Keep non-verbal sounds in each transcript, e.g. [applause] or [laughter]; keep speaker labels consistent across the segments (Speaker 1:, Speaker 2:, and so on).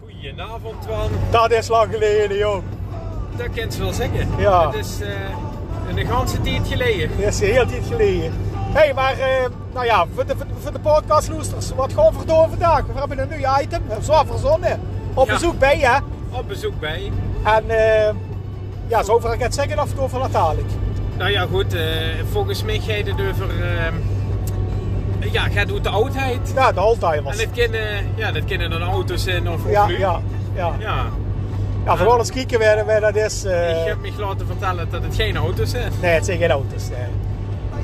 Speaker 1: Goedenavond, Twan.
Speaker 2: Dat is lang geleden, joh.
Speaker 1: Dat kan ze wel zeggen.
Speaker 2: Ja.
Speaker 1: Het is eh, een ganse tijd geleden.
Speaker 2: Dat is heel tijd geleden. Hé, hey, maar eh, nou ja, voor de, voor de- voor de podcastloesters, wat gaan we doen vandaag? We hebben een nieuw item, zo verzonnen. Op
Speaker 1: Ja.
Speaker 2: bezoek bij je.
Speaker 1: Op bezoek bij.
Speaker 2: En eh, ja, zover ik het zeggen of het over Natalik.
Speaker 1: Nou ja, goed. eh, volgens mij gaat het over... ehm, eh, ja, gaat over de oudheid.
Speaker 2: Ja, de oldtimers.
Speaker 1: En dat kunnen, ja, dat kunnen dan auto's zijn of, of
Speaker 2: Ja,
Speaker 1: nu.
Speaker 2: ja, ja.
Speaker 1: Ja.
Speaker 2: Ja, vooral eens kijken waar, waar dat is. eh,
Speaker 1: Ik heb me laten vertellen dat het geen auto's zijn.
Speaker 2: Nee, het zijn geen auto's. nee.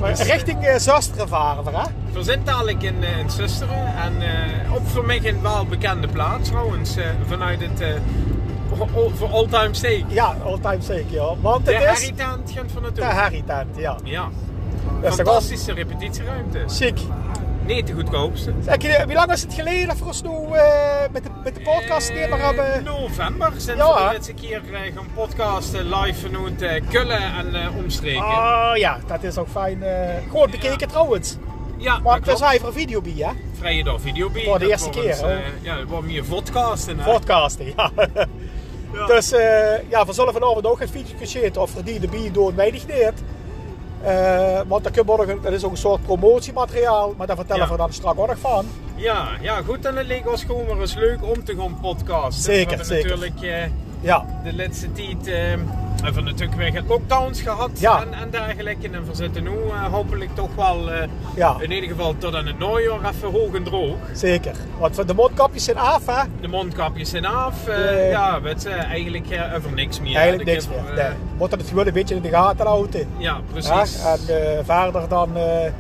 Speaker 2: Maar
Speaker 1: Dus, eh,
Speaker 2: richting eh Zasteren varen we, hè?
Speaker 1: We zijn dadelijk in, eh, in Susteren en eh op voor mij een welbekende plaats trouwens. eh, vanuit het eh, o- o- voor all time stake.
Speaker 2: Ja, all-time zeker, joh. Want
Speaker 1: De
Speaker 2: het is
Speaker 1: Harritant gaat van
Speaker 2: de
Speaker 1: naartoe.
Speaker 2: Harry-tent, ja.
Speaker 1: Ja.
Speaker 2: Dat is toch wel
Speaker 1: Fantastische repetitieruimte.
Speaker 2: chic.
Speaker 1: Niet de goedkoopste.
Speaker 2: Zeg, eh, Wie lang is het geleden dat we ons nu eh, met, de, met de podcast neer
Speaker 1: Eh,
Speaker 2: hebben?
Speaker 1: november zijn
Speaker 2: Ja,
Speaker 1: we
Speaker 2: hè?
Speaker 1: de laatste keer eh, gaan podcasten live vanuit eh Kullen en eh, omstreken.
Speaker 2: Oh ja, dat is ook fijn. eh gewoon bekeken trouwens.
Speaker 1: ja,
Speaker 2: Maar
Speaker 1: dat
Speaker 2: het is
Speaker 1: klopt.
Speaker 2: hij voor video bij, hè?
Speaker 1: Vrije dag video bij.
Speaker 2: Voor de
Speaker 1: Dat
Speaker 2: eerste
Speaker 1: wordt
Speaker 2: keer,
Speaker 1: ons,
Speaker 2: hè?
Speaker 1: eh, ja, het wordt meer vodcasten. hè.
Speaker 2: Podcasten, ja.
Speaker 1: Ja.
Speaker 2: Dus eh, ja, we zullen vanavond ook een video shitten of verdienen bij door mij niet neert. Eh, want dat, kun je morgen, dat is ook een soort promotiemateriaal, maar daar vertellen
Speaker 1: Ja.
Speaker 2: we dan straks ook nog van.
Speaker 1: Ja, ja, goed. En het leek ons gewoon maar eens leuk om te gaan podcasten.
Speaker 2: Zeker,
Speaker 1: we hebben
Speaker 2: zeker.
Speaker 1: natuurlijk eh,
Speaker 2: Ja,
Speaker 1: de laatste tijd eh, hebben we natuurlijk weer lockdowns gehad
Speaker 2: Ja.
Speaker 1: en, en dergelijke. En we zitten nu eh, hopelijk toch wel, eh,
Speaker 2: Ja.
Speaker 1: in ieder geval tot aan het najaar, even hoog en droog.
Speaker 2: zeker. Want voor de mondkapjes zijn af, hè?
Speaker 1: De mondkapjes zijn af. eh,
Speaker 2: Nee.
Speaker 1: Ja, weet je, eigenlijk eh, over niks meer.
Speaker 2: Eigenlijk
Speaker 1: Ik
Speaker 2: niks
Speaker 1: heb,
Speaker 2: meer.
Speaker 1: eh,
Speaker 2: nee. Moeten het gewoon een beetje in de gaten houden.
Speaker 1: Ja, precies.
Speaker 2: Hè? En eh, verder dan eh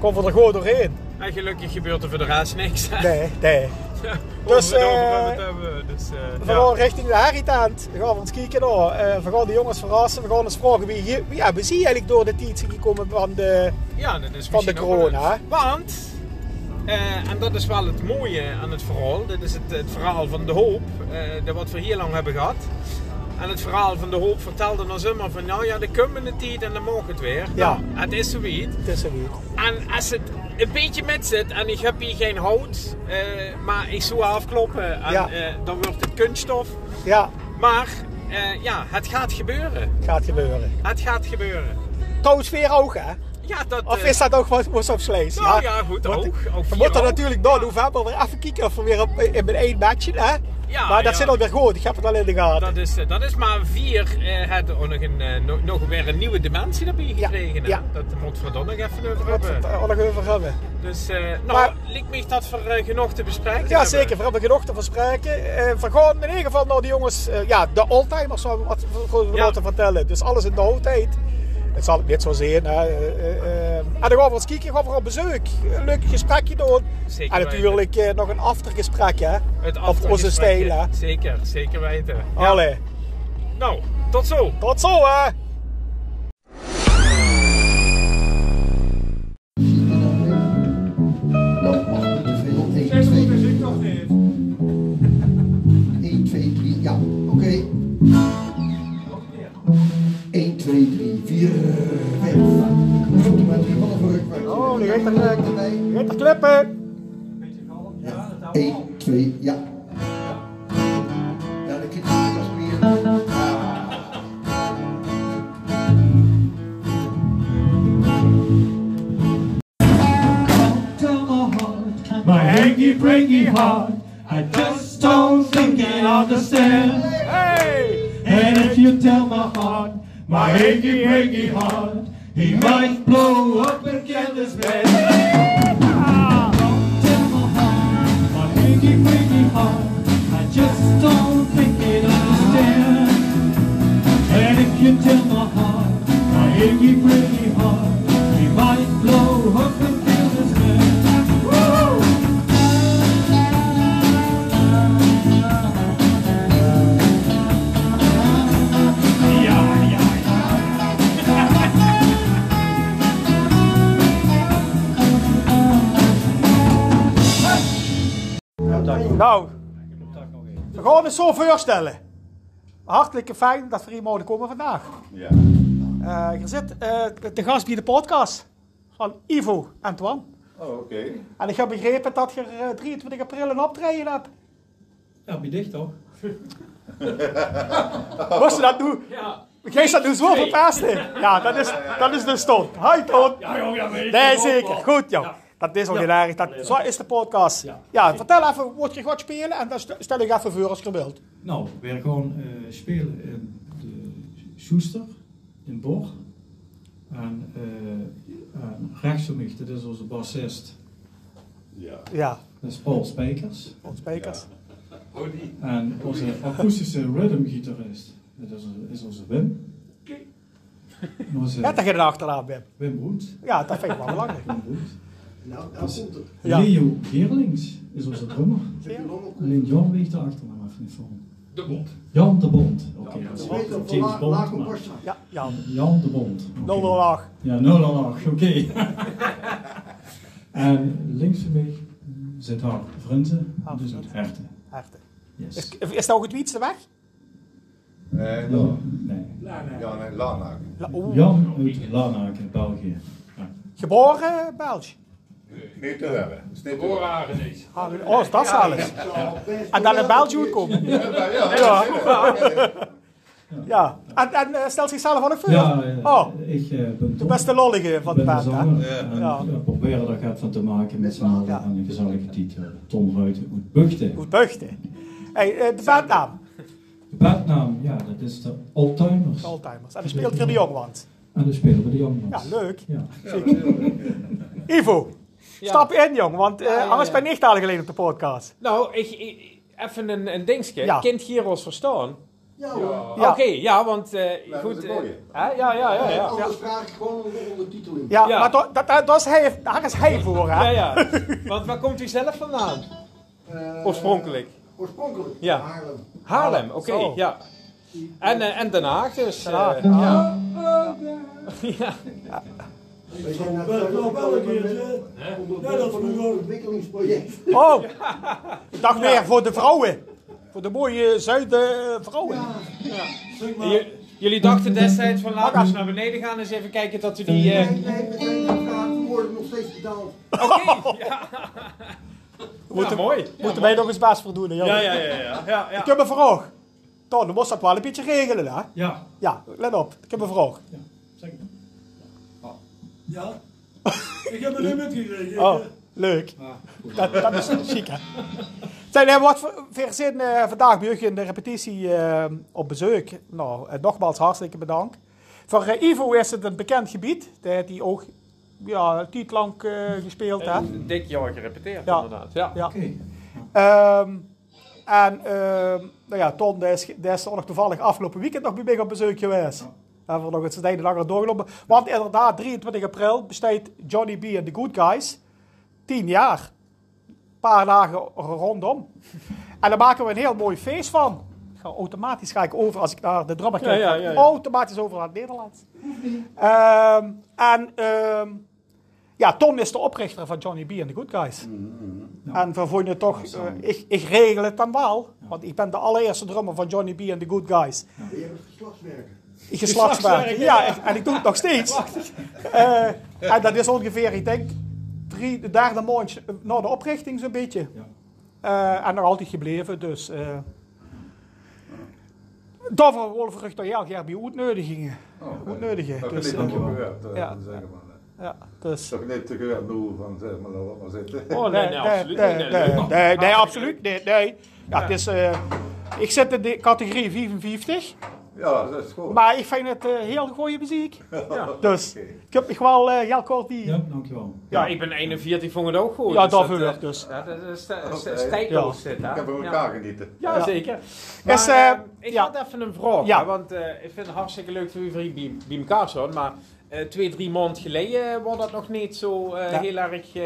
Speaker 2: komen we er gewoon
Speaker 1: [laughs]
Speaker 2: doorheen.
Speaker 1: En gelukkig gebeurt er voor de rest niks. [laughs]
Speaker 2: Nee, nee.
Speaker 1: dus,
Speaker 2: Dus,
Speaker 1: we
Speaker 2: eh,
Speaker 1: het hebben. we, Dus, eh,
Speaker 2: We gaan richting de Harry-tent. We gaan ons kijken. hoor. Eh, we gaan de jongens verrassen. We gaan eens vragen wie hier... wie- Ja, we zien eigenlijk door de tijd gekomen van de...
Speaker 1: Ja, dat is
Speaker 2: Van de
Speaker 1: misschien ook wel
Speaker 2: corona,
Speaker 1: leuk. Want, eh, en dat is wel het mooie aan het verhaal, dit is het, het verhaal van de hoop, eh, dat wat we hier lang hebben gehad. En het verhaal van de hoop vertelde ons immer van, nou ja, de komende tijd en dan mag het weer.
Speaker 2: Ja.
Speaker 1: Nou, het is zoiets.
Speaker 2: Het is er weer.
Speaker 1: En als het een beetje met zit en ik heb hier geen hout, eh, maar ik zou afkloppen en
Speaker 2: Ja.
Speaker 1: eh, dan wordt het kunststof.
Speaker 2: Ja,
Speaker 1: Maar eh, ja, het gaat gebeuren.
Speaker 2: gaat gebeuren.
Speaker 1: Het gaat gebeuren.
Speaker 2: Trouwens weer ook, hè?
Speaker 1: Ja, dat,
Speaker 2: Of
Speaker 1: eh,
Speaker 2: is dat ook wat was op slees?
Speaker 1: Nou ja, goed,
Speaker 2: Want
Speaker 1: ook. Ook
Speaker 2: We
Speaker 1: vier
Speaker 2: moeten
Speaker 1: ook.
Speaker 2: natuurlijk door november weer even kijken of we weer op, in mijn één matchen, hè?
Speaker 1: Ja,
Speaker 2: maar dat
Speaker 1: ja.
Speaker 2: zit alweer goed. Ik heb het al in de gaten.
Speaker 1: Dat is, eh, dat is maar vier. eh had ook nog, een, eh, no- nog weer een nieuwe dimensie erbij gekregen. hè?
Speaker 2: ja.
Speaker 1: Dat moet we dan nog even over
Speaker 2: Wat we
Speaker 1: hebben.
Speaker 2: het eh, al nog over hebben.
Speaker 1: Dus, eh nou,
Speaker 2: Maar-
Speaker 1: lijkt me dat we eh, genoeg te bespreken
Speaker 2: Ja,
Speaker 1: hebben.
Speaker 2: zeker. We hebben genoeg te verspreken. Eh we gaan in ieder geval naar die jongens, eh, ja, de oldtimers, zou ik wat wat we
Speaker 1: Ja.
Speaker 2: laten vertellen. Dus alles in de oudheid. Het zal ik niet zo zijn. Hè. Eh, eh, eh. En dan gaan we eens kijken, gaan we op bezoek. Een leuk gesprekje doen.
Speaker 1: Zeker
Speaker 2: en natuurlijk eh, nog een aftergesprek, hè.
Speaker 1: Het
Speaker 2: Op onze
Speaker 1: afgesprek,
Speaker 2: stijl, hè.
Speaker 1: eh, Zeker, zeker weten. Ja.
Speaker 2: Allee,
Speaker 1: Nou, tot zo.
Speaker 2: tot zo, hè.
Speaker 3: Dan achter de veel. 1, 2, 1, 2, 3. Ja, oké. 1, 2, 3, 4, 5. Goed, maar het is wel een verrukwerk.
Speaker 2: Oh, die gaat er, eh, Je gaat er klippen.
Speaker 3: 1, 2, ja. Ja, dan kijk ik als weer.
Speaker 4: Tell my heart, my achy breaky heart. I just don't think it understand.
Speaker 2: Hey!
Speaker 4: And if you tell my heart, my achy breaky heart, he might blow up and get this bed. Don't tell my heart, my achy breaky heart. I just don't think it understand. And if you tell my heart, my achy breaky heart, he might blow up and kill this man. Ja, ja, ja.
Speaker 2: Nou, we gaan het zo voorstellen. Hartelijk fijn dat we hier mogen komen vandaag.
Speaker 5: Ja,
Speaker 2: Eh je zit eh, te gast bij de podcast van Ivo en Twan.
Speaker 5: oh, oké.
Speaker 2: En ik heb begrepen dat je eh, 23 april een optreden hebt.
Speaker 6: Ja, ben je dicht toch?
Speaker 2: Was je dat nu?
Speaker 1: Ja.
Speaker 2: Jij staat nu zo verpest in. Ja, dat is, dat is de stond. Hi Toon.
Speaker 6: Ja, joh, ja, weet ik
Speaker 2: Nee,
Speaker 6: wel,
Speaker 2: zeker.
Speaker 6: hoor.
Speaker 2: Goed, joh.
Speaker 6: Ja.
Speaker 2: Dat is ook
Speaker 6: Ja.
Speaker 2: heel erg. Dat, zo is de podcast.
Speaker 6: Ja.
Speaker 2: Ja, vertel even wat je gaat spelen en dan stel- stel ik even voor als je wilt.
Speaker 6: Nou, weer gewoon eh, spelen in de Schuster in Bor. En, eh, en rechts van mij, dat is onze bassist,
Speaker 5: Ja.
Speaker 2: Ja,
Speaker 6: dat is Paul Spijkers.
Speaker 2: ons sprekers.
Speaker 6: En onze akoestische rhythmgitarist, dat is, is onze Wim. En Onze
Speaker 2: Ja, dat je er achteraan bent.
Speaker 6: Wim Broet.
Speaker 2: Ja, dat vind ik wel belangrijk.
Speaker 6: Wim Broet.
Speaker 5: Nou, nou komt het.
Speaker 2: Ja.
Speaker 6: Leo Geerlings is onze drummer.
Speaker 5: Zet je long op.
Speaker 6: Alleen Jan weegt de achternaam even niet van.
Speaker 1: De bond.
Speaker 6: Jan de Bond. Oké, dat is
Speaker 5: Je weet dat
Speaker 6: James
Speaker 5: van laag
Speaker 6: Bond.
Speaker 5: op
Speaker 6: maar-
Speaker 5: borst
Speaker 2: Ja, Jan.
Speaker 6: Jan de Bond. Oké.
Speaker 2: 008.
Speaker 6: Ja, 008, oké.
Speaker 2: [laughs]
Speaker 6: en links van mij zit haar vrienden,
Speaker 2: Ah,
Speaker 6: dus
Speaker 2: vrienden.
Speaker 6: het herten.
Speaker 2: Harte. Is,
Speaker 6: Yes.
Speaker 2: is nou het wietste weg?
Speaker 5: Nee,
Speaker 6: Ja,
Speaker 5: Lana.
Speaker 6: nee.
Speaker 5: Ja, nee, eh, Lana.
Speaker 2: La- oeh.
Speaker 6: Jan uit Lanaak in België. Ja.
Speaker 2: Geboren Belg.
Speaker 5: Niet te hebben. Is niet te
Speaker 7: Voor
Speaker 5: hebben.
Speaker 7: haar ineens.
Speaker 2: Ah, Oh, is dat alles. En dan een België moet komen.
Speaker 5: Ja, ja,
Speaker 2: Ja.
Speaker 5: ja.
Speaker 2: Ja. En, en eh, stelt zichzelf al een voor?
Speaker 6: Ja, eh,
Speaker 2: Oh,
Speaker 6: ik eh, ben
Speaker 2: de
Speaker 6: Tom,
Speaker 2: beste lollige van de
Speaker 6: ben
Speaker 2: band, hè?
Speaker 6: zanger. En
Speaker 2: Ja.
Speaker 6: we proberen daar gaat van te maken met z'n allen
Speaker 2: Ja.
Speaker 6: aan een gezellige titel. Tom Ruiten uit Buchten.
Speaker 2: Goed buchten. Hey, eh, de bandnaam.
Speaker 6: De bandnaam, ja, dat is de Alzheimer's.
Speaker 2: Alzheimer's. En dan speelt hier de jongland.
Speaker 6: En dan spelen we de Jongmans.
Speaker 2: Ja, leuk.
Speaker 6: Ja.
Speaker 2: Ivo, stap in jong, want eh,
Speaker 1: Ja, ja, ja.
Speaker 2: anders ben ik niet al geleden op de podcast.
Speaker 1: Nou, ik, ik- even een, een dingetje.
Speaker 2: Ja.
Speaker 1: Kind Gyros verstaan.
Speaker 5: Ja hoor.
Speaker 2: Ja.
Speaker 1: Oké, ja, want... eh,
Speaker 5: dat
Speaker 1: goed,
Speaker 5: is een
Speaker 1: eh,
Speaker 5: mooie. Oh.
Speaker 1: hè? ja, ja, ja. ja.
Speaker 5: Anders vraag ik gewoon een ondertitel in.
Speaker 2: Ja,
Speaker 1: Ja.
Speaker 2: maar dat, dat, dat, dat is hij, daar is hij voor, hè?
Speaker 1: Ja, ja. Want waar komt u zelf vandaan?
Speaker 5: Eh,
Speaker 1: Oorspronkelijk.
Speaker 5: Oorspronkelijk.
Speaker 1: Ja.
Speaker 5: Haarlem.
Speaker 1: Haarlem, oké,
Speaker 2: Zo.
Speaker 1: ja. En, eh, en Den Haag dus.
Speaker 2: Den Haag,
Speaker 1: eh,
Speaker 2: ja.
Speaker 1: ja.
Speaker 5: Wij zijn naar het
Speaker 8: keertje. Ja, dat van New
Speaker 3: [laughs]
Speaker 8: York.
Speaker 5: ontwikkelingsproject.
Speaker 2: [laughs]
Speaker 1: [laughs]
Speaker 2: Oh, ik dacht meer voor de vrouwen. Voor de mooie Zuid-vrouwen.
Speaker 8: Zeg maar.
Speaker 1: J- jullie dachten destijds van laten we
Speaker 2: Wakker.
Speaker 1: eens naar beneden gaan eens even kijken dat we die...
Speaker 5: Nee,
Speaker 1: eh,
Speaker 5: nee, we zijn gevraagd. We worden nog steeds betaald.
Speaker 1: Ja, mooi.
Speaker 2: Moeten wij nog eens baas voor doen, hè, jongen?
Speaker 1: Ja, ja, ja. ja, ja,
Speaker 2: Ik
Speaker 1: ja.
Speaker 2: heb een vraag. Ton, dan moest dat wel een beetje regelen, hè?
Speaker 6: Ja,
Speaker 2: Ja, let op. Ik heb een vraag.
Speaker 6: zeg maar.
Speaker 8: Ja. Ik heb er niet met gekregen.
Speaker 2: Oh, leuk.
Speaker 8: Ah,
Speaker 2: Dat, dat is chic, hè? Zijn er wat voor, voor zin eh, vandaag bij jullie in de repetitie eh, op bezoek? Nou, eh, nogmaals hartstikke bedankt. Voor eh, Ivo is het een bekend gebied. Daar heeft hij ook ja, een tijd lang eh, gespeeld, hè?
Speaker 1: Een Dik jaar gerepeteerd
Speaker 2: Ja.
Speaker 1: inderdaad. Ja.
Speaker 2: Ja.
Speaker 6: Oké.
Speaker 2: Ehm, en ehm, nou ja, Ton die is, die is er nog toevallig afgelopen weekend nog bij mij op bezoek geweest. Hebben we nog eens een tijdje langer doorgelopen. Want inderdaad, 23 april besteedt Johnny B. en The Good Guys 10 jaar. Een paar dagen rondom. En daar maken we een heel mooi feest van. Ik ga automatisch ga ik over als ik naar de drummer kijk.
Speaker 1: Ja, ja,
Speaker 2: ga ik
Speaker 1: ja, ja.
Speaker 2: Automatisch over naar het Nederlands. [laughs] Ehm, en ehm, ja, Ton is de oprichter van Johnny B. en The Good Guys. En we vonden toch, eh, ik, ik regel het dan wel. Want ik ben de allereerste drummer van Johnny B. en The Good Guys.
Speaker 5: We hebben geslachtswerken.
Speaker 2: Ik geslachtswerk. Ja, ik- en ik doe het nog steeds. Eh, en dat is ongeveer, ik denk, drie, de derde maand eh, na de oprichting zo'n beetje.
Speaker 6: Ja.
Speaker 2: Eh, en nog altijd gebleven, dus... eh daarvoor worden we terug naar jou, Gerby, uitnodigingen. Uitnodigingen.
Speaker 5: Dat
Speaker 2: Dus,
Speaker 5: is
Speaker 2: eh,
Speaker 5: niet te gewerkt. eh,
Speaker 2: ja.
Speaker 5: zeg maar.
Speaker 2: ja, dus...
Speaker 5: Dat is niet te gewerkt, bedoel van zeg maar, laat maar zitten.
Speaker 1: Oh nee, nee,
Speaker 2: nee,
Speaker 1: absoluut niet.
Speaker 2: nee,
Speaker 1: Nee, leuk.
Speaker 2: nee, nee, nee, absoluut niet, nee. Ja, het is... eh, ik zit in de categorie 55.
Speaker 5: Ja, dat is goed.
Speaker 2: Maar ik vind het eh, heel goede muziek.
Speaker 1: Ja.
Speaker 2: Dus
Speaker 5: Oké.
Speaker 2: ik heb nog wel eh, heel kort die.
Speaker 6: Ja, dankjewel.
Speaker 1: Ja, ik ben 41, vond het ook goed.
Speaker 2: Ja, dat
Speaker 1: eh,
Speaker 2: wil ik dus.
Speaker 1: ja, Dat is eh,
Speaker 5: Oké.
Speaker 1: stijkloos dit, hè?
Speaker 5: Oh, Ik heb van
Speaker 1: Ja.
Speaker 5: elkaar genieten.
Speaker 1: Ja,
Speaker 2: Ja.
Speaker 1: zeker. Maar,
Speaker 2: Is, eh,
Speaker 1: eh, ik
Speaker 2: ja.
Speaker 1: had even een vraag,
Speaker 2: Ja.
Speaker 1: hè, want eh, ik vind het hartstikke leuk dat we hier bij, bij elkaar zijn, maar eh, twee, drie maanden geleden eh, was dat nog niet zo eh,
Speaker 2: Ja.
Speaker 1: heel erg eh,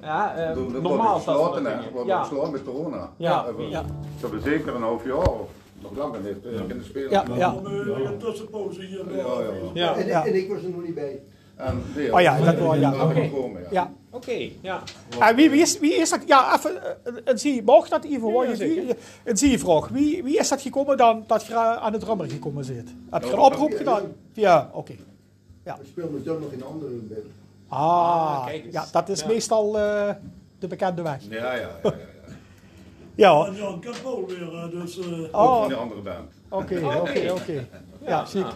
Speaker 1: ja, eh,
Speaker 5: Dat wordt
Speaker 1: normaal. Dat we
Speaker 5: gesloten,
Speaker 1: dat
Speaker 5: hè.
Speaker 1: dingen-
Speaker 5: Wordt
Speaker 1: ja.
Speaker 5: gesloten met corona.
Speaker 1: Ja.
Speaker 5: Even-
Speaker 2: Ja.
Speaker 5: Dat we zeker een half jaar of nog langer niet eh, kunnen spelen.
Speaker 2: Ja, ja.
Speaker 8: Om eh, een tussenpauze hier. eh,
Speaker 5: Ja, ja.
Speaker 1: Ja.
Speaker 5: En-
Speaker 1: Oké,
Speaker 5: en-
Speaker 2: Ja.
Speaker 5: En ik was er nog niet bij. En Leo.
Speaker 2: Oh ja, dat wel, ja.
Speaker 5: Laten we
Speaker 1: Oké.
Speaker 5: komen, ja.
Speaker 2: Ja.
Speaker 1: ja.
Speaker 2: En wie, wie, is, wie is dat? Ja, even. eh, Een zie mag dat Ivo?
Speaker 1: Ja,
Speaker 2: want je-
Speaker 1: zeker.
Speaker 2: wie- Een zie vraag. Wie, wie is dat gekomen dan dat je eh, aan de drummer gekomen zit? Heb je een
Speaker 5: Nou,
Speaker 2: oproep
Speaker 5: ja,
Speaker 2: gedaan? Ja, oké.
Speaker 5: Ik speel met John nog in andere band.
Speaker 2: Ah,
Speaker 1: Ah, kijk eens.
Speaker 2: ja, dat is
Speaker 1: Ja.
Speaker 2: meestal eh, de bekende weg.
Speaker 5: Ja, ja, ja. ja, ja.
Speaker 2: Ja, hoor.
Speaker 9: En Jan Kapol weer, eh, dus... eh,
Speaker 5: Ook
Speaker 2: oh,
Speaker 5: van die andere band.
Speaker 2: oké, oké, oké. Ja, ziek.
Speaker 1: Ah.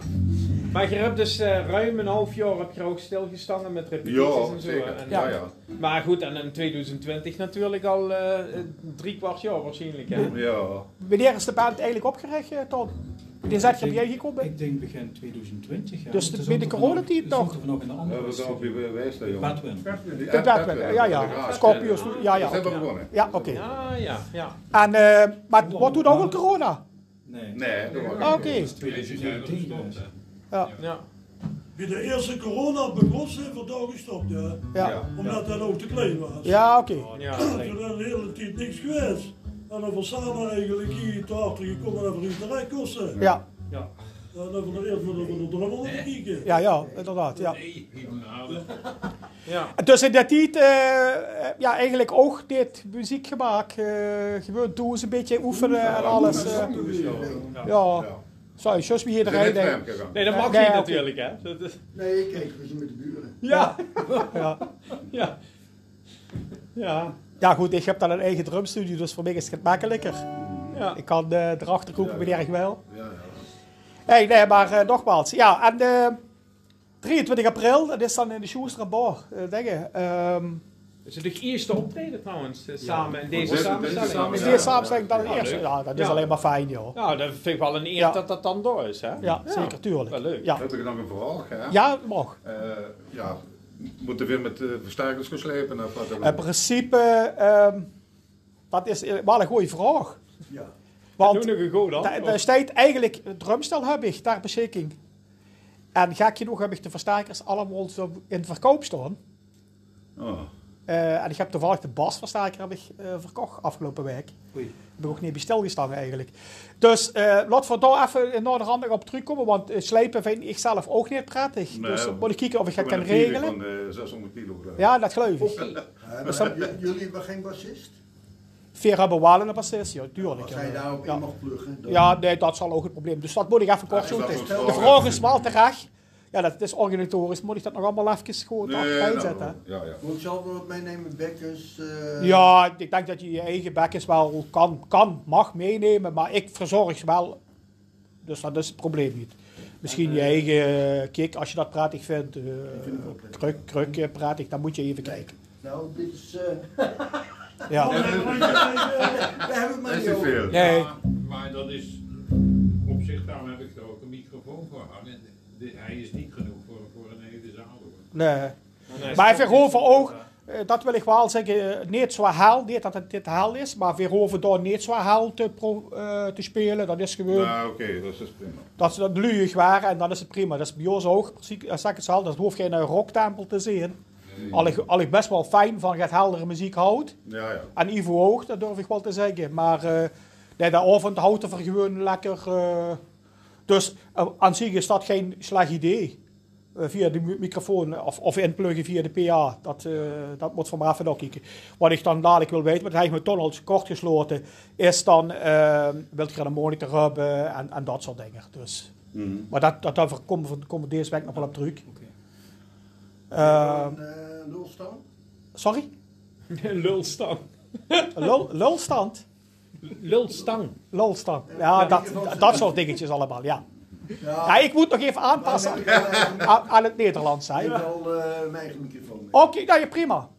Speaker 1: Maar je hebt dus eh, ruim een half jaar heb je ook stilgestaan met repetities
Speaker 5: Ja,
Speaker 1: en zo.
Speaker 5: zeker.
Speaker 1: En, eh,
Speaker 5: Ja, ja.
Speaker 1: Maar goed, en in 2020 natuurlijk al eh, drie kwart jaar waarschijnlijk. Hè?
Speaker 5: Ja.
Speaker 2: Wanneer is de band eigenlijk opgericht, eh, Ton? Wanneer zijn je op jij gekomen?
Speaker 6: Ik denk begin 2020. Ja.
Speaker 2: Dus
Speaker 6: Want
Speaker 2: de-
Speaker 6: er
Speaker 2: bij de
Speaker 6: stond er
Speaker 2: coronatijd
Speaker 6: nog- er
Speaker 2: nog?
Speaker 6: stond er nog een
Speaker 5: We
Speaker 6: andere.
Speaker 5: hebben ook weer geweest, jongen.
Speaker 6: Batwin.
Speaker 5: Die-
Speaker 2: De
Speaker 5: eh,
Speaker 2: Batman, ja,
Speaker 5: Batman, dat is
Speaker 2: ja.
Speaker 5: raar.
Speaker 2: Scorpions, ja, ja.
Speaker 5: Ze hebben gewonnen.
Speaker 2: Ja, oké.
Speaker 1: Ja, Ah, ja, ja.
Speaker 2: En, eh, maar wat doet ook wel corona?
Speaker 6: Nee,
Speaker 5: Nee, dat was
Speaker 2: Ah, Oké.
Speaker 6: dat is 2019. dus.
Speaker 2: Ja,
Speaker 1: ja.
Speaker 9: Wie de eerste corona begon, zijn we daar gestopt, ja.
Speaker 2: ja.
Speaker 9: Omdat dat ook te klein was.
Speaker 2: Ja, oké.
Speaker 1: Ja,
Speaker 9: Toen is de hele tijd niks geweest. En dan was samen eigenlijk hier te hard gekomen en even de kosten.
Speaker 2: Ja,
Speaker 9: En dan van de eerste van de drummer te kijken.
Speaker 2: ja, ja, inderdaad, ja.
Speaker 1: ja.
Speaker 2: En Dus in die tijd, eh, ja, eigenlijk ook dit muziekgemaak, eh gebeurt, doen ze een beetje oefenen en alles. eh. ja, zou je zus wie hier
Speaker 5: Zijn
Speaker 2: erin
Speaker 5: net
Speaker 2: denken.
Speaker 5: vreemd gegaan.
Speaker 1: Nee, dat mag
Speaker 2: Nee,
Speaker 1: niet
Speaker 2: oké.
Speaker 1: natuurlijk, hè? Dat is-
Speaker 3: Nee, kijk, we zijn met de buren.
Speaker 1: ja.
Speaker 2: [laughs] Ja.
Speaker 1: ja. Ja.
Speaker 2: ja, goed, ik heb dan een eigen drumstudio, dus voor mij is het makkelijker.
Speaker 1: Ja.
Speaker 2: Ik kan eh erachter roepen wanneer ik wil.
Speaker 5: Ja, ja.
Speaker 2: Hey, nee, maar eh, nogmaals. Ja, en eh, 23 april, dat is dan in de Schuster Bar, eh denk je. Ehm,
Speaker 1: Is het de eerste optreden trouwens, eh, samen in deze
Speaker 5: Deze- deze
Speaker 1: samenstelling?
Speaker 5: samen-
Speaker 2: is dus
Speaker 5: Ja,
Speaker 2: die
Speaker 5: ja,
Speaker 2: samenstelling dan
Speaker 1: ja.
Speaker 2: eerst?
Speaker 1: Ja, leuk.
Speaker 2: Ja, dat is
Speaker 1: Ja.
Speaker 2: alleen maar fijn, joh.
Speaker 1: Nou, dat vind ik wel een eer
Speaker 2: Ja.
Speaker 1: dat dat dan door is, hè?
Speaker 2: Ja, zeker, tuurlijk.
Speaker 1: wel leuk.
Speaker 2: Ja,
Speaker 5: Heb ik nog een vraag, hè?
Speaker 2: ja mag.
Speaker 5: Eh, ja, moeten weer met eh, versterkers gaan slepen of wat dan
Speaker 2: In
Speaker 5: ook?
Speaker 2: principe, ehm, dat is eh, wel een goede vraag.
Speaker 9: Ja.
Speaker 1: Doe nog
Speaker 2: Want
Speaker 1: een goed
Speaker 2: da-
Speaker 1: antwoord.
Speaker 2: daar staat eigenlijk het drumstel heb ik ter beschikking. En gek genoeg heb ik de versterkers allemaal zo in verkoop staan.
Speaker 5: Oh.
Speaker 2: Eh, en ik heb toevallig de basversterker heb ik, eh, verkocht afgelopen week.
Speaker 6: Oei.
Speaker 2: Heb ik ook niet bij stilgestaan eigenlijk. Dus eh laten we daar even in naderhand nog op terugkomen. Want eh, slijpen vind ik zelf ook niet prettig.
Speaker 5: Nee.
Speaker 2: dus dan moet ik kijken of ik het
Speaker 5: Ik ben
Speaker 2: kan
Speaker 5: een viering
Speaker 2: regelen.
Speaker 5: Van, eh, 600 kilo. geloof ik.
Speaker 2: Ja, dat geloof ik.
Speaker 3: Eh, maar j- jullie hebben geen bassist?
Speaker 2: Vera Bewalen en bassist, ja, tuurlijk.
Speaker 3: Als
Speaker 2: ja.
Speaker 3: hij daarop
Speaker 2: ja.
Speaker 3: in mag pluggen, dan...
Speaker 2: Ja, nee, dat zal ook het probleem. Dus dat moet ik even kort
Speaker 5: is wel
Speaker 2: zoeken.
Speaker 5: goed.
Speaker 2: De vraag is wel terecht. Ja, dat is organisatorisch. Moet ik dat nog allemaal even gewoon
Speaker 5: Nee,
Speaker 2: achtereen
Speaker 5: nou,
Speaker 2: zetten?
Speaker 5: Ja, ja.
Speaker 3: Moet ik zelf wel wat meenemen, bekkers?
Speaker 5: nou.
Speaker 3: eh,
Speaker 2: Ja, ik denk dat je je eigen bekjes wel kan, kan, mag meenemen, maar ik verzorg ze wel. Dus dat is het probleem niet. Misschien
Speaker 5: eh,
Speaker 2: je eigen eh, kick, als je dat pratig vindt. eh, kruk, kruk eh, pratig, dan moet je even kijken.
Speaker 3: Nou, dit is... eh, Oh,
Speaker 2: Ja.
Speaker 9: Dan hebben we gezegd,
Speaker 3: [laughs] we hebben het maar
Speaker 5: Dat is
Speaker 3: niet
Speaker 5: te
Speaker 3: over.
Speaker 5: veel.
Speaker 2: Nee,
Speaker 10: Maar, maar dat is op zich, daarom heb ik er ook een microfoon voor hangen. De- hij is niet genoeg voor, voor een hele zaal hoor.
Speaker 2: nee.
Speaker 1: Nee,
Speaker 2: Maar Verhoeven ook, eh, dat wil ik wel zeggen, eh, niet zo haal, niet dat het dit haal is, maar Verhoeven daar niet zo haal te, pro- eh, te spelen, dat is gewoon...
Speaker 5: Nou, oké, dat is dus prima.
Speaker 2: Dat ze dat luig waren en dan is het prima. Dat is bij ons ook, precies, als ik het zal, dat hoeft geen eh, rocktempel te zijn. Al ik, al ik best wel fijn van het heldere muziek houd.
Speaker 5: Ja, ja.
Speaker 2: En Ivo ook, dat durf ik wel te zeggen. Maar eh nee, dat avond houdt er gewoon lekker. eh, dus eh, aan zich is dat geen slecht idee. Eh, via de mu- microfoon eh, of, of inpluggen via de PA. Dat, eh, dat moet van maar even kijken. Wat ik dan dadelijk wil weten, want hij heeft me toch al kort gesloten, is dan eh, wilt je een monitor hebben en, en dat soort dingen. Dus. Maar dat, dat, daar komen we- komen we deze week nog wel op terug.
Speaker 6: Oké.
Speaker 2: Eh,
Speaker 3: Dan, eh, Lulstaan?
Speaker 2: sorry? [laughs]
Speaker 1: Lulstang.
Speaker 2: Lul, lulstand?
Speaker 1: Lulstang.
Speaker 2: Lulstand. Ja, dat, dat soort dingetjes allemaal, ja. Ja, ik moet nog even
Speaker 3: maar
Speaker 2: aanpassen
Speaker 3: dan heb ik, eh,
Speaker 2: aan, aan het Nederlands
Speaker 3: Ik
Speaker 2: zijn.
Speaker 3: heb
Speaker 2: Oké,
Speaker 3: al eh, mijn eigen microfoon mee.
Speaker 2: nou ja, prima.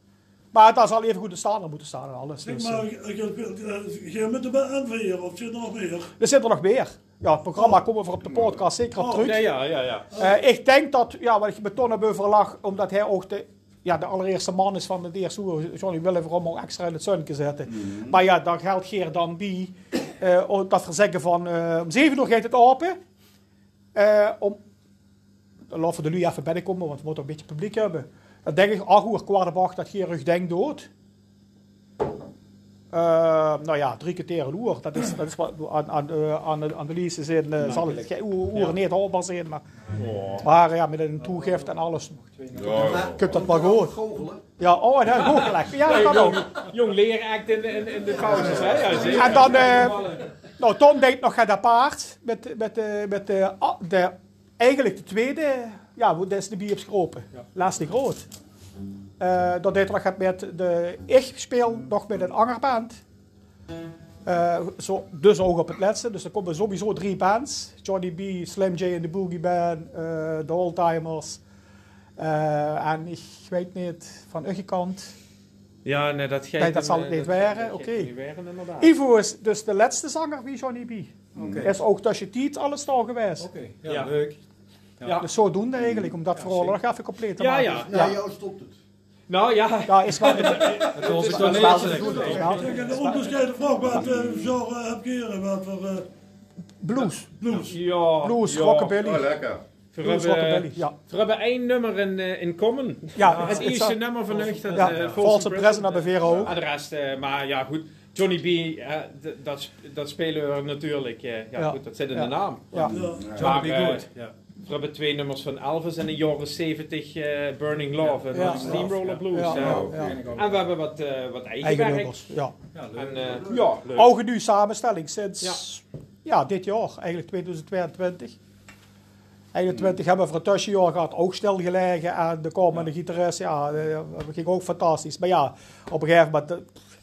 Speaker 2: Maar daar zal even goed de staan moeten staan en alles.
Speaker 9: Zeg
Speaker 2: Dus,
Speaker 9: maar,
Speaker 2: eh,
Speaker 9: eh, je- je moet er maar aan weer, of zit er nog meer?
Speaker 2: er zit er nog meer. Ja, het programma komen we voor op de podcast zeker op terug.
Speaker 1: Nee, ja, ja, ja.
Speaker 2: Eh, ik denk dat, ja, wat ik met Tonnebeu verlag, omdat hij ook de, ja, de allereerste man is van de DSU, Johnny Willem, om ook extra in het zonnetje zetten. Maar ja, dan geldt Geer dan die, eh, om dat we zeggen van, eh, om 7 uur gaat het open. Eh, om, dan laten we de lui even binnenkomen, want we moeten een beetje publiek hebben. Dan denk ik, ach uur, kwart op acht, dat Geer rug denkt dood. Eh, nou ja, drie keer tegen een uur. Dat is, dat is wat aan, aan, eh, aan, de- aan de lease zin. eh, zal het geen uur, uur niet haalbaar zijn. Maar maar ja, met een toegift en alles.
Speaker 5: Ja, ja.
Speaker 2: Oh, Ik heb dat maar gehoord.
Speaker 3: Goochelen.
Speaker 2: Ja, oh, dat goed gelegd. Ja, dat kan ook.
Speaker 1: Jong leeract in de, in, in de pauzes, hè? Ja, zeker.
Speaker 2: En dan, eh, nou, Tom deed nog aan dat paard. Met, met, eh, met eh, ah, de, eigenlijk de tweede, ja, dat is de Biebs Kropen. Laatste groot. Eh, dat deed nog met de, ik speel nog met een angerband. Eh, zo, dus ook op het laatste. Dus er komen sowieso drie bands. Johnny B, Slim J en de Boogie Band, eh, de Oldtimers. Eh, en ik weet niet, van uw kant.
Speaker 1: Ja, nee, dat geeft... eh,
Speaker 2: Nee, dat zal het niet waren,
Speaker 1: dat geeft
Speaker 2: oké.
Speaker 1: niet waren, inderdaad.
Speaker 2: Ivo is dus de laatste zanger wie Johnny B.
Speaker 6: Oké.
Speaker 2: Is ook tussen Tiet alles al geweest.
Speaker 6: Oké, ja,
Speaker 1: Ja.
Speaker 6: leuk.
Speaker 2: Ja. Dus zodoende eigenlijk, om dat
Speaker 6: Ja,
Speaker 2: verhaal
Speaker 6: zeker.
Speaker 2: nog even compleet te
Speaker 1: Ja,
Speaker 2: maken.
Speaker 1: ja.
Speaker 2: ja.
Speaker 3: Ja, jou stopt het.
Speaker 1: Nou ja,
Speaker 2: Ja, is wel...
Speaker 6: Het
Speaker 1: is
Speaker 6: was het
Speaker 1: wel
Speaker 6: wel
Speaker 1: leuk.
Speaker 6: leuk.
Speaker 2: is wel-
Speaker 9: Kijk, een onbescheiden vraag, wat eh, genre heb je hier? Wat voor eh,
Speaker 2: Blues.
Speaker 9: blues?
Speaker 1: ja,
Speaker 2: Blues,
Speaker 1: ja.
Speaker 5: Oh,
Speaker 2: rockabilly.
Speaker 5: lekker.
Speaker 1: We
Speaker 2: Blues,
Speaker 1: hebben,
Speaker 2: rockabilly, ja.
Speaker 1: we hebben één nummer in, eh, in common.
Speaker 2: Ja,
Speaker 1: Het
Speaker 2: is- is-
Speaker 1: eerste nummer van Nucht, dat
Speaker 2: ja,
Speaker 1: eh,
Speaker 2: Valse Present hebben Vera ook.
Speaker 1: Ah, de rest, eh, maar ja, goed. Johnny B, eh, d- dat, sp- dat spelen we natuurlijk. eh, ja,
Speaker 2: Ja.
Speaker 1: goed, dat zit in
Speaker 2: Ja.
Speaker 1: de naam.
Speaker 2: Ja.
Speaker 9: Ja.
Speaker 1: Maar, eh,
Speaker 6: Ja.
Speaker 1: we hebben twee nummers van Elvis en de jaren 70 eh, Burning Love en
Speaker 2: Ja.
Speaker 1: dan Steamroller Blues.
Speaker 2: Ja.
Speaker 1: eh.
Speaker 2: Ja.
Speaker 1: En we hebben wat, eh, wat eigen,
Speaker 2: Eigen
Speaker 1: werk.
Speaker 2: nummers, ja.
Speaker 6: Ja, leuk.
Speaker 1: En, eh, ja, leuk.
Speaker 2: Oude nu samenstelling sinds ja. dit jaar, eigenlijk 2022. 21 hebben we voor het tussenjaar gehad, ook stilgelegen. En de komende gitarist, ja, eh, dat ging ook fantastisch. Maar ja, op een gegeven moment eh,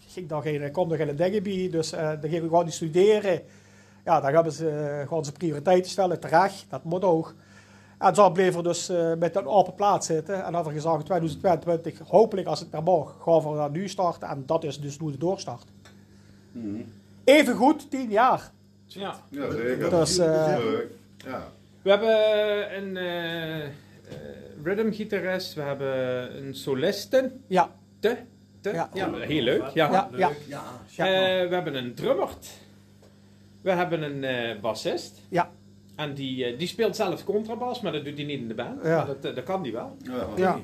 Speaker 2: ging daar geen, kwam er geen dingen bij. Dus eh dan gingen we gewoon niet studeren. Ja, dan hebben ze eh, gewoon zijn prioriteiten stellen, terecht. Dat moet ook. En zo bleven we dus eh, met een open plaats zitten. En hadden we gezegd, in 2022, hopelijk als het naar mag, gaan we naar nu starten. En dat is dus nu de doorstart. Even goed, 10 jaar.
Speaker 1: Ja.
Speaker 5: Ja, zeker.
Speaker 2: Dat is, eh,
Speaker 5: leuk. Ja.
Speaker 1: We hebben een eh rhythmgitarist, we hebben een soliste.
Speaker 2: Ja,
Speaker 1: Te, te, ja.
Speaker 2: Ja.
Speaker 1: heel leuk. Ja.
Speaker 2: ja, ja,
Speaker 3: Ja,
Speaker 1: Eh,
Speaker 2: ja.
Speaker 1: we hebben een drummert. We hebben een eh, bassist.
Speaker 2: Ja.
Speaker 1: En die, eh, die speelt zelf contrabas, maar dat doet hij niet in de band.
Speaker 2: Ja.
Speaker 1: Maar Dat, eh, dat kan die wel.
Speaker 5: Ja.
Speaker 2: Ja.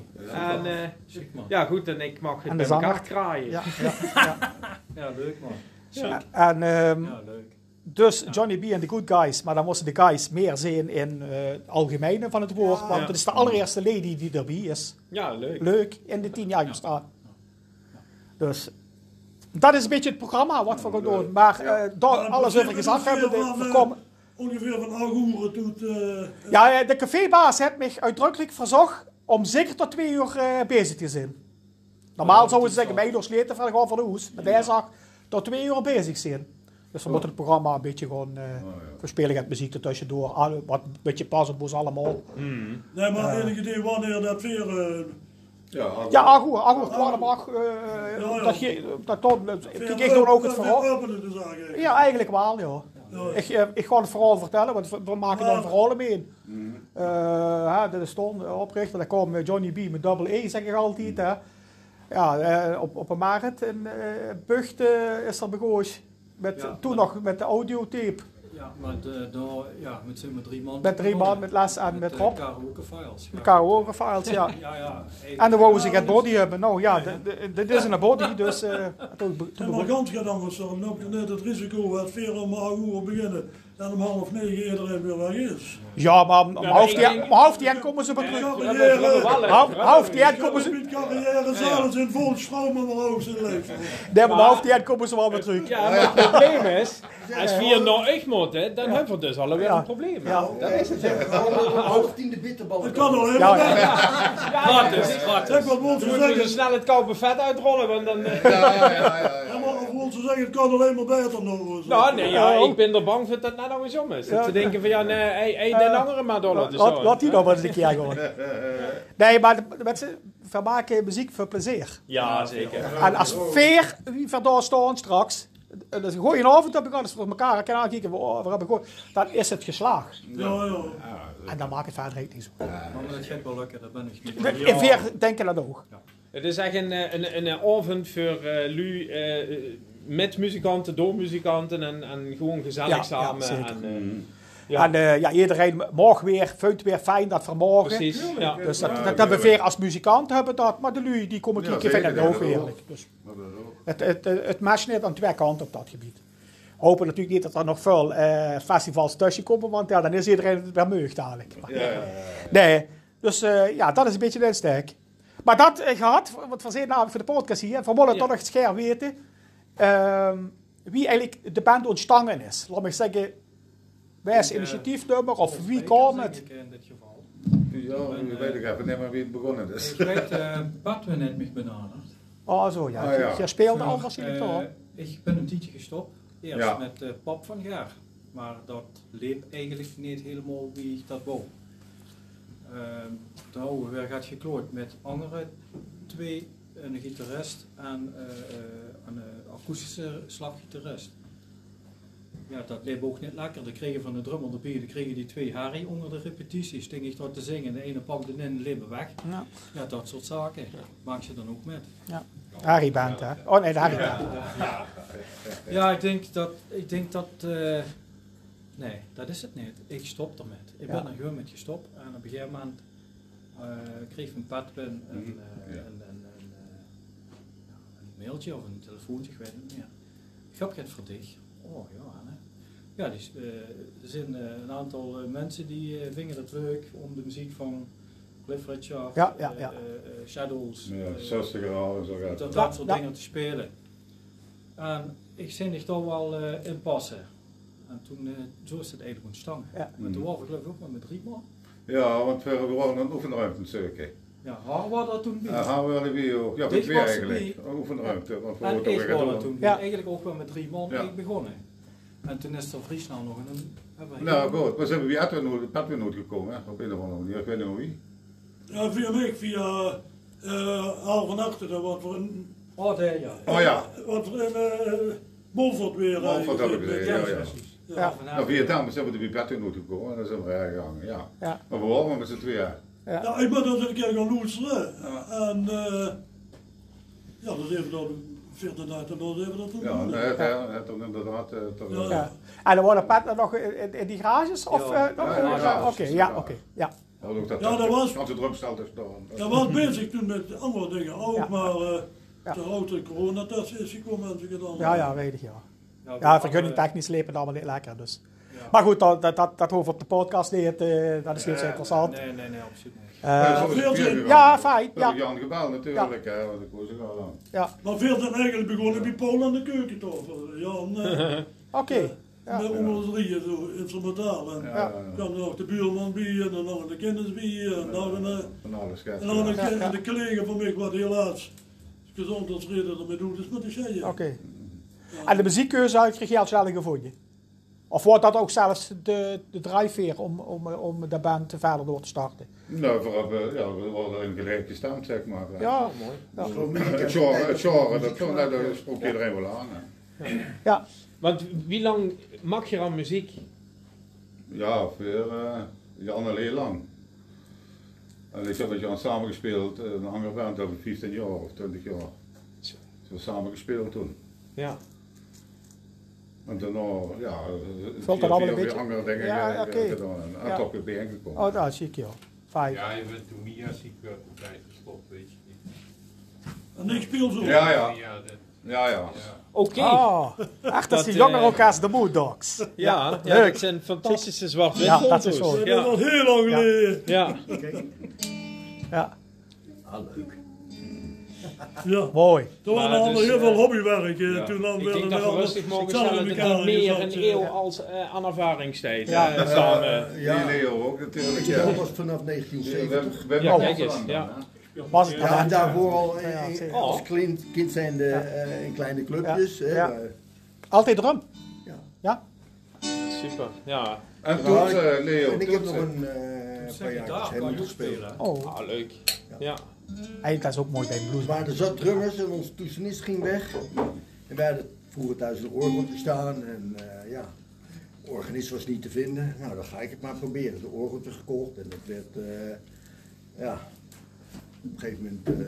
Speaker 1: En, eh,
Speaker 6: Ziek man.
Speaker 1: ja, goed, en ik mag het
Speaker 2: En
Speaker 1: bij
Speaker 2: de
Speaker 1: elkaar
Speaker 2: zanger.
Speaker 1: kraaien.
Speaker 2: ja,
Speaker 1: Ja.
Speaker 2: ja, ja.
Speaker 6: Ja, leuk man.
Speaker 1: Ja.
Speaker 2: En ehm,
Speaker 6: Ja, leuk.
Speaker 2: dus Johnny B en de Good Guys, maar dan moesten de guys meer zien in eh, het algemene van het woord, want
Speaker 1: Ja.
Speaker 2: het is de allereerste lady die erbij is.
Speaker 1: leuk.
Speaker 2: Leuk, in de 10 jaar bestaan. Dus dat is een beetje het programma wat we gaan doen, maar eh, daar alles overigens af hebben we we komen.
Speaker 9: Ongeveer van acht uur tot... eh,
Speaker 2: Ja, eh, de cafébaas heeft mij uitdrukkelijk verzocht om zeker tot twee uur eh, bezig te zijn. Normaal zouden ze zeggen, mij doorsleten van gewoon van de hoes. Maar hij zag tot twee uur bezig zijn. Dus we moeten het programma een beetje gewoon eh
Speaker 9: Oh,
Speaker 2: verspelen. Het muziek ertussendoor, al- wat een beetje pas op ons allemaal.
Speaker 9: Ah, Nee, maar enig idee wanneer dat weer... eh,
Speaker 5: Ja,
Speaker 2: Ja, ah goed, ah goed, kwart om acht, eh,
Speaker 9: ja.
Speaker 2: Dat, ge- dat, dat,
Speaker 9: weer
Speaker 2: ik kreeg toen ook het
Speaker 9: weer
Speaker 2: verhaal.
Speaker 9: openen dus te zagen.
Speaker 2: Ja, eigenlijk wel, ja.
Speaker 9: Ja.
Speaker 2: Ik, eh, ik ga het verhaal vertellen, want we- we maken dan verhalen mee. Eh, hè, dat is Ton, oprichter, daar kwam eh, Johnny B met double E, zeg ik altijd. Hè. Ja, eh, op, op een markt in eh Bucht eh, is er begooid. Met,
Speaker 6: Ja.
Speaker 2: toen nog met de audiotape.
Speaker 6: Ja, want eh daar, ja, met, z'n- met drie man.
Speaker 2: Met drie man, met Les en met
Speaker 6: eh,
Speaker 2: Rob.
Speaker 6: karaoke files. Ja.
Speaker 2: Karaoke files, [laughs] ja.
Speaker 6: Ja, ja.
Speaker 2: En dan wouden ze het body hebben. Nou ja, d- d- dit is een body, dus... eh, toen, be- toen
Speaker 9: En maar
Speaker 2: begon-
Speaker 9: gans gaat anders dan. Dan heb je net het risico dat vier om acht uur beginnen en om half negen iedereen weer weg is.
Speaker 2: ja, maar om
Speaker 1: maar
Speaker 2: half
Speaker 1: ik
Speaker 2: die-
Speaker 1: denk-
Speaker 2: om half die end komen ze weer
Speaker 1: Eh,
Speaker 2: terug.
Speaker 1: we hebben- we hebben wel een
Speaker 2: Half-
Speaker 1: drummer.
Speaker 2: half die
Speaker 9: Ik
Speaker 2: end
Speaker 9: heb
Speaker 2: komen ze...
Speaker 9: mijn carrière zelfs in vol stroom en mijn hoofd in leven.
Speaker 2: Nee, maar om half die end komen ze wel weer terug.
Speaker 1: Ja, maar het probleem is, als we hier naar echt moeten, dan hebben we dus alweer
Speaker 2: Ja.
Speaker 1: een probleem.
Speaker 2: Ja.
Speaker 1: Dat is het.
Speaker 3: Zeg, gewoon half tien de bitterballen.
Speaker 9: Dat kan al
Speaker 2: Ja,
Speaker 9: helemaal
Speaker 2: ja.
Speaker 9: weg.
Speaker 1: Gratis,
Speaker 9: Zeg
Speaker 1: gratis.
Speaker 9: wat
Speaker 1: dus
Speaker 9: Wolf
Speaker 1: We moeten zo
Speaker 9: zeggen.
Speaker 1: snel het koude vet uitrollen, want dan... eh,
Speaker 9: Ja, maar als Wolf zeggen, het kan alleen maar beter nog.
Speaker 1: Nou, nee, ja,
Speaker 2: Oh.
Speaker 1: ik ben er bang voor dat het nou nog eens om is. Dat
Speaker 2: Ja.
Speaker 1: ze denken van, ja, nee, hey, hey, den andere Madonna.
Speaker 2: Laat,
Speaker 1: Dus
Speaker 2: laat, laat die nog maar eens een keer gewoon. Nee, maar de- de mensen vermaken muziek voor plezier.
Speaker 1: Ja, zeker.
Speaker 2: En als veer wie verdoor staan straks, en als je gewoon een avond hebben gehad, voor elkaar kan aankijken, oh, we hebben gehoord, dan is het geslaagd.
Speaker 9: Ja, ja.
Speaker 2: En dan maakt het verder echt niet zo.
Speaker 6: Maar dat gaat wel lukken, dat ben ik niet.
Speaker 2: De- En veer denken dat ook.
Speaker 1: Het is echt een, eh, een, een, een avond voor eh Lu eh, eh, met muzikanten, door muzikanten en, en gewoon gezellig
Speaker 2: Ja, ja,
Speaker 1: samen.
Speaker 2: zeker.
Speaker 1: en, eh, Ja.
Speaker 2: En eh, ja, iedereen morgen weer, vindt weer fijn dat vermogen.
Speaker 1: precies. Ja.
Speaker 2: Dus dat,
Speaker 5: Ja,
Speaker 2: dat hebben we
Speaker 5: tuurlijk.
Speaker 2: veer als muzikant hebben dat, maar de lui die komen
Speaker 5: Ja,
Speaker 2: kijken,
Speaker 5: zeker,
Speaker 2: vinden het
Speaker 5: ja,
Speaker 2: ook
Speaker 5: dat ook.
Speaker 2: heerlijk. Dus het, het, het, het matcht net aan twee kanten op dat gebied. Hopen natuurlijk niet dat er nog veel eh, festivals tussen komen, want ja, dan is iedereen het weer meugd dadelijk. Maar- Nee, dus eh, ja, dat is een beetje de insteek. Maar dat eh, gehad, wat we zeiden namelijk voor de podcast hier, van Molle
Speaker 1: Ja.
Speaker 2: toch nog scherp weten, ehm, wie eigenlijk de band ontstangen is. Laat me zeggen, wijs
Speaker 6: eh,
Speaker 2: initiatiefnummer of wie kwam het?
Speaker 6: In dit geval.
Speaker 5: Ja, ik weet ik even niet meer wie het begonnen is.
Speaker 6: Ik weet, eh Batman heeft me benaderd.
Speaker 2: Oh zo, ja,
Speaker 5: Ah, ja.
Speaker 2: je speelde
Speaker 6: Voor,
Speaker 2: al waarschijnlijk
Speaker 6: eh,
Speaker 2: toch?
Speaker 6: Ik ben een tijdje gestopt. eerst
Speaker 5: Ja.
Speaker 6: met eh, Pap van Gaar. Maar dat leep eigenlijk niet helemaal wie dat wou. Ehm nou, we gaat geklooid met andere twee, eh, een gitarist en eh, eh, een eh, akoestische slaggitarist. Ja, dat leep ook niet lekker. De kregen van de drummer de bier, de kregen die twee Harry onder de repetities. Denk ik dat te zingen. De ene pakte in en de leep weg.
Speaker 2: Ja.
Speaker 6: Ja, dat soort zaken. Maak je dan ook met.
Speaker 2: Harry Band, hè? Oh nee, de Harry Band.
Speaker 6: Ja, ik denk dat. Ik denk dat eh, nee, dat is het niet. Ik stop ermee. Ik
Speaker 2: Ja.
Speaker 6: ben er gewoon met gestopt. En op een gegeven moment eh, kreeg mijn padpin een, eh,
Speaker 5: Mhm. ja.
Speaker 6: een, een, een, eh, ja, een mailtje of een telefoontje, ik weet het niet meer. Grapje voor dich. Oh ja, hè. Ja, dus, eh, er zijn eh, een aantal eh, mensen die eh, vingen het leuk om de muziek van Cliff Richard,
Speaker 2: Ja, ja,
Speaker 6: eh,
Speaker 2: ja.
Speaker 6: eh, eh, Shadows,
Speaker 5: Ja,
Speaker 6: eh,
Speaker 5: 60 graden en zo gaat
Speaker 6: dat,
Speaker 5: het.
Speaker 6: dat soort
Speaker 2: Ja.
Speaker 6: dingen te spelen. En ik zin er toch wel eh, in passen. En toen, eh, zo is het eigenlijk ontstaan.
Speaker 2: Ja.
Speaker 6: En toen waren we geloof ik ook maar met drie man.
Speaker 5: Ja, want we waren een oefenruimte circuit.
Speaker 6: Ja, haar waren dat toen niet.
Speaker 5: Uh, gaan we weer, ja, met
Speaker 6: Dit
Speaker 5: twee
Speaker 6: was
Speaker 5: eigenlijk.
Speaker 6: die-
Speaker 5: Een oefenruimte, want we
Speaker 6: en
Speaker 5: worden
Speaker 6: ik
Speaker 5: weer
Speaker 6: was dat
Speaker 5: gedaan.
Speaker 6: toen
Speaker 2: Ja.
Speaker 6: niet. Eigenlijk ook wel met drie man
Speaker 5: Ja.
Speaker 6: ik begonnen. En toen is er Friesland nog en dan hebben we
Speaker 5: Nou goed, we zijn bij Edwin Edwin gekomen, hè, op een of andere manier, ik weet niet hoe wie.
Speaker 9: Ja, via mij, via eh Al van Achteren, wat voor een...
Speaker 6: Oh, nee, ja.
Speaker 5: Oh ja,
Speaker 9: Wat voor een... eh, Montfort weer. eh,
Speaker 5: Montfort
Speaker 9: eigenlijk.
Speaker 5: heb ik gezien, ja, ja.
Speaker 6: precies.
Speaker 2: Ja.
Speaker 6: Van
Speaker 5: nou, via dames zijn we bij Edwin gekomen en dan zijn we hergegaan, ja.
Speaker 2: Ja.
Speaker 5: Maar we waren maar met z'n tweeën.
Speaker 9: Ja, ik ben dus een keer gaan loesteren. En eh ja, dat even dan, veertien dagen dat even dat
Speaker 5: Ja,
Speaker 9: doen.
Speaker 5: en het, ja. het, het inderdaad, eh, tot, eh,
Speaker 2: Ja. En dan worden Pat nog in, in die garages? Of,
Speaker 6: Ja,
Speaker 2: eh, nog-
Speaker 5: ja, ja,
Speaker 2: ja,
Speaker 5: ja.
Speaker 2: Oké, ja, oké. ja.
Speaker 5: we hadden ook dat,
Speaker 9: Ja, dat was-
Speaker 5: Want de drumstel dus dan.
Speaker 9: Ik was bezig toen met andere dingen ook,
Speaker 2: Ja.
Speaker 9: maar eh
Speaker 2: Ja.
Speaker 9: de grote coronatest is gekomen en ze gedaan.
Speaker 2: ja, ja, weet ik ja.
Speaker 6: Ja,
Speaker 2: Ja,
Speaker 6: we-
Speaker 2: vergunning technisch lepen allemaal niet lekker dus. Maar goed, dat, dat, dat, dat hoeft op de podcast niet, eh, dat is niet zo interessant.
Speaker 6: Nee, nee, nee, absoluut niet.
Speaker 2: Eh,
Speaker 5: zo is het
Speaker 9: Veertien.
Speaker 5: weer gegaan.
Speaker 2: Ja, fijn,
Speaker 5: We hebben
Speaker 2: ja.
Speaker 5: Jan gebeld natuurlijk, hè, want ik was er al aan.
Speaker 9: Maar veel zijn eigenlijk begonnen bij Paul aan de keukentafel. Jan,
Speaker 5: [laughs]
Speaker 9: eh,
Speaker 2: Oké, ja.
Speaker 9: met onder ons drieën zo instrumentaal. En
Speaker 5: Ja,
Speaker 9: dan nog de buurman bij en dan nog de kennis bij en nog een... eh,
Speaker 5: Van alles gaat.
Speaker 9: En dan een
Speaker 2: Ja,
Speaker 5: ja.
Speaker 2: ja.
Speaker 9: keer de collega van mij, wat helaas gezondheidsreden ermee doet, is met de zei
Speaker 2: oké. En de muziekkeuze kreeg je al snel gevonden? Of wordt dat ook zelfs de, de drijfveer om, om, eh, om de band verder door te starten?
Speaker 5: Nou, vooral, eh, ja, we worden in gelijk gestemd, zeg maar. hè.
Speaker 2: Ja,
Speaker 5: Het genre, het genre, dat, dat, dat, dat sprak iedereen wel aan. hè.
Speaker 2: ja.
Speaker 1: Want wie lang mag je aan muziek?
Speaker 5: Ja, voor eh Jan en heel lang. En ik heb met Jan samengespeeld, eh, een andere band over 15 jaar of 20 jaar.
Speaker 1: Zo.
Speaker 5: Zo samen gespeeld toen.
Speaker 1: Ja.
Speaker 5: En daarna, ja, eh,
Speaker 2: Valt dat allemaal een beetje-
Speaker 5: andere dingen
Speaker 2: Ja,
Speaker 5: eh,
Speaker 2: oké.
Speaker 5: gedaan. En
Speaker 2: Ja.
Speaker 5: toch weer bijeengekomen.
Speaker 2: Oh, dat zie ik joh. Fijn.
Speaker 10: Ja, je bent toen Mia ziek werd op tijd gestopt, weet je niet.
Speaker 9: En ik speel zo.
Speaker 5: Ja, ja,
Speaker 10: Ja, dat,
Speaker 5: ja, ja.
Speaker 10: ja.
Speaker 1: Oké.
Speaker 2: Oh, echt, dat is
Speaker 1: Dat,
Speaker 2: die jongen
Speaker 1: eh,
Speaker 2: ook als de Mood Dogs.
Speaker 1: Ja, ja,
Speaker 2: leuk.
Speaker 1: dat zijn fantastische zwarte
Speaker 2: Ja, dat
Speaker 1: foto's.
Speaker 2: is zo.
Speaker 9: Dat is
Speaker 1: Ja,
Speaker 9: al heel lang
Speaker 2: Ja.
Speaker 9: geleden.
Speaker 1: ja.
Speaker 2: Ja,
Speaker 9: Ja.
Speaker 2: mooi.
Speaker 9: Toen
Speaker 1: Maar
Speaker 9: waren allemaal
Speaker 1: dus,
Speaker 9: heel veel
Speaker 1: eh,
Speaker 9: hobbywerk. eh,
Speaker 5: ja.
Speaker 9: Toen dan
Speaker 1: Ik denk
Speaker 9: werden
Speaker 1: dat
Speaker 9: we
Speaker 1: we
Speaker 9: allemaal
Speaker 1: rustig mogen
Speaker 9: samen
Speaker 1: stellen
Speaker 9: in
Speaker 1: dat
Speaker 9: elkaar
Speaker 1: meer
Speaker 9: gezet,
Speaker 1: een
Speaker 9: eh.
Speaker 1: eeuw als eh, aan ervaring steekt.
Speaker 2: Ja.
Speaker 1: eh, samen.
Speaker 5: Die
Speaker 8: Ja,
Speaker 5: Leo ook natuurlijk.
Speaker 8: ik
Speaker 5: Ja.
Speaker 8: begon pas vanaf 1970.
Speaker 5: We- we- we-
Speaker 1: Ja,
Speaker 5: we-
Speaker 1: kijk eens,
Speaker 5: we-
Speaker 1: ja.
Speaker 2: Was het
Speaker 8: Ja, en
Speaker 2: dan?
Speaker 8: daarvoor al
Speaker 2: Ja,
Speaker 8: eh,
Speaker 2: zeker.
Speaker 8: als kind, kind zijn de, eh, in kleine clubjes.
Speaker 2: Ja,
Speaker 8: hè,
Speaker 2: ja.
Speaker 8: waar-
Speaker 2: Altijd drum?
Speaker 8: Ja.
Speaker 2: Ja?
Speaker 1: Super, ja.
Speaker 5: En
Speaker 8: waar
Speaker 5: toen,
Speaker 8: ik-
Speaker 5: eh, Leo.
Speaker 8: En ik heb nog
Speaker 5: toetsen.
Speaker 8: een eh,
Speaker 6: Zeg
Speaker 8: paar
Speaker 6: je
Speaker 8: jaar
Speaker 6: daar, kan je
Speaker 8: helemaal
Speaker 6: ook
Speaker 8: gespeeld.
Speaker 6: spelen.
Speaker 2: Oh,
Speaker 1: Ah, leuk. Ja.
Speaker 2: eigenlijk dat is ook mooi bij een blues.
Speaker 8: Maar er zat drummers en onze toetsenist ging weg. En wij hadden vroeger thuis een orgeltje staan. En eh, ja, de organist was niet te vinden. Nou, dan ga ik het maar proberen. De orgeltje gekocht en dat werd, eh, ja, op een gegeven moment eh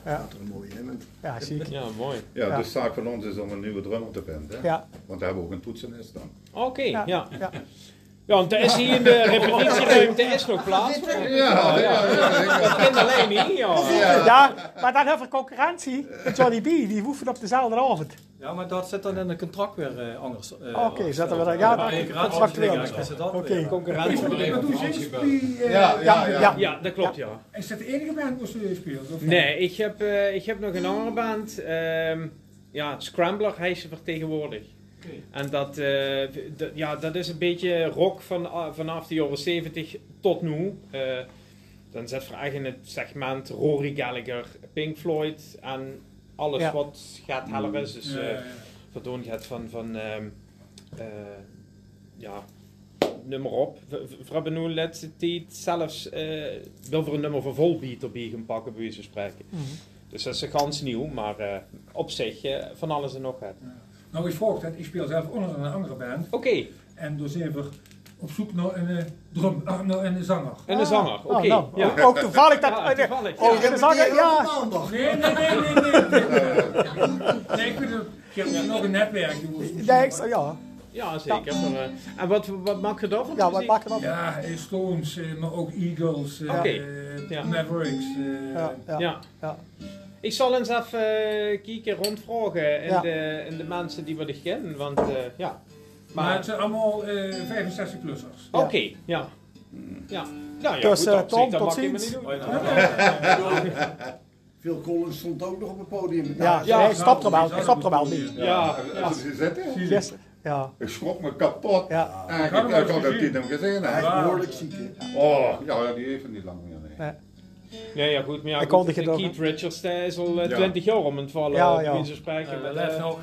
Speaker 8: staat er een mooie hemmend.
Speaker 2: Ja, zie ik.
Speaker 1: Ja, mooi.
Speaker 5: Ja,
Speaker 2: Ja.
Speaker 5: dus zaak van ons is om een nieuwe drummer te vinden. hè.
Speaker 2: Ja.
Speaker 5: Want daar hebben we ook een toetsenist dan.
Speaker 1: Oké, ja. ja.
Speaker 2: ja.
Speaker 1: want er is hier in de repetitieruimte is nog plaats.
Speaker 5: Ja, ja, ja.
Speaker 1: Dat kan alleen niet, ja.
Speaker 2: Ja, maar dan hebben we concurrentie. Johnny B, die hoeven op dezelfde avond.
Speaker 6: Ja, maar dat zit dan in het contract weer eh, anders. eh,
Speaker 2: Oké, zetten we
Speaker 6: afgesteld.
Speaker 2: dat. Ja,
Speaker 6: Maar
Speaker 2: dat
Speaker 6: ik raad
Speaker 2: dat is
Speaker 6: soms dingen,
Speaker 2: actueel.
Speaker 6: ik wist het altijd
Speaker 2: Oké.
Speaker 6: weer.
Speaker 1: Concurrentie.
Speaker 5: Ja, ja, ja.
Speaker 2: ja.
Speaker 1: Ja, dat klopt, ja.
Speaker 11: Is dat de enige band waar je speelt? Of
Speaker 1: Nee, ik heb, eh, ik heb nog een andere band. ehm, ja, Scrambler, hij is er vertegenwoordig. En dat, eh, dat- ja, dat is een beetje rock van, ah, vanaf de jaren 70 tot nu. Eh, dan zit we echt in het segment Rory Gallagher, Pink Floyd en alles
Speaker 2: Ja.
Speaker 1: wat gaat helpen. is. Dus, eh, pardon gaat van, van ehm, eh, ja, nummer op. We, we- we hebben nu de laatste tijd zelfs eh wil voor een nummer van volbeat erbij gaan pakken, bij wijze van spreken.
Speaker 11: Mhm.
Speaker 1: Dus dat is gans nieuw, maar eh, op zich eh, van alles en nog wat.
Speaker 11: Nou, ik volgt dat. Ik speel zelf onder een andere band.
Speaker 1: Oké.
Speaker 11: En dus even op zoek naar een eh, drum, ah, naar een zanger.
Speaker 1: En een zanger, oké.
Speaker 2: Ah, nou, ook- ook toevallig dat- eh, nee, oh, Ja, een zanger, die ja. elke maandag.
Speaker 11: Nee, nee, nee, nee, nee. Nee, ik bedoel, ik heb nog een netwerk.
Speaker 2: Nee, ik sta- ja.
Speaker 1: Ja, zeker. Maar, eh, en wat, wat maak je daarvan?
Speaker 2: Ja, wat maak je dan?
Speaker 11: Ja, eh, Stones, eh, maar ook Eagles, eh,
Speaker 1: Oké.
Speaker 11: eh,
Speaker 1: Ja.
Speaker 11: Mavericks. eh,
Speaker 1: Ja. Ik zal eens even eh, kijken, rondvragen in,
Speaker 11: Ja.
Speaker 1: de, in de mensen die we dich kennen, want eh, ja.
Speaker 11: Maar, het zijn allemaal eh 65-plussers.
Speaker 1: Oké, ja. ja. Nou ja,
Speaker 2: Dus,
Speaker 1: goed,
Speaker 2: eh,
Speaker 1: op zich,
Speaker 2: Tom,
Speaker 1: dat
Speaker 2: tot
Speaker 1: mag je me
Speaker 2: ziens.
Speaker 1: niet doen.
Speaker 8: Phil Collins stond ook nog op het podium.
Speaker 2: Ja,
Speaker 8: Daar-
Speaker 2: nee, stop er wel, stop er wel niet.
Speaker 5: Ja,
Speaker 8: Ja.
Speaker 5: dat is het, hè?
Speaker 2: Yes. Ja.
Speaker 5: Ik schrok me kapot.
Speaker 2: Ja. [laughs]
Speaker 5: En ik heb ik had dat niet hem gezien. hè.
Speaker 8: Hij is behoorlijk ziek. hè.
Speaker 5: Oh, ja, die heeft het niet lang meer. Nee.
Speaker 1: Nee, ja, goed, maar ja,
Speaker 2: Ik
Speaker 1: goed,
Speaker 2: kondig het
Speaker 1: Keith
Speaker 2: ook, hè.
Speaker 1: Richards die is al eh,
Speaker 5: Ja.
Speaker 1: 20 jaar om het vallen,
Speaker 2: Ja,
Speaker 1: ja,
Speaker 2: ja.
Speaker 1: ja. wie ze spreken.
Speaker 6: Eh,
Speaker 1: met,
Speaker 6: Lef
Speaker 1: eh,
Speaker 6: nog.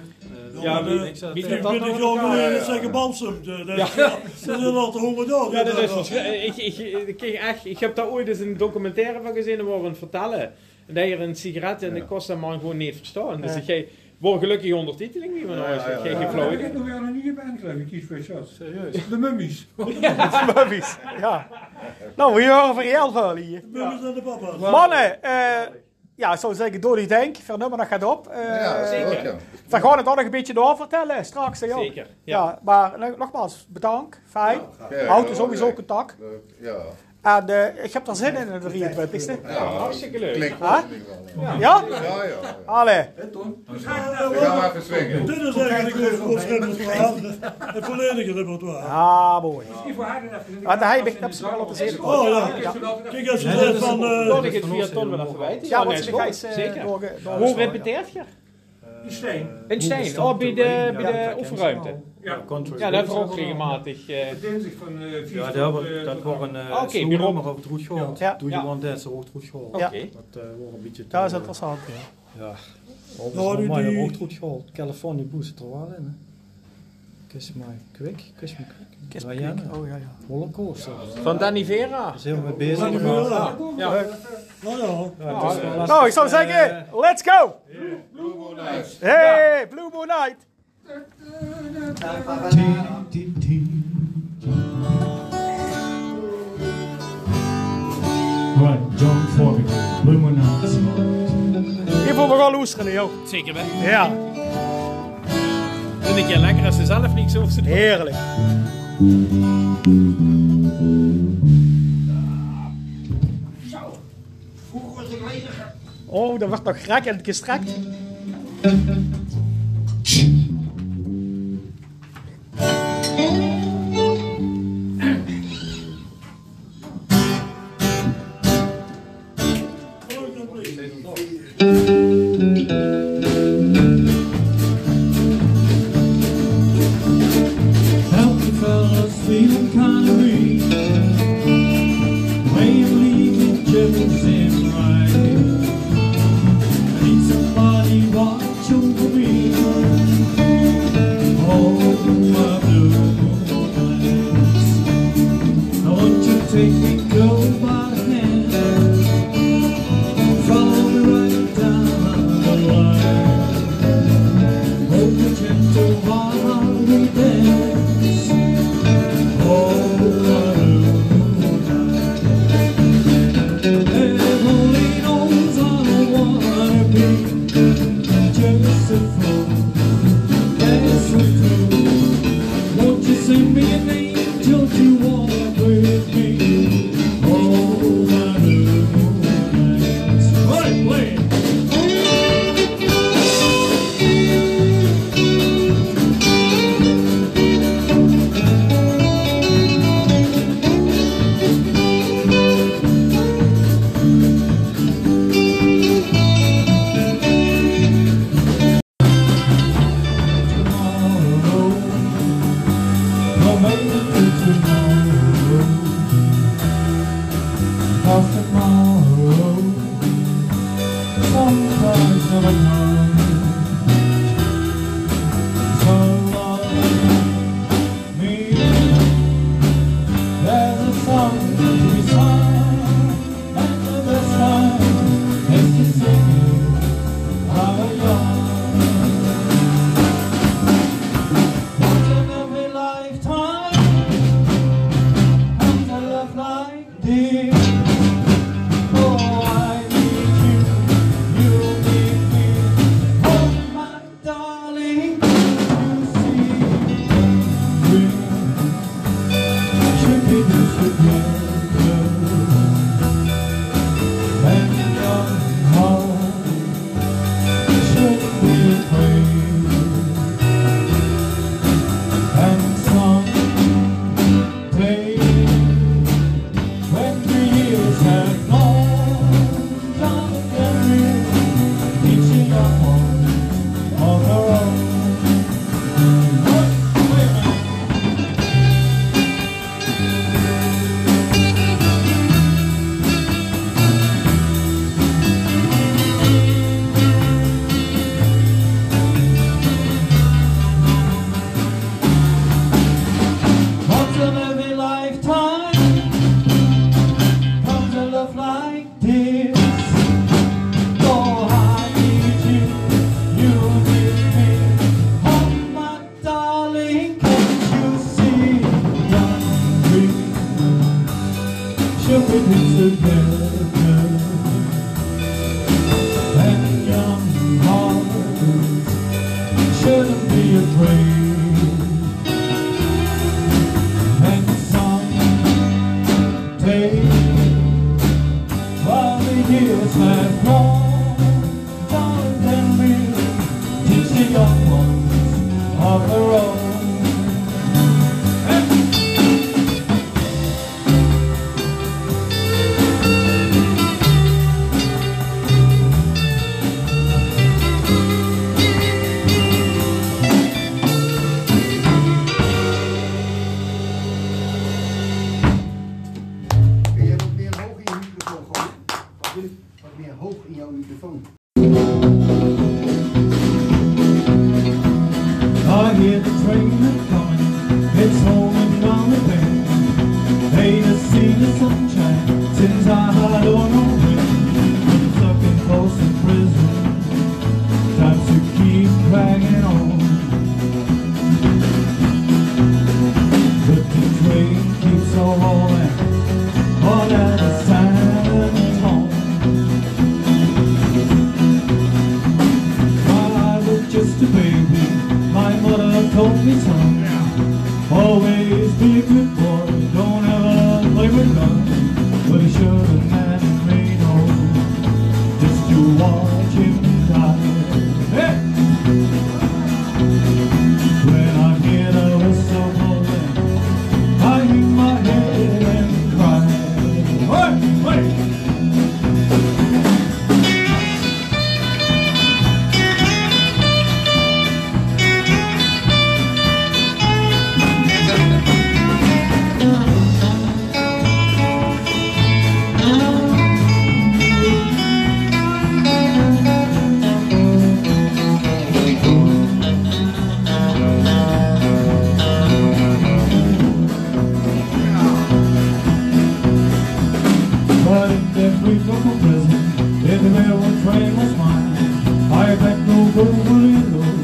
Speaker 1: ja,
Speaker 9: Ja,
Speaker 1: wie-
Speaker 9: de-
Speaker 1: wie zegt
Speaker 9: ik
Speaker 1: dat
Speaker 9: ben
Speaker 1: dan nog
Speaker 9: niet jong
Speaker 1: elkaar?
Speaker 9: geleden zeggen balsem. Dat is al te honderd jaar.
Speaker 1: Ja, dat is verschri- ik, ik, ik, kreeg echt, ik heb daar ooit eens een documentaire van gezien en waren aan het vertellen. En dat je een sigaret en de kost dat man gewoon niet verstaan. Dus
Speaker 2: Ja.
Speaker 1: ik jij word gelukkig ondertiteling niet meer
Speaker 5: Ja,
Speaker 1: naar huis.
Speaker 5: ja, ja.
Speaker 1: Ik
Speaker 11: Ja,
Speaker 1: geen
Speaker 11: maar
Speaker 1: flauw
Speaker 11: ik
Speaker 1: idee.
Speaker 11: heb nog weer een nieuwe band, geloof ik, Keith Richards.
Speaker 6: Serieus?
Speaker 11: De Mummies.
Speaker 2: Mummies. Ja. Nou, we horen voor heel veel hier.
Speaker 9: Mummies en de papa's.
Speaker 2: Mannen, eh, ja, ik zou zeggen, door die denk, ver nummer dat gaat op. Eh,
Speaker 5: Ja,
Speaker 1: zeker.
Speaker 5: zeker.
Speaker 2: We gaan het ook nog een beetje doorvertellen straks. Hè, joh.
Speaker 1: Zeker,
Speaker 2: Ja.
Speaker 1: ja.
Speaker 2: maar nog- nogmaals, bedankt. Fijn.
Speaker 5: Ja,
Speaker 2: Houdt er
Speaker 5: ja,
Speaker 2: sowieso
Speaker 5: leuk.
Speaker 2: contact.
Speaker 5: Leuk, Ja,
Speaker 2: En eh, ik heb er zin in, in de 23e.
Speaker 5: ja.
Speaker 1: hartstikke leuk.
Speaker 5: Klinkt
Speaker 2: Huh? Ah.
Speaker 5: goed in ieder geval.
Speaker 2: Ja?
Speaker 5: Ja, ja. ja.
Speaker 2: Allee.
Speaker 5: We gaan maar even swingen.
Speaker 9: Dit is eigenlijk ons, ons repertoire. Het volledige repertoire.
Speaker 2: Ah, mooi.
Speaker 11: Die voor haar dat
Speaker 2: Ah, daar heb ik heb ze wel op de zin.
Speaker 9: Oh ja,
Speaker 2: Ja.
Speaker 9: kijk als je
Speaker 6: Ja,
Speaker 9: zegt
Speaker 6: dat is
Speaker 9: van...
Speaker 6: een-
Speaker 9: eh,
Speaker 1: Dat ik het via ton wel even weet.
Speaker 2: Ja, wat
Speaker 1: nee,
Speaker 2: is de
Speaker 1: goed.
Speaker 2: gijs
Speaker 1: Zeker. Hoe
Speaker 2: Hoe
Speaker 1: repeteert je?
Speaker 6: Eh,
Speaker 11: Die steen.
Speaker 1: In Steen, oh, bij de, bij de oefenruimte. Ja, dat hebben we ook regelmatig. eh,
Speaker 11: Dinsdag van eh, vier
Speaker 6: Ja,
Speaker 11: tot,
Speaker 6: dat,
Speaker 11: eh,
Speaker 6: wordt- dat
Speaker 11: tot
Speaker 6: wordt een eh,
Speaker 1: Oké,
Speaker 6: slow
Speaker 1: bureau.
Speaker 6: nummer op het roet gehoord.
Speaker 2: Ja.
Speaker 6: Doe je
Speaker 1: Ja.
Speaker 6: one dance, dat wordt het roet gehoord.
Speaker 2: Ja.
Speaker 1: Oké.
Speaker 6: Dat eh, wordt een beetje... te-
Speaker 2: Dat is interessant. ja.
Speaker 6: Ja, dat
Speaker 9: Nou,
Speaker 6: is
Speaker 9: die-
Speaker 6: mooi, dat
Speaker 9: die-
Speaker 6: wordt het roet gehoord. California Blues zit er wel in, hè. Kiss me quick, kiss me quick.
Speaker 2: Kiss me
Speaker 6: Diana,
Speaker 2: quick. Oh ja, ja.
Speaker 6: Rollercoaster.
Speaker 1: Van Danny Vera.
Speaker 6: Daar zijn we mee bezig.
Speaker 9: Danny
Speaker 6: maar-
Speaker 9: Vera.
Speaker 6: Ja,
Speaker 1: Ja.
Speaker 9: Nou ja,
Speaker 6: het is wel
Speaker 2: Nou, ik zou
Speaker 6: lastig,
Speaker 2: zeggen,
Speaker 6: eh,
Speaker 2: let's go!
Speaker 5: Blue Moon Nights.
Speaker 2: Hey, Blue Moon Night!
Speaker 4: Right, John Fogerty, Blue Moon Nights.
Speaker 2: Hiervoor we gaan loesteren, joh.
Speaker 1: Zeker wel.
Speaker 2: Ja,
Speaker 1: Vind ik je lekker als ze zelf niks over ze doen.
Speaker 2: heerlijk. Oh, dat wordt nog gek en gestrekt.
Speaker 4: Healthy fellas feeling kinda weak. Way of leaving Jim's in right. I need somebody watch over me. Oh, my blue eyes. I want you to take me girl by the hand. Follow me right down the line. Hold me gentle while we dance.
Speaker 9: Play.
Speaker 4: Sometimes I'm a Oh, Oh, it together. And young hearts shouldn't be afraid. And some take while the years have gone. Darling, then we'll teach the young ones of their own.
Speaker 8: Kun jij wat meer hoog in je microfoon gooien? Wat doe je? Wat meer hoog in jouw microfoon?
Speaker 4: I hear the train a coming, it's home and gone again. Hate to see the sunshine since I had on a wing. Stuck in close in prison, time to keep dragging on. But the train keeps on rolling, on at a silent home. While I was just a baby, my mother told me, son, always be a good boy, don't ever play with guns. But he shouldn't have made no, just to watch him die. Hey! When I hear the whistle blowing, I hang my head and cry. Hey, hey! But if they free from a prison, if the railroad train was mine, I bet no Beverly Hills,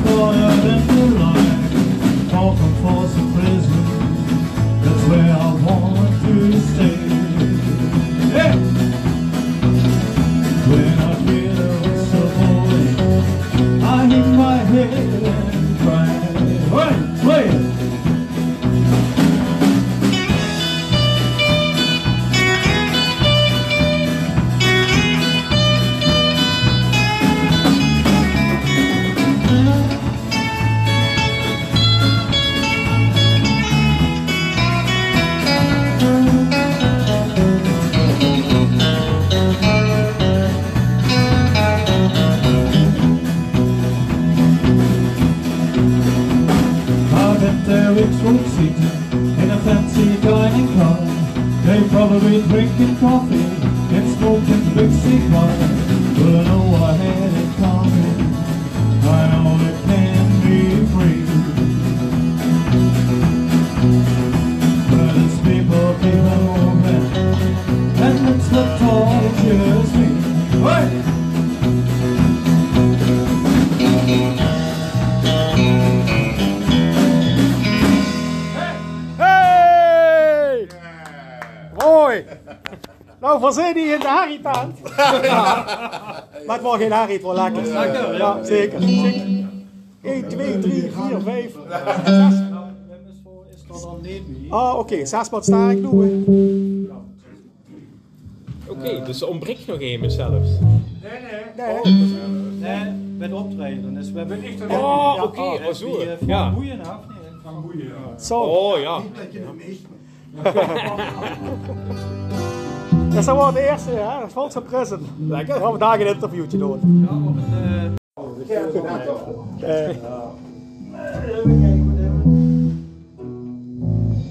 Speaker 4: shorter than the line. Falcon Force a prison, that's where I want to stay. Yeah. When I feel the whistle blowing, I hit my head and cry. Hey, hey. I bet their extra seats in a fancy dining car. They probably drinking coffee and smoking big cigars. But I know I had it coming. I know it can be free. But it's people keep on moving, and it's what tortures me. Hey!
Speaker 2: Hey! Mooi! Nou, voor zij die in de harry [laughs] taant. Maar het wordt geen harry, het wordt lekker.
Speaker 6: Lekker, hè?
Speaker 2: Ja, zeker. zeker. 1, 2, 3, 4, 5, 6.
Speaker 6: Nou, Is dat dan niet meer?
Speaker 2: Ah, oké. Zes maal sta ik doen.
Speaker 1: Oké, dus er ontbreekt nog een zelfs.
Speaker 6: Nee,
Speaker 2: Nee.
Speaker 6: nee. Nee, met optreden. Dus we hebben niet
Speaker 1: Oh,
Speaker 6: Ja,
Speaker 1: oké,
Speaker 6: heb
Speaker 1: oh, zo.
Speaker 6: je, eh, Van
Speaker 1: Ja.
Speaker 6: Boeien af? Nee, van Boeien. Ja.
Speaker 2: Zo.
Speaker 1: Oh ja.
Speaker 8: Niet dat je het mist.
Speaker 2: Dat is dan wel de eerste, hè? Valse present. Lekker. Gaan we daar een interviewtje doen.
Speaker 6: op het, eh,
Speaker 2: Eh.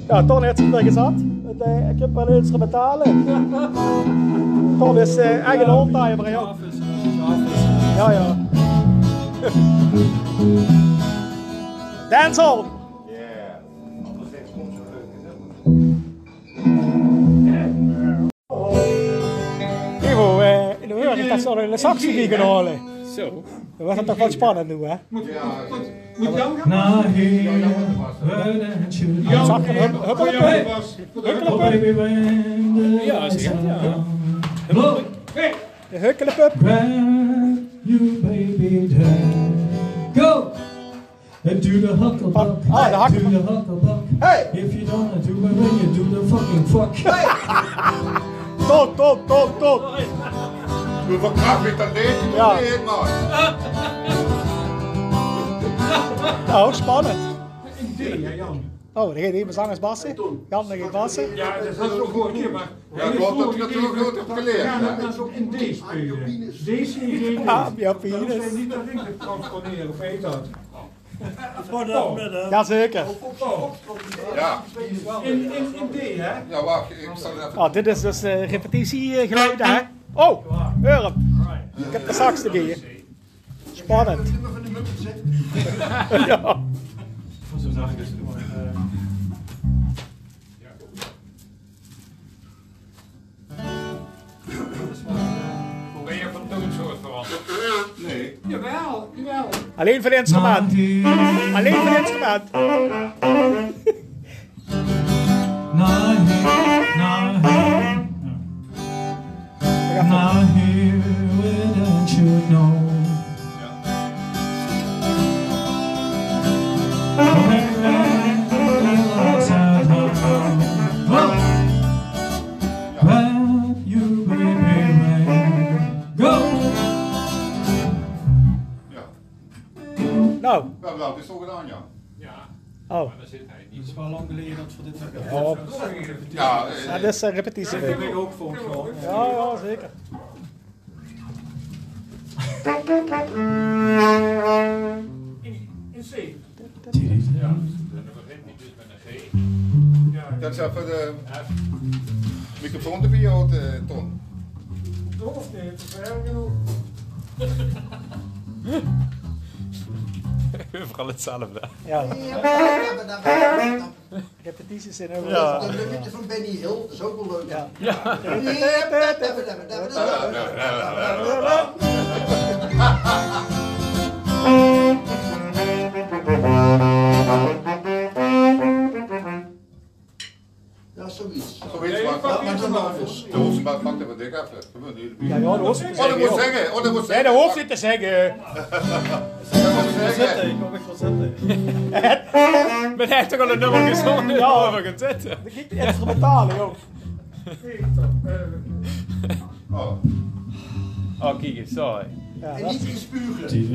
Speaker 2: Ja, Ton heeft zich er gezet. Het, eh, Ik heb wel instrumentale. Ton is eh, eigen hondtaaien bij jou.
Speaker 6: af is, eh, af is.
Speaker 2: Ja, ja. Dance on! Ivo, eh, in de wereld heeft zo'n saxie die gaan halen.
Speaker 1: Zo.
Speaker 2: Dat was toch wel spannend nu, hè?
Speaker 5: Ja, Moet Jan gaan
Speaker 6: Now
Speaker 5: passen?
Speaker 6: here,
Speaker 5: Ja, Jan wordt de baas.
Speaker 6: where and should
Speaker 5: Jan,
Speaker 6: I
Speaker 5: eh,
Speaker 6: go?
Speaker 5: voor Jan de baas. Voor de
Speaker 6: Oh, baby, when the
Speaker 1: Ja, is
Speaker 6: lights
Speaker 1: het,
Speaker 6: are
Speaker 1: ja.
Speaker 6: down. Look,
Speaker 5: Hey,
Speaker 2: De hukkelepup.
Speaker 6: where you baby there. Go! And do the hucklebuck,
Speaker 2: Ah, de hak-
Speaker 6: do the hucklebuck.
Speaker 2: Hey!
Speaker 6: If you don't do it, then you do the fucking fuck.
Speaker 2: Tot, tot, tot, tot.
Speaker 4: Hoeveel kracht heeft dat deze
Speaker 2: Ja.
Speaker 4: ja. niet, man?
Speaker 2: Nou, spannend.
Speaker 5: een idee, hè, Jan.
Speaker 2: Oh, dan geeft iemand zangers bassen. Jan, dan geeft bassen.
Speaker 5: Ja, dat had ik ook gehoord, ja, maar...
Speaker 4: Ja, klopt, dat je dat zo goed hebt geleerd,
Speaker 5: Ja,
Speaker 4: hè?
Speaker 5: dat is ook in D spelen. D C G D.
Speaker 2: Ah, ja,
Speaker 5: Dan hoef
Speaker 2: penis.
Speaker 5: je niet dat ik het transponeren, of heet dat?
Speaker 1: Oh.
Speaker 9: Goedemiddag.
Speaker 2: Jazeker.
Speaker 4: Ja.
Speaker 5: In, in, in D, hè?
Speaker 4: ja, wacht, ik zal even...
Speaker 2: Ah, dit is dus eh repetitiegeluiden, hè? Oh, Urp. Ik heb de sax te bieden. Spannend. ja.
Speaker 12: Zo zag ik het. Eh,
Speaker 5: Ben je van toonsoort veranderd?
Speaker 4: Nee.
Speaker 5: Jawel, jawel.
Speaker 2: Alleen voor het
Speaker 6: Now
Speaker 2: instrument.
Speaker 6: here,
Speaker 2: Alleen voor het instrument.
Speaker 6: now here, now here. Now here, where don't you know?
Speaker 4: Ja.
Speaker 2: Nou,
Speaker 4: Ja, wel, het is zo gedaan, ja.
Speaker 5: Ja,
Speaker 2: oh.
Speaker 5: maar daar zit hij
Speaker 12: het
Speaker 5: niet.
Speaker 12: is wel lang geleden dat we dit hebben.
Speaker 2: Ja, op.
Speaker 4: Ja,
Speaker 2: Ja,
Speaker 4: eh,
Speaker 2: dit is een repetitie.
Speaker 12: Dat heb ik ook voor jou.
Speaker 2: Ja, ja, zeker.
Speaker 5: In, in C. Ja,
Speaker 6: Ja.
Speaker 5: en dan begint hij dus met een G. Ja,
Speaker 4: dat is even de
Speaker 5: F.
Speaker 4: microfoon te jou, eh, Ton.
Speaker 5: Of nee, het is wel genoeg.
Speaker 1: [laughs] Overal hetzelfde.
Speaker 2: Ja,
Speaker 8: Ja.
Speaker 2: repetities zijn overal.
Speaker 8: Dat dat nummertje van Benny Hill, dat is ook wel leuk.
Speaker 2: Ja.
Speaker 8: Ja, zoiets.
Speaker 4: Zoiets, maar
Speaker 8: Ja, maar
Speaker 4: pak
Speaker 8: dan nog eens.
Speaker 4: de hoofdmaat pakt even dik even. Kom maar, nu.
Speaker 2: Ja, ja, dat hoeft niet te
Speaker 4: Oh, dat
Speaker 2: zeggen.
Speaker 4: moet
Speaker 2: joh.
Speaker 4: zeggen, oh, dat moet
Speaker 2: Nee,
Speaker 4: zeggen.
Speaker 2: dat hoeft niet te zeggen.
Speaker 4: Dat moet zeggen.
Speaker 12: Ik wil echt wel zetten.
Speaker 1: Maar hij heeft toch al een nummer gezongen ja. over gaan zitten.
Speaker 2: Dat klinkt instrumentaal, joh.
Speaker 4: Oh,
Speaker 1: Oh, kijk eens, sorry.
Speaker 2: Ja,
Speaker 8: En
Speaker 2: dat
Speaker 8: niet
Speaker 2: is-
Speaker 8: in spugen.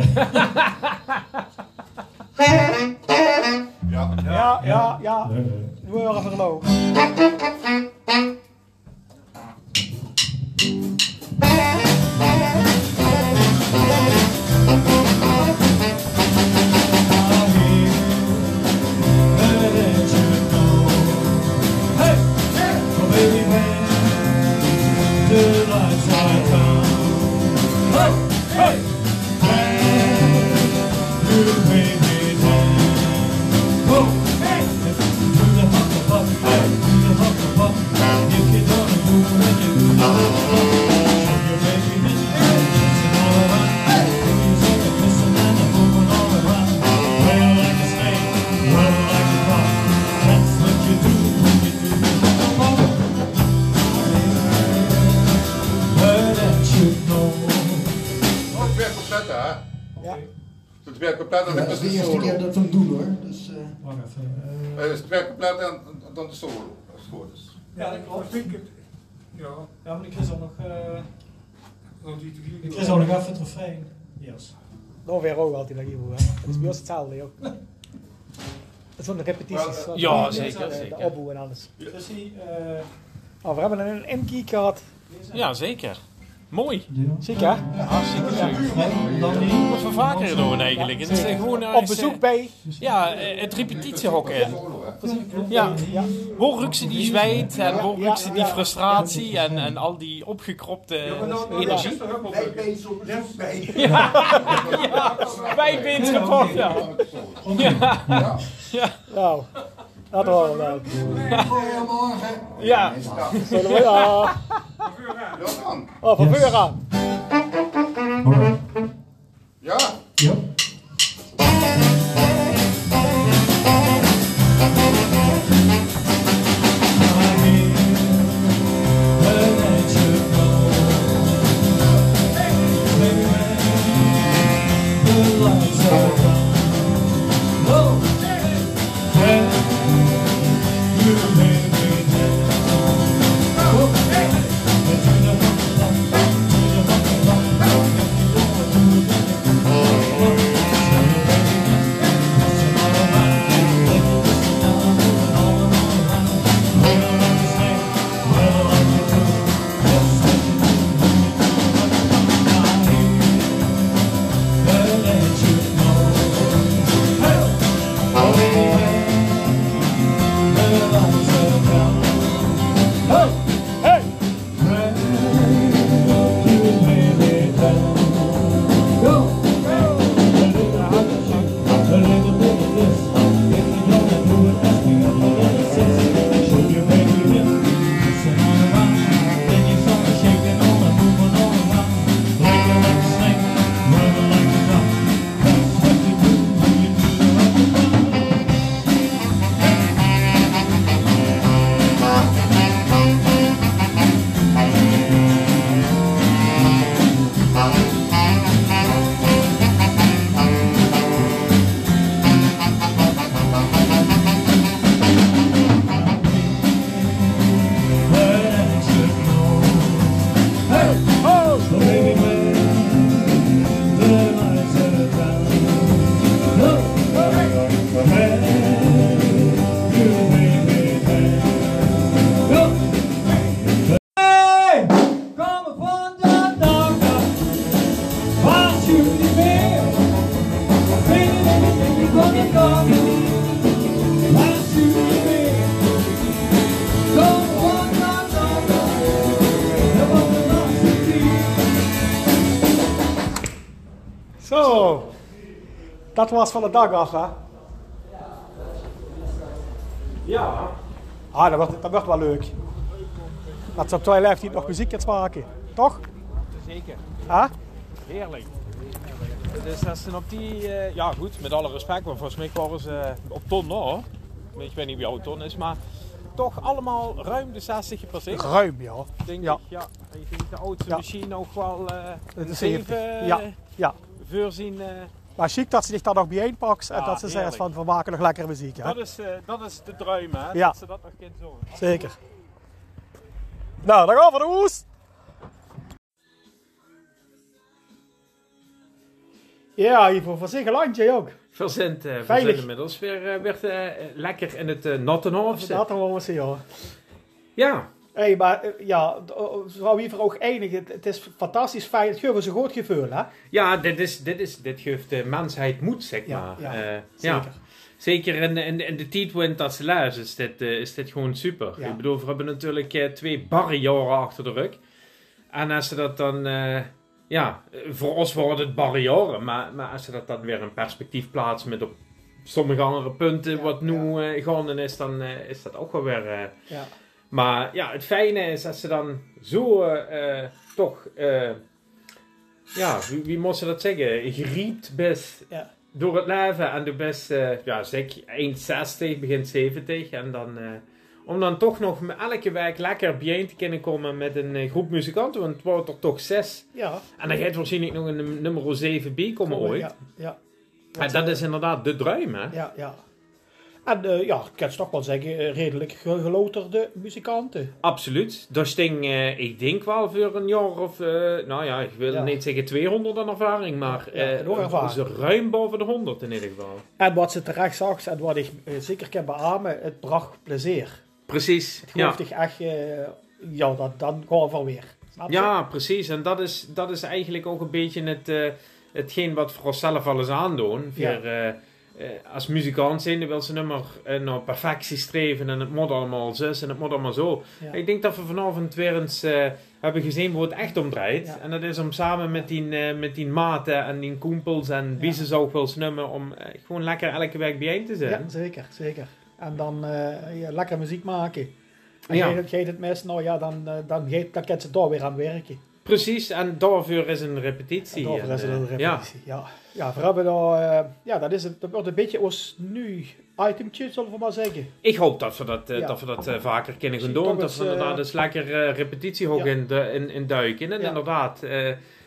Speaker 4: ja.
Speaker 2: ja, ja, ja. Doe maar even geloof.
Speaker 4: Oh, het werkt compleet, hè?
Speaker 2: Ja.
Speaker 4: Het werkt compleet en
Speaker 8: Dat
Speaker 4: dan is
Speaker 8: is de
Speaker 4: de
Speaker 8: eerste keer
Speaker 4: solo.
Speaker 8: dat we hem doen hoor. Dus, eh,
Speaker 4: Eh, Het werkt compleet en dan de solo, als het goed is.
Speaker 12: Ja, dat klopt.
Speaker 5: Vind ik het. Ja,
Speaker 12: Ja, maar ik is al nog. eh,
Speaker 5: want die drie.
Speaker 12: Ik is al nog even het refrein. Yes.
Speaker 2: Dan weer ook altijd naar Ivo, hè. Dat is bij ons hetzelfde, joh. Dat zijn de repetities. wat-
Speaker 1: Ja,
Speaker 2: de- eh,
Speaker 1: zeker,
Speaker 2: de-
Speaker 1: zeker.
Speaker 2: De opbouw en alles.
Speaker 12: Dus die, eh,
Speaker 2: Oh, we hebben een in-key gehad.
Speaker 12: deze.
Speaker 1: Ja, zeker. Mooi.
Speaker 2: Ziek, hè?
Speaker 1: Hartstikke leuk.
Speaker 12: Dan die.
Speaker 1: Wat we vaker doen eigenlijk. Het is gewoon eh,
Speaker 2: Op bezoek bij...
Speaker 1: Ja, eh, het repetitiehok in.
Speaker 4: Solo, hè?
Speaker 1: Ja.
Speaker 2: Ja.
Speaker 1: Hoe rukt ze die zwijt en hoe rukt ze die
Speaker 2: Ja.
Speaker 1: frustratie en, en al die opgekropte energie.
Speaker 8: Wij bezig op bezoek bij.
Speaker 1: Wijdbeens kapot, ja.
Speaker 4: Dan met de solo.
Speaker 2: Nou, dat horen we wel.
Speaker 8: Goedemorgen.
Speaker 1: Ja,
Speaker 2: Zullen we... Ja.
Speaker 4: Ja, dan.
Speaker 2: Oh, van Beur aan.
Speaker 4: Ja.
Speaker 6: Yep.
Speaker 8: Goedemorgen.
Speaker 2: Dat was van de dag af, hè?
Speaker 1: Ja.
Speaker 2: Ah, dat wordt, dat wordt wel leuk. Dat ze op 12 nog muziekjes maken, toch?
Speaker 1: Zeker.
Speaker 2: Hè?
Speaker 1: Heerlijk. Dus dat zijn op die... eh, ja goed, met alle respect, want volgens mij waren ze eh, op ton hoor. Ik weet niet wie jouw ton is, maar toch allemaal ruim de 60 gepasseerd.
Speaker 2: Ruim, ja.
Speaker 1: Denk
Speaker 2: Ja.
Speaker 1: ik, ja. Ik denk de oudste
Speaker 2: Ja.
Speaker 1: misschien nog wel eh
Speaker 2: De
Speaker 1: een
Speaker 2: 70.
Speaker 1: zeven
Speaker 2: Ja,
Speaker 1: eh,
Speaker 2: ja.
Speaker 1: voorzien. eh.
Speaker 2: Maar chic dat ze zich daar nog bijeenpakt en
Speaker 1: Ja,
Speaker 2: dat ze zegt
Speaker 1: heerlijk.
Speaker 2: van we maken nog lekkere muziek. Hè?
Speaker 1: dat, is, eh, dat is de druim hè,
Speaker 2: Ja.
Speaker 1: dat ze dat nog kind zo.
Speaker 2: Zeker. Nou, dan gaan we de woest. Ja, Ivo, van zich een landje ook.
Speaker 1: Verzend, eh
Speaker 2: Veilig.
Speaker 1: verzend inmiddels. Weer, eh, werd eh, lekker in het eh, Nottenhof
Speaker 2: Dat
Speaker 1: zitten.
Speaker 2: dan wel eens zien, hoor.
Speaker 1: Ja,
Speaker 2: hey, maar eh, ja, d- oh, mevrouw Wiever ook enig. Het, het is fantastisch fijn. Het geeft ons een goed gevoel, hè?
Speaker 1: ja dit, is, dit, is, dit geeft de mensheid moed, zeg maar.
Speaker 2: ja,
Speaker 1: Eh,
Speaker 2: zeker.
Speaker 1: Zeker in, in, in de T20 als laars is dit, eh, is dit gewoon super.
Speaker 2: Ja.
Speaker 1: Ik bedoel, we hebben natuurlijk eh, twee barre jaren achter de rug. En als ze dat dan... eh, ja, eh, voor ons worden het barre jaren. Maar, maar als ze dat dan weer in perspectief plaatsen met op sommige andere punten wat nu eh, gaande is, dan eh, is dat ook wel weer... eh,
Speaker 2: Ja.
Speaker 1: Maar ja, het fijne is dat ze dan zo eh, eh, toch, eh, ja, wie, wie moest ze dat zeggen? Geriept best
Speaker 2: Ja.
Speaker 1: door het leven en de best, eh, ja, zeg eind 60, begin 70. En dan, eh, om dan toch nog met elke week lekker bijeen te kunnen komen met een eh, groep muzikanten, want het wordt er toch zes.
Speaker 2: Ja.
Speaker 1: En dan gaat waarschijnlijk nog een num- nummer 7b komen ooit.
Speaker 2: Ja, ja,
Speaker 1: En dat is inderdaad de druim, hè?
Speaker 2: ja. ja. En eh, ja, ik kan het toch wel zeggen, eh, redelijk ge- geloterde muzikanten.
Speaker 1: Absoluut. Dat sting, eh, ik denk wel voor een jaar of, eh, nou ja, ik wil
Speaker 2: Ja.
Speaker 1: niet zeggen 200 aan ervaring, maar
Speaker 2: Ja,
Speaker 1: eh,
Speaker 2: nog ervaring.
Speaker 1: ze ruim boven de 100 in ieder geval.
Speaker 2: En wat ze terecht zag, en wat ik eh, zeker kan beamen, het bracht plezier.
Speaker 1: Precies.
Speaker 2: Het
Speaker 1: Ja.
Speaker 2: geloof ik echt, eh, ja, dat, dan gewoon van weer. Snap je?
Speaker 1: ja, precies. En dat is, dat is eigenlijk ook een beetje het, eh, hetgeen wat we onszelf alles aandoen.
Speaker 2: Ja.
Speaker 1: Voor, eh, eh, als muzikant zijn, dan wil ze nummer eh, naar perfectie streven en het moet allemaal zus en het moet allemaal zo.
Speaker 2: Ja.
Speaker 1: Ik denk dat we vanavond weer eens eh, hebben gezien hoe het echt om draait.
Speaker 2: Ja.
Speaker 1: En dat is om samen met die, eh, met die maten en die koempels en wie ze zou ook wel snummen, om eh, gewoon lekker elke week bijeen te zijn.
Speaker 2: Ja, zeker, zeker. En dan eh, ja, lekker muziek maken. En
Speaker 1: Ja.
Speaker 2: ja. geeft het mes, nou ja, dan, eh, dan, geeft, dan kan ze daar weer aan werken.
Speaker 1: Precies, en daarvoor is een
Speaker 2: En
Speaker 1: repetitie.
Speaker 2: daarvoor
Speaker 1: En,
Speaker 2: is het
Speaker 1: eh,
Speaker 2: een
Speaker 1: ja.
Speaker 2: repetitie. Ja, ja. voor hebben we daar, eh, ja dat, is het, dat wordt een beetje ons nu itemtje, zullen we maar zeggen.
Speaker 1: Ik hoop dat we dat, eh,
Speaker 2: Ja.
Speaker 1: dat, we dat eh, vaker kunnen gaan
Speaker 2: Misschien
Speaker 1: doen.
Speaker 2: toch
Speaker 1: Dat
Speaker 2: eens,
Speaker 1: we inderdaad
Speaker 2: eh,
Speaker 1: eens lekker eh, repetitie ook
Speaker 2: Ja.
Speaker 1: in, de, in, in duiken. En
Speaker 2: Ja.
Speaker 1: inderdaad, eh,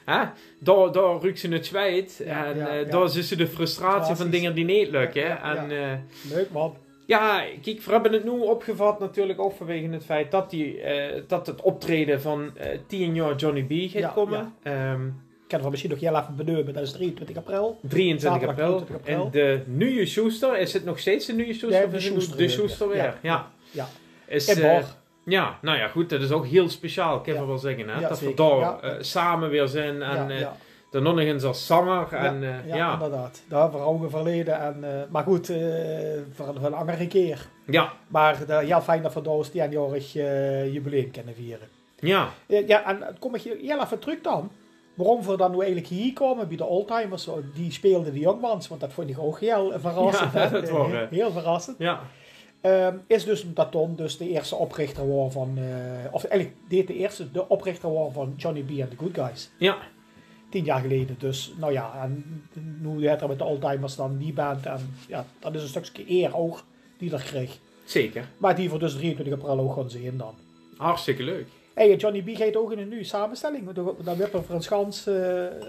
Speaker 1: hè, daar, daar ruikt ze het zweet.
Speaker 2: Ja,
Speaker 1: en
Speaker 2: ja,
Speaker 1: eh,
Speaker 2: ja.
Speaker 1: daar zit ze de frustratie van
Speaker 2: Frustraties.
Speaker 1: dingen die niet lukken.
Speaker 2: Ja, ja,
Speaker 1: en, eh,
Speaker 2: Leuk man.
Speaker 1: ja, kijk, we hebben het nu opgevat natuurlijk ook vanwege het feit dat, die, eh, dat het optreden van eh 10 jaar Johnny B gaat
Speaker 2: Ja,
Speaker 1: komen. Ehm,
Speaker 2: Ik kan het misschien nog heel even benoemen, dat is 23 april.
Speaker 1: 23
Speaker 2: Zaterdag
Speaker 1: april.
Speaker 2: 23 april.
Speaker 1: En de nieuwe Schuster, is het nog steeds de nieuwe Schuster?
Speaker 2: Ja,
Speaker 1: of
Speaker 2: de
Speaker 1: is het
Speaker 2: Schuster
Speaker 1: de
Speaker 2: weer,
Speaker 1: Schuster
Speaker 2: ja.
Speaker 1: weer. Ja.
Speaker 2: Ja.
Speaker 1: Is,
Speaker 2: In
Speaker 1: eh,
Speaker 2: Borg.
Speaker 1: ja, nou ja, goed, dat is ook heel speciaal, kan ik
Speaker 2: Ja.
Speaker 1: wel zeggen. Hè?
Speaker 2: Ja,
Speaker 1: dat we
Speaker 2: zeker,
Speaker 1: daar
Speaker 2: ja.
Speaker 1: eh, samen weer zijn en
Speaker 2: ja,
Speaker 1: eh
Speaker 2: ja.
Speaker 1: dan nog eens als zanger.
Speaker 2: Ja,
Speaker 1: en, eh,
Speaker 2: ja,
Speaker 1: ja, ja.
Speaker 2: inderdaad. Daar hebben we ogen verleden. En, eh, maar goed, eh, voor een voor een andere keer.
Speaker 1: ja,
Speaker 2: Maar eh, heel fijn dat we daar ons 10-jarig eh, jubileum kunnen vieren. Eh, ja, en dan kom ik hier heel even terug dan. Waarom we dan nu eigenlijk hier komen bij de oldtimers, zo, die speelden de jongmans, want dat vond ik ook heel verrassend.
Speaker 1: Ja,
Speaker 2: hè.
Speaker 1: [laughs] dat wel,
Speaker 2: heel,
Speaker 1: hè.
Speaker 2: heel verrassend.
Speaker 1: ja.
Speaker 2: Ehm, is dus omdat Tom dus de eerste oprichter was van, eh, of eigenlijk deed de eerste de oprichter was van Johnny B. en The Good Guys.
Speaker 1: Ja.
Speaker 2: Tien jaar geleden, dus nou ja, en nu het er met de oldtimers dan die band en ja, dat is een stukje eer ook die er kreeg.
Speaker 1: zeker.
Speaker 2: Maar die voor dus 23 april ook gewoon zien dan.
Speaker 1: Hartstikke leuk.
Speaker 2: Hey, Johnny B gaat ook in een nieuwe samenstelling. want Dan dan werd er voor een schans. eh,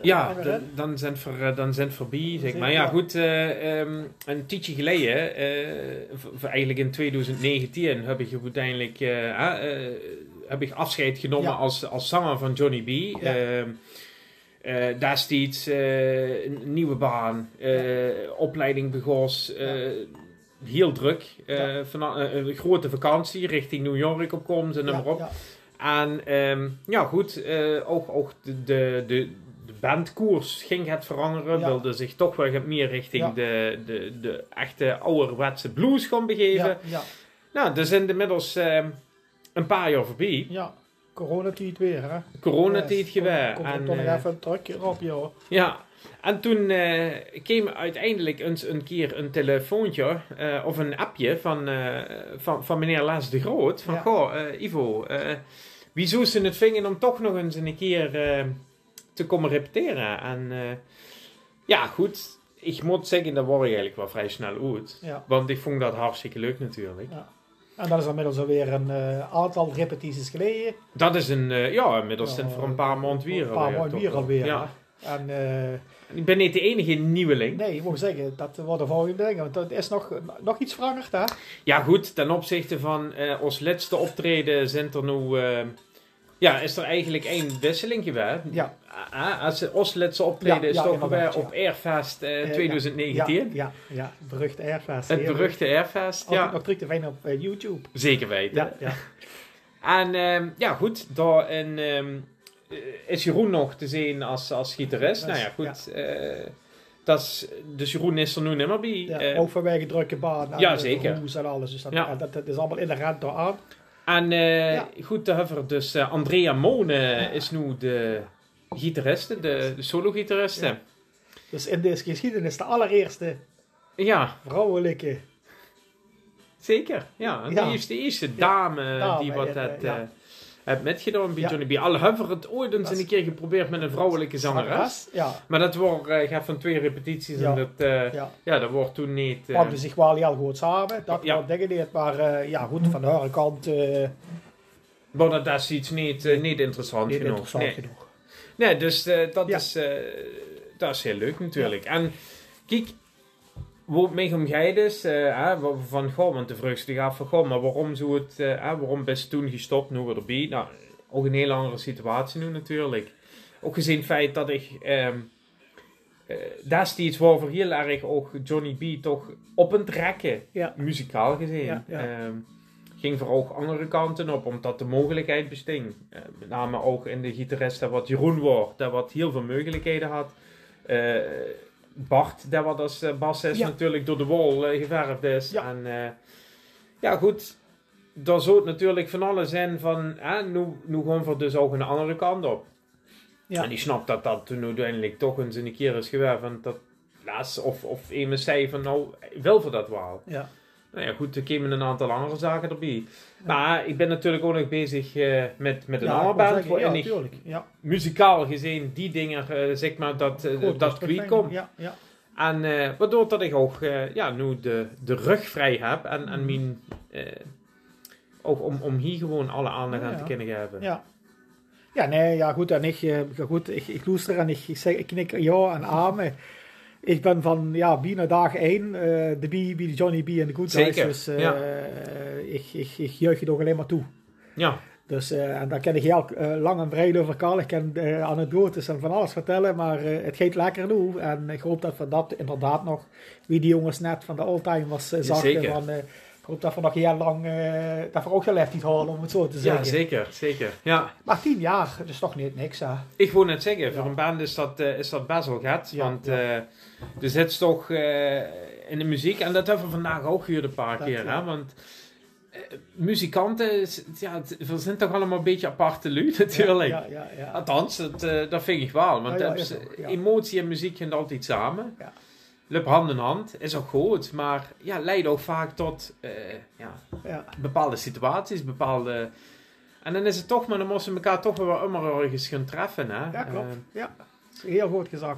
Speaker 1: Ja,
Speaker 2: hangen,
Speaker 1: dan,
Speaker 2: hè?
Speaker 1: dan zijn we eh, dan zijn we voorbij, zeg
Speaker 2: Zeker,
Speaker 1: maar. Ja,
Speaker 2: ja.
Speaker 1: goed, eh, ehm, een tijdje geleden, eh, v- v- eigenlijk in 2019, heb ik uiteindelijk eh, eh, eh, heb ik afscheid genomen
Speaker 2: Ja.
Speaker 1: als, als zanger van Johnny B.
Speaker 2: Ja.
Speaker 1: Ehm, eh, destijds eh, een nieuwe baan, eh, opleiding begos, eh, heel druk. Eh,
Speaker 2: Ja.
Speaker 1: vana- eh, een grote vakantie richting New York opkomst en noem maar op.
Speaker 2: Ja,
Speaker 1: En ehm, ja, goed, eh, ook, ook de, de, de, de bandkoers ging het veranderen.
Speaker 2: Ja.
Speaker 1: Wilde zich toch wel wat meer richting
Speaker 2: Ja.
Speaker 1: de, de, de echte ouderwetse blues gaan begeven.
Speaker 2: ja, ja,
Speaker 1: Nou, er zijn inmiddels ehm, een paar jaar voorbij.
Speaker 2: ja. Coronatijd weer, hè?
Speaker 1: Coronatijd
Speaker 2: Ja,
Speaker 1: geweest.
Speaker 2: Kom, kom er
Speaker 1: En,
Speaker 2: toch nog
Speaker 1: eh,
Speaker 2: even een trucje op, joh.
Speaker 1: ja, En toen eh kwam uiteindelijk eens een keer een telefoontje eh, of een appje van, eh, van, van meneer Laas de Groot. Van,
Speaker 2: Ja.
Speaker 1: goh, eh, Ivo, eh wie zou ze het vingen om toch nog eens een keer eh, te komen repeteren? En eh, ja, goed, ik moet zeggen, dat word ik eigenlijk wel vrij snel uit.
Speaker 2: Ja.
Speaker 1: Want ik vond dat hartstikke leuk natuurlijk.
Speaker 2: Ja. En dat is inmiddels alweer een eh, aantal repetities geleden.
Speaker 1: Dat is een, eh, ja, inmiddels zijn
Speaker 2: Ja,
Speaker 1: voor een paar maand weer.
Speaker 2: Een paar
Speaker 1: alweer,
Speaker 2: maanden
Speaker 1: toch
Speaker 2: weer
Speaker 1: wel.
Speaker 2: alweer.
Speaker 1: Ja.
Speaker 2: hè. En eh,
Speaker 1: Ik ben niet de enige nieuweling.
Speaker 2: nee, ik moet zeggen, dat wordt de volgende ding. Want dat is nog, nog iets veranderd, hè?
Speaker 1: Ja, goed, ten opzichte van eh, ons laatste optreden zijn er nu. eh, ja, is er eigenlijk één wisseling geweest.
Speaker 2: Ja.
Speaker 1: Ah, als ons laatste optreden
Speaker 2: Ja,
Speaker 1: is
Speaker 2: ja,
Speaker 1: toch
Speaker 2: inderdaad,
Speaker 1: weer op Airfest eh,
Speaker 2: Eh,
Speaker 1: 2019.
Speaker 2: Ja, ja, ja, berucht Airfest.
Speaker 1: Het beruchte Airfest,
Speaker 2: Ja.
Speaker 1: ja.
Speaker 2: Nog terug te vinden op eh, YouTube.
Speaker 1: Zeker weten.
Speaker 2: Ja, ja.
Speaker 1: En ehm, ja, goed, daarin ehm, eh, is Jeroen nog te zien als, als gitarist.
Speaker 2: Dat
Speaker 1: Nou
Speaker 2: is-
Speaker 1: ja, goed. eh, dat is, dus Jeroen is er nu niet meer bij.
Speaker 2: ja
Speaker 1: [laughs] Eh,
Speaker 2: ook vanwege drukke baan. En
Speaker 1: ja,
Speaker 2: de
Speaker 1: zeker.
Speaker 2: roes en alles. Dus dat,
Speaker 1: Ja.
Speaker 2: dat, dat is allemaal inherent door aan.
Speaker 1: En eh,
Speaker 2: Ja.
Speaker 1: goed, de hebben we dus eh, Andrea Mone is nu de gitariste, de, de solo-gitariste. Ja.
Speaker 2: Dus in deze geschiedenis de allereerste vrouwelijke.
Speaker 1: zeker. Ja, en
Speaker 2: Ja.
Speaker 1: die is de eerste dame,
Speaker 2: Dame,
Speaker 1: die wat
Speaker 2: eh,
Speaker 1: dat,
Speaker 2: ja.
Speaker 1: eh, heeft metgedaan bij
Speaker 2: Ja.
Speaker 1: Johnny B. Al hebben we het ooit eens
Speaker 2: Dat is-
Speaker 1: een keer geprobeerd met een vrouwelijke zangeres.
Speaker 2: Ja.
Speaker 1: Maar dat wordt, eh, gaat van twee repetities
Speaker 2: Ja.
Speaker 1: en dat, eh, ja.
Speaker 2: Ja. dus-
Speaker 1: dat wordt toen niet... eh,
Speaker 2: Kwamen zich wel heel goed samen. Dat
Speaker 1: Ja.
Speaker 2: ja. dingen niet. Maar eh, ja, goed, van haar kant eh,
Speaker 1: maar dat- dat is iets niet, eh, niet interessant
Speaker 2: niet
Speaker 1: genoeg.
Speaker 2: interessant
Speaker 1: Nee.
Speaker 2: genoeg.
Speaker 1: Nee, dus eh, dat,
Speaker 2: Ja.
Speaker 1: is, eh, dat is heel leuk natuurlijk. En kijk, wat mij omgeit is, eh, hè, wa- van goh, want de vraag die gaat van goh, maar waarom zo het, eh, hè, waarom ben je toen gestopt, nu weer erbij? Nou, ook een heel andere situatie nu natuurlijk. Ook gezien het feit dat ik, ehm eh, dat is iets waarvoor heel erg ook Johnny B toch op een trekken,
Speaker 2: Ja.
Speaker 1: muzikaal gezien.
Speaker 2: Ja, ja.
Speaker 1: Ehm, ging vooral ook andere kanten op, omdat de mogelijkheid besting. Eh, met name ook in de gitarist, dat wat Jeroen wordt, dat wat heel veel mogelijkheden had. Eh, Bart, dat wat als eh, bassist
Speaker 2: Ja.
Speaker 1: natuurlijk door de wol eh, geverfd is.
Speaker 2: Ja.
Speaker 1: En eh, ja, goed. Daar zou het natuurlijk van alles zijn van, hè, nu, nu gaan we dus ook een andere kant op.
Speaker 2: Ja.
Speaker 1: En ik snap dat dat toen uiteindelijk toch eens een keer is geweest. Want dat laatst, of, of iemand zei van nou, wil voor dat wel.
Speaker 2: Ja.
Speaker 1: Nou ja, goed, er kwamen een aantal andere zaken erbij. Maar ik ben natuurlijk ook nog bezig eh, met, met een
Speaker 2: Ja, ik
Speaker 1: andere
Speaker 2: wou
Speaker 1: band.
Speaker 2: zeggen,
Speaker 1: waarin
Speaker 2: Ja,
Speaker 1: ik
Speaker 2: tuurlijk. Ja.
Speaker 1: muzikaal gezien die dingen, eh, zeg maar, dat, eh,
Speaker 2: Goed,
Speaker 1: dat
Speaker 2: terug
Speaker 1: kwiet
Speaker 2: vinden.
Speaker 1: komt.
Speaker 2: Ja, ja.
Speaker 1: En eh, waardoor dat ik ook eh, ja, nu de, de rug vrij heb. En,
Speaker 2: Mm.
Speaker 1: en mijn, eh, ook om, om hier gewoon alle aandacht aan
Speaker 2: Ja,
Speaker 1: te
Speaker 2: ja.
Speaker 1: kunnen geven.
Speaker 2: Ja. Ja, nee, ja goed. En ik, eh, ja, goed, ik, ik luister en ik, ik, zeg, ik knik ja en amen. Ik ben van, ja, bijna dag één. eh, de B, bij de Johnny B en de Good Guys.
Speaker 1: Zeker,
Speaker 2: Dus eh,
Speaker 1: ja.
Speaker 2: ik, ik, ik juich het ook alleen maar toe.
Speaker 1: Ja,
Speaker 2: Dus, eh, en daar kan ik heel eh, lang en breed over kallen. Ik kan eh, anekdotes en van alles vertellen. Maar eh, het gaat lekker nu. En ik hoop dat we dat inderdaad nog... Wie die jongens net van de all-time was eh, zag.
Speaker 1: zeker.
Speaker 2: eh, van, eh, ik hoop dat we nog heel lang... eh dat we ook geleefd niet houden, om het zo te
Speaker 1: ja
Speaker 2: zeggen.
Speaker 1: zeker, zeker. Ja.
Speaker 2: Maar tien jaar, dat is toch niet niks, hè?
Speaker 1: Ik wou net zeggen, voor
Speaker 2: Ja.
Speaker 1: een band is dat, eh, is dat best wel gat.
Speaker 2: Ja,
Speaker 1: want
Speaker 2: ja.
Speaker 1: eh, er zit toch eh, in de muziek, en dat hebben we vandaag ook gehoord een paar
Speaker 2: Dat,
Speaker 1: keer.
Speaker 2: ja.
Speaker 1: Hè, want eh, muzikanten, is- ja, het- we zijn toch allemaal een beetje aparte lui [laughs] natuurlijk.
Speaker 2: Ja, ja, ja.
Speaker 1: Althans, dat, eh, dat vind ik wel. Want
Speaker 2: Ah, Ja, ja,
Speaker 1: dat is-
Speaker 2: is ook, ja.
Speaker 1: emotie en muziek gaan altijd samen.
Speaker 2: Ja.
Speaker 1: Lup hand in hand, is ook goed. Maar ja, leidt ook vaak tot eh, ja,
Speaker 2: ja.
Speaker 1: bepaalde situaties, bepaalde... En dan is het toch, maar dan moesten ze elkaar toch weer wel immer ergens gaan treffen. Hè?
Speaker 2: Ja, klopt.
Speaker 1: Eh,
Speaker 2: Ja, heel goed gezag.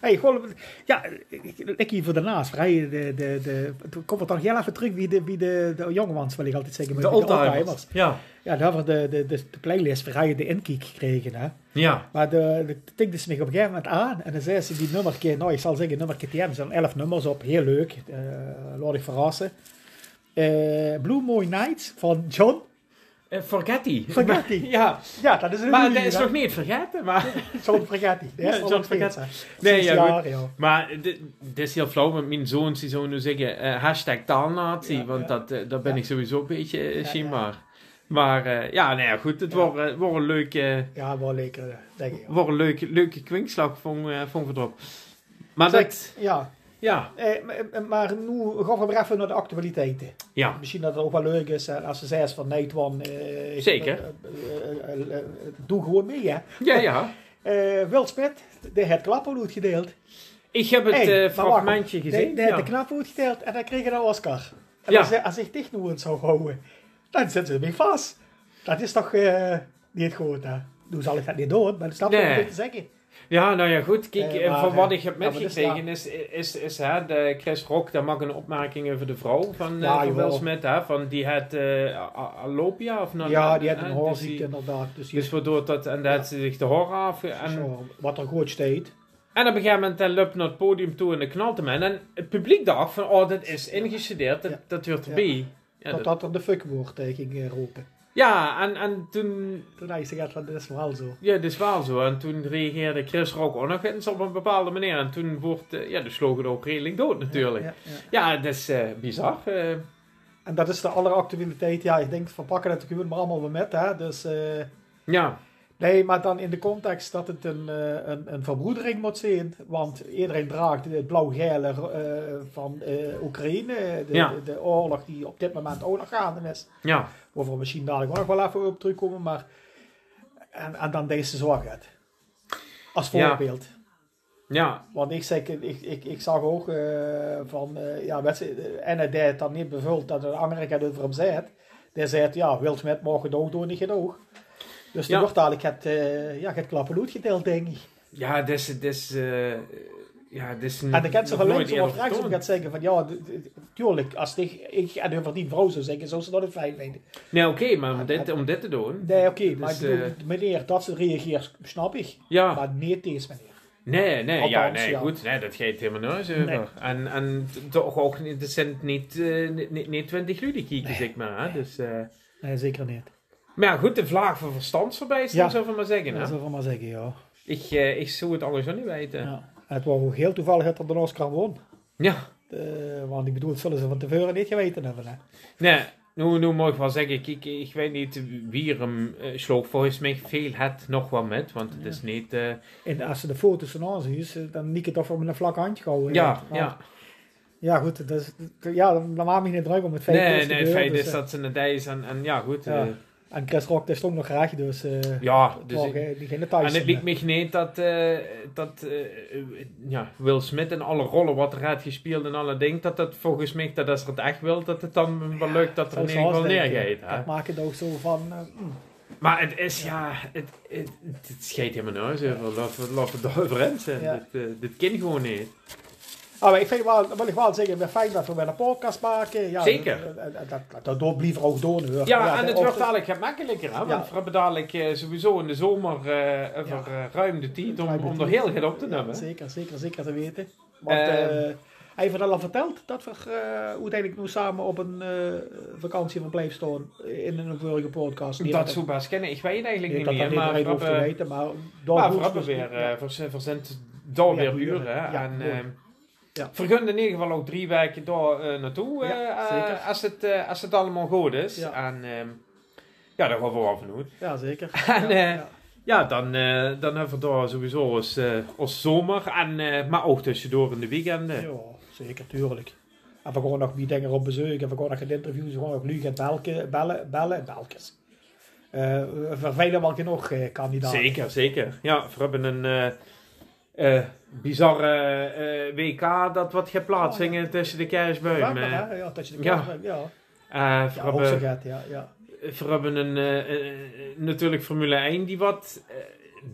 Speaker 2: Hey, gewoon, ja, ik- ik hier voor daarnaast. hè, De, de, de, toen komen we toch heel even terug wie de, wie de, de jongemans, wil ik altijd zeggen. maar
Speaker 1: de
Speaker 2: wie
Speaker 1: oldtimers. Ja.
Speaker 2: Ja, daar hebben we de, de, de, de playlist waar je de inkiek gekregen. Hè.
Speaker 1: Ja.
Speaker 2: Maar de, de de tikte ze me op een gegeven moment aan. En dan zei ze die nummerke, nou ik zal zeggen nummerke TM. Er zijn elf nummers op, heel leuk. Eh laat ik verrassen. Eh, Blue Moon Nights van John.
Speaker 1: Eh, Forgetti.
Speaker 2: Forgetti.
Speaker 1: [laughs] ja,
Speaker 2: Ja, dat is een
Speaker 1: maar
Speaker 2: goeie,
Speaker 1: dat is
Speaker 2: hè.
Speaker 1: nog niet vergeten. Maar,
Speaker 2: John Forgetti.
Speaker 1: Ja,
Speaker 2: Ja,
Speaker 1: John
Speaker 2: John Forgetti.
Speaker 1: Nee,
Speaker 2: Nee,
Speaker 1: ja,
Speaker 2: ja,
Speaker 1: goed. maar dit, dit is heel flauw, want mijn zoons die zouden nu zeggen eh, hashtag taalnazi,
Speaker 2: Ja,
Speaker 1: want
Speaker 2: ja.
Speaker 1: Dat, eh, dat ben
Speaker 2: Ja.
Speaker 1: ik sowieso een beetje eh,
Speaker 2: ja.
Speaker 1: schimmaar. Maar eh, ja, nou ja, goed, het
Speaker 2: Ja.
Speaker 1: wordt eh, wordt een leuke,
Speaker 2: Ja, wel lekker, eh, denk ik.
Speaker 1: wordt een leuke, leuke kwinkslag van, eh van verdrop. Maar
Speaker 2: Zeg,
Speaker 1: dat,
Speaker 2: Ja,
Speaker 1: ja,
Speaker 2: eh, maar- eh, maar nu gaan we weer even naar de actualiteiten.
Speaker 1: ja,
Speaker 2: Misschien dat het ook wel leuk is eh, als ze zegt van Night One. eh, ik-
Speaker 1: Zeker.
Speaker 2: eh, eh, eh, eh, eh, doe gewoon mee, hè.
Speaker 1: ja, ja.
Speaker 2: eh Wil Smit, die heeft klapperloed gedeeld.
Speaker 1: Ik heb het
Speaker 2: Hey,
Speaker 1: eh,
Speaker 2: maar wacht.
Speaker 1: fragmentje
Speaker 2: Die-
Speaker 1: gezien.
Speaker 2: Die heeft
Speaker 1: ja.
Speaker 2: de knaphoed gedeeld en hij kreeg een Oscar. En
Speaker 1: Ja.
Speaker 2: als, hij- als hij dicht nu zou houden, dan zitten ze mee vast. Dat is toch eh, niet goed, hè? Nu zal ik dat niet doen, maar dat snap je
Speaker 1: Nee.
Speaker 2: wat ik te zeggen.
Speaker 1: Ja, nou ja, goed. Kijk,
Speaker 2: Eh,
Speaker 1: eh,
Speaker 2: maar,
Speaker 1: van
Speaker 2: eh,
Speaker 1: wat ik heb
Speaker 2: ja, maar dit is
Speaker 1: metgekregen is, is, is hè, de Chris Rock, daar mag een opmerking over de vrouw van, eh
Speaker 2: Ja,
Speaker 1: van Will
Speaker 2: jawel.
Speaker 1: Smith, hè, van die had eh, a- a- alopia of nou,
Speaker 2: ja, die heeft
Speaker 1: hè,
Speaker 2: een
Speaker 1: dus
Speaker 2: hoorziekte
Speaker 1: die-
Speaker 2: inderdaad. Dus die
Speaker 1: Dus waardoor dat, en dat had ze zich de horen af. En,
Speaker 2: zo, wat er goed steekt.
Speaker 1: en op een gegeven moment eh, loopt naar het podium toe en dan knalt hem. En het publiek dacht van, oh, dat is ingestudeerd, dat,
Speaker 2: Ja.
Speaker 1: dat hoort
Speaker 2: Ja.
Speaker 1: erbij. Ja,
Speaker 2: dat
Speaker 1: dat-
Speaker 2: dat er de fuckwoord tegen ging eh, roepen.
Speaker 1: ja en, en toen
Speaker 2: Toen hij gezegd van, dat is wel zo.
Speaker 1: Ja, dat is wel zo. En toen reageerde Chris Rock ook nog eens op een bepaalde manier. En toen wordt eh, ja, de slogan ook redelijk dood natuurlijk. Ja,
Speaker 2: Ja, ja.
Speaker 1: dat is eh, bizar. eh.
Speaker 2: En dat is de alleractualiteit. Ja, ik denk, we pakken het gewoon maar allemaal weer met, hè. Dus, eh,
Speaker 1: ja,
Speaker 2: nee, maar dan in de context dat het een, eh, een, een verbroedering moet zijn. Want iedereen draagt het blauw-gele eh, van eh, Oekraïne. De,
Speaker 1: Ja.
Speaker 2: de, de oorlog die op dit moment ook nog gaande is.
Speaker 1: ja.
Speaker 2: Waar we misschien dadelijk ook nog wel even op terugkomen. Maar, en, en dan deze zwakheid. Als
Speaker 1: Ja.
Speaker 2: voorbeeld.
Speaker 1: Ja,
Speaker 2: Want ik, zeg, ik, ik, ik zag ook eh, van, eh, ja, wedstrijd- en hij deed het dan niet bevuld dat een Amerika het over hem zei. Die zei, het, ja, Will Smith mag het ook doen, niet genoeg. Dus die
Speaker 1: Ja.
Speaker 2: wordt dadelijk het, eh, ja, het klappeloed gedeeld, denk ik.
Speaker 1: ja, dit is... Dit is eh, ja, dit is
Speaker 2: En dan kan ze van
Speaker 1: nog nooit
Speaker 2: links
Speaker 1: eerder
Speaker 2: of rechts om
Speaker 1: vertoond.
Speaker 2: gaat zeggen van, ja, d- d- tuurlijk, als ik, ik en hun verdient vrouw zou zeggen, zo ze dat het fijn vinden.
Speaker 1: Nee, oké, maar om dit, om dit te doen...
Speaker 2: Nee, oké, maar
Speaker 1: Dus,
Speaker 2: ik bedoel,
Speaker 1: eh, Ah.
Speaker 2: de meneer dat ze reageert, snap ik.
Speaker 1: Ja,
Speaker 2: Maar niet deze meneer.
Speaker 1: nee, nee, ja,
Speaker 2: Althans,
Speaker 1: nee,
Speaker 2: ja.
Speaker 1: goed. Nee, dat geeft helemaal nergens over.
Speaker 2: Nee.
Speaker 1: En, en t- toch ook, niet- dit zijn niet, eh, niet- niet, niet 20 ludikiekjes, zeg maar. Hè? Dus, eh,
Speaker 2: Nee, zeker niet.
Speaker 1: maar ja, goed, de vlaag van verstandsverbijstering,
Speaker 2: Ja.
Speaker 1: zou ik maar zeggen. Hè?
Speaker 2: Dat zou ik maar zeggen, ja.
Speaker 1: Ik, eh, ik zou het anders ook niet weten. Ja.
Speaker 2: ja. En het was ook heel toevallig dat er de Oscar won.
Speaker 1: ja.
Speaker 2: Eh, want ik bedoel, het zullen ze van tevoren niet geweten hebben. Hè?
Speaker 1: Nee, nu, nu mag ik wel zeggen, ik, ik, ik weet niet wie hem eh, sloeg. Volgens mij viel het nog wel met, want het is niet... eh,
Speaker 2: En als ze de foto's van ons is, eh, dan niet het of we met een vlak handje houden.
Speaker 1: ja,
Speaker 2: Want-
Speaker 1: ja.
Speaker 2: Ja, goed, dat is, ja, dan dan maak ik me niet druk om het feit dat
Speaker 1: Nee,
Speaker 2: het
Speaker 1: nee, het
Speaker 2: gebeurt,
Speaker 1: feit
Speaker 2: dus,
Speaker 1: is
Speaker 2: eh,
Speaker 1: dat ze een dij is en, en ja, goed.
Speaker 2: Ja.
Speaker 1: eh,
Speaker 2: En Chris Rock is ook nog graag, dus... eh
Speaker 1: ja,
Speaker 2: het
Speaker 1: dus...
Speaker 2: mag,
Speaker 1: ik-
Speaker 2: eh, die geen details
Speaker 1: en het
Speaker 2: zijn,
Speaker 1: liet me niet dat, eh, dat eh, eh, ja, Will Smith en alle rollen wat er had gespeeld en alle dingen, dat dat volgens mij, dat als het echt wil, dat het dan wel leuk dat
Speaker 2: eh,
Speaker 1: er
Speaker 2: zoals
Speaker 1: in ieder geval
Speaker 2: ons denken.
Speaker 1: neergeet. hè.
Speaker 2: Dat maakt het ook zo van... eh, mm.
Speaker 1: Maar het is, ja, het, het, het scheidt helemaal nooit over. Laat we- Laten we daarover in zijn.
Speaker 2: Ja.
Speaker 1: Dit, eh, dit kind gewoon niet.
Speaker 2: Ah, maar ik vind wel, dat wil ik wel zeggen, het is fijn dat we weer een podcast maken. Ja,
Speaker 1: Zeker.
Speaker 2: eh, eh, Dat, dat, dat, door blijven we ook doen, hoor.
Speaker 1: Ja,
Speaker 2: de
Speaker 1: en het wordt
Speaker 2: ochtend-
Speaker 1: dadelijk gemakkelijker. Hè? Want
Speaker 2: Ja.
Speaker 1: we hebben dadelijk eh, sowieso in de zomer eh over eh, ruim de tijd om,
Speaker 2: Ruim de
Speaker 1: om er
Speaker 2: tijd.
Speaker 1: heel veel op te
Speaker 2: Ja,
Speaker 1: nemen.
Speaker 2: Zeker, zeker, zeker te weten. Want eh,
Speaker 1: Ehm.
Speaker 2: hij heeft het al verteld dat we eh, uiteindelijk nu samen op een eh, vakantie van blijven staan in een vorige podcast. Die
Speaker 1: dat
Speaker 2: we-
Speaker 1: zou best kennen. Ik weet het eigenlijk
Speaker 2: ik
Speaker 1: niet
Speaker 2: dat
Speaker 1: meer.
Speaker 2: dat
Speaker 1: Maar
Speaker 2: iedereen
Speaker 1: we
Speaker 2: hoeft te
Speaker 1: hebben,
Speaker 2: weten, maar door
Speaker 1: maar we
Speaker 2: goed-
Speaker 1: hebben weer
Speaker 2: ja,
Speaker 1: eh verz- verzend door
Speaker 2: Ja,
Speaker 1: weer
Speaker 2: buren.
Speaker 1: buren. hè.
Speaker 2: Ja,
Speaker 1: en
Speaker 2: mooi.
Speaker 1: ehm
Speaker 2: Ja.
Speaker 1: vergun in ieder geval ook drie weken door eh, naartoe.
Speaker 2: Ja,
Speaker 1: eh, eh,
Speaker 2: zeker.
Speaker 1: als, het, eh, als het allemaal goed is.
Speaker 2: Ja.
Speaker 1: En ehm, ja, daar gaan we wel van uit.
Speaker 2: ja, zeker.
Speaker 1: [laughs] En,
Speaker 2: ja,
Speaker 1: eh, Ja, dan, eh, dan hebben we daar sowieso als, eh, als zomer. En, eh, maar ook tussendoor in de
Speaker 2: ja.
Speaker 1: weekenden.
Speaker 2: Ja, zeker, tuurlijk. En we gaan nog wie dingen op bezoek, en we gaan nog het interview, we gaan nog nu gaan belken, bellen, bellen, belkens. Eh we vervelen wel genoeg eh, kandidaten.
Speaker 1: Zeker, zeker. Ja, we hebben een eh, eh, bizarre eh, WK dat wat geplaatst
Speaker 2: Oh, ja.
Speaker 1: hingen tussen de kerstboom.
Speaker 2: Vervelen,
Speaker 1: eh.
Speaker 2: hè? Ja, dat je de
Speaker 1: Ja.
Speaker 2: ja. ja.
Speaker 1: Eh, we,
Speaker 2: Ja, ook zo
Speaker 1: hebben,
Speaker 2: gaat, ja, ja.
Speaker 1: we hebben een, eh, eh, natuurlijk Formule 1 die wat eh,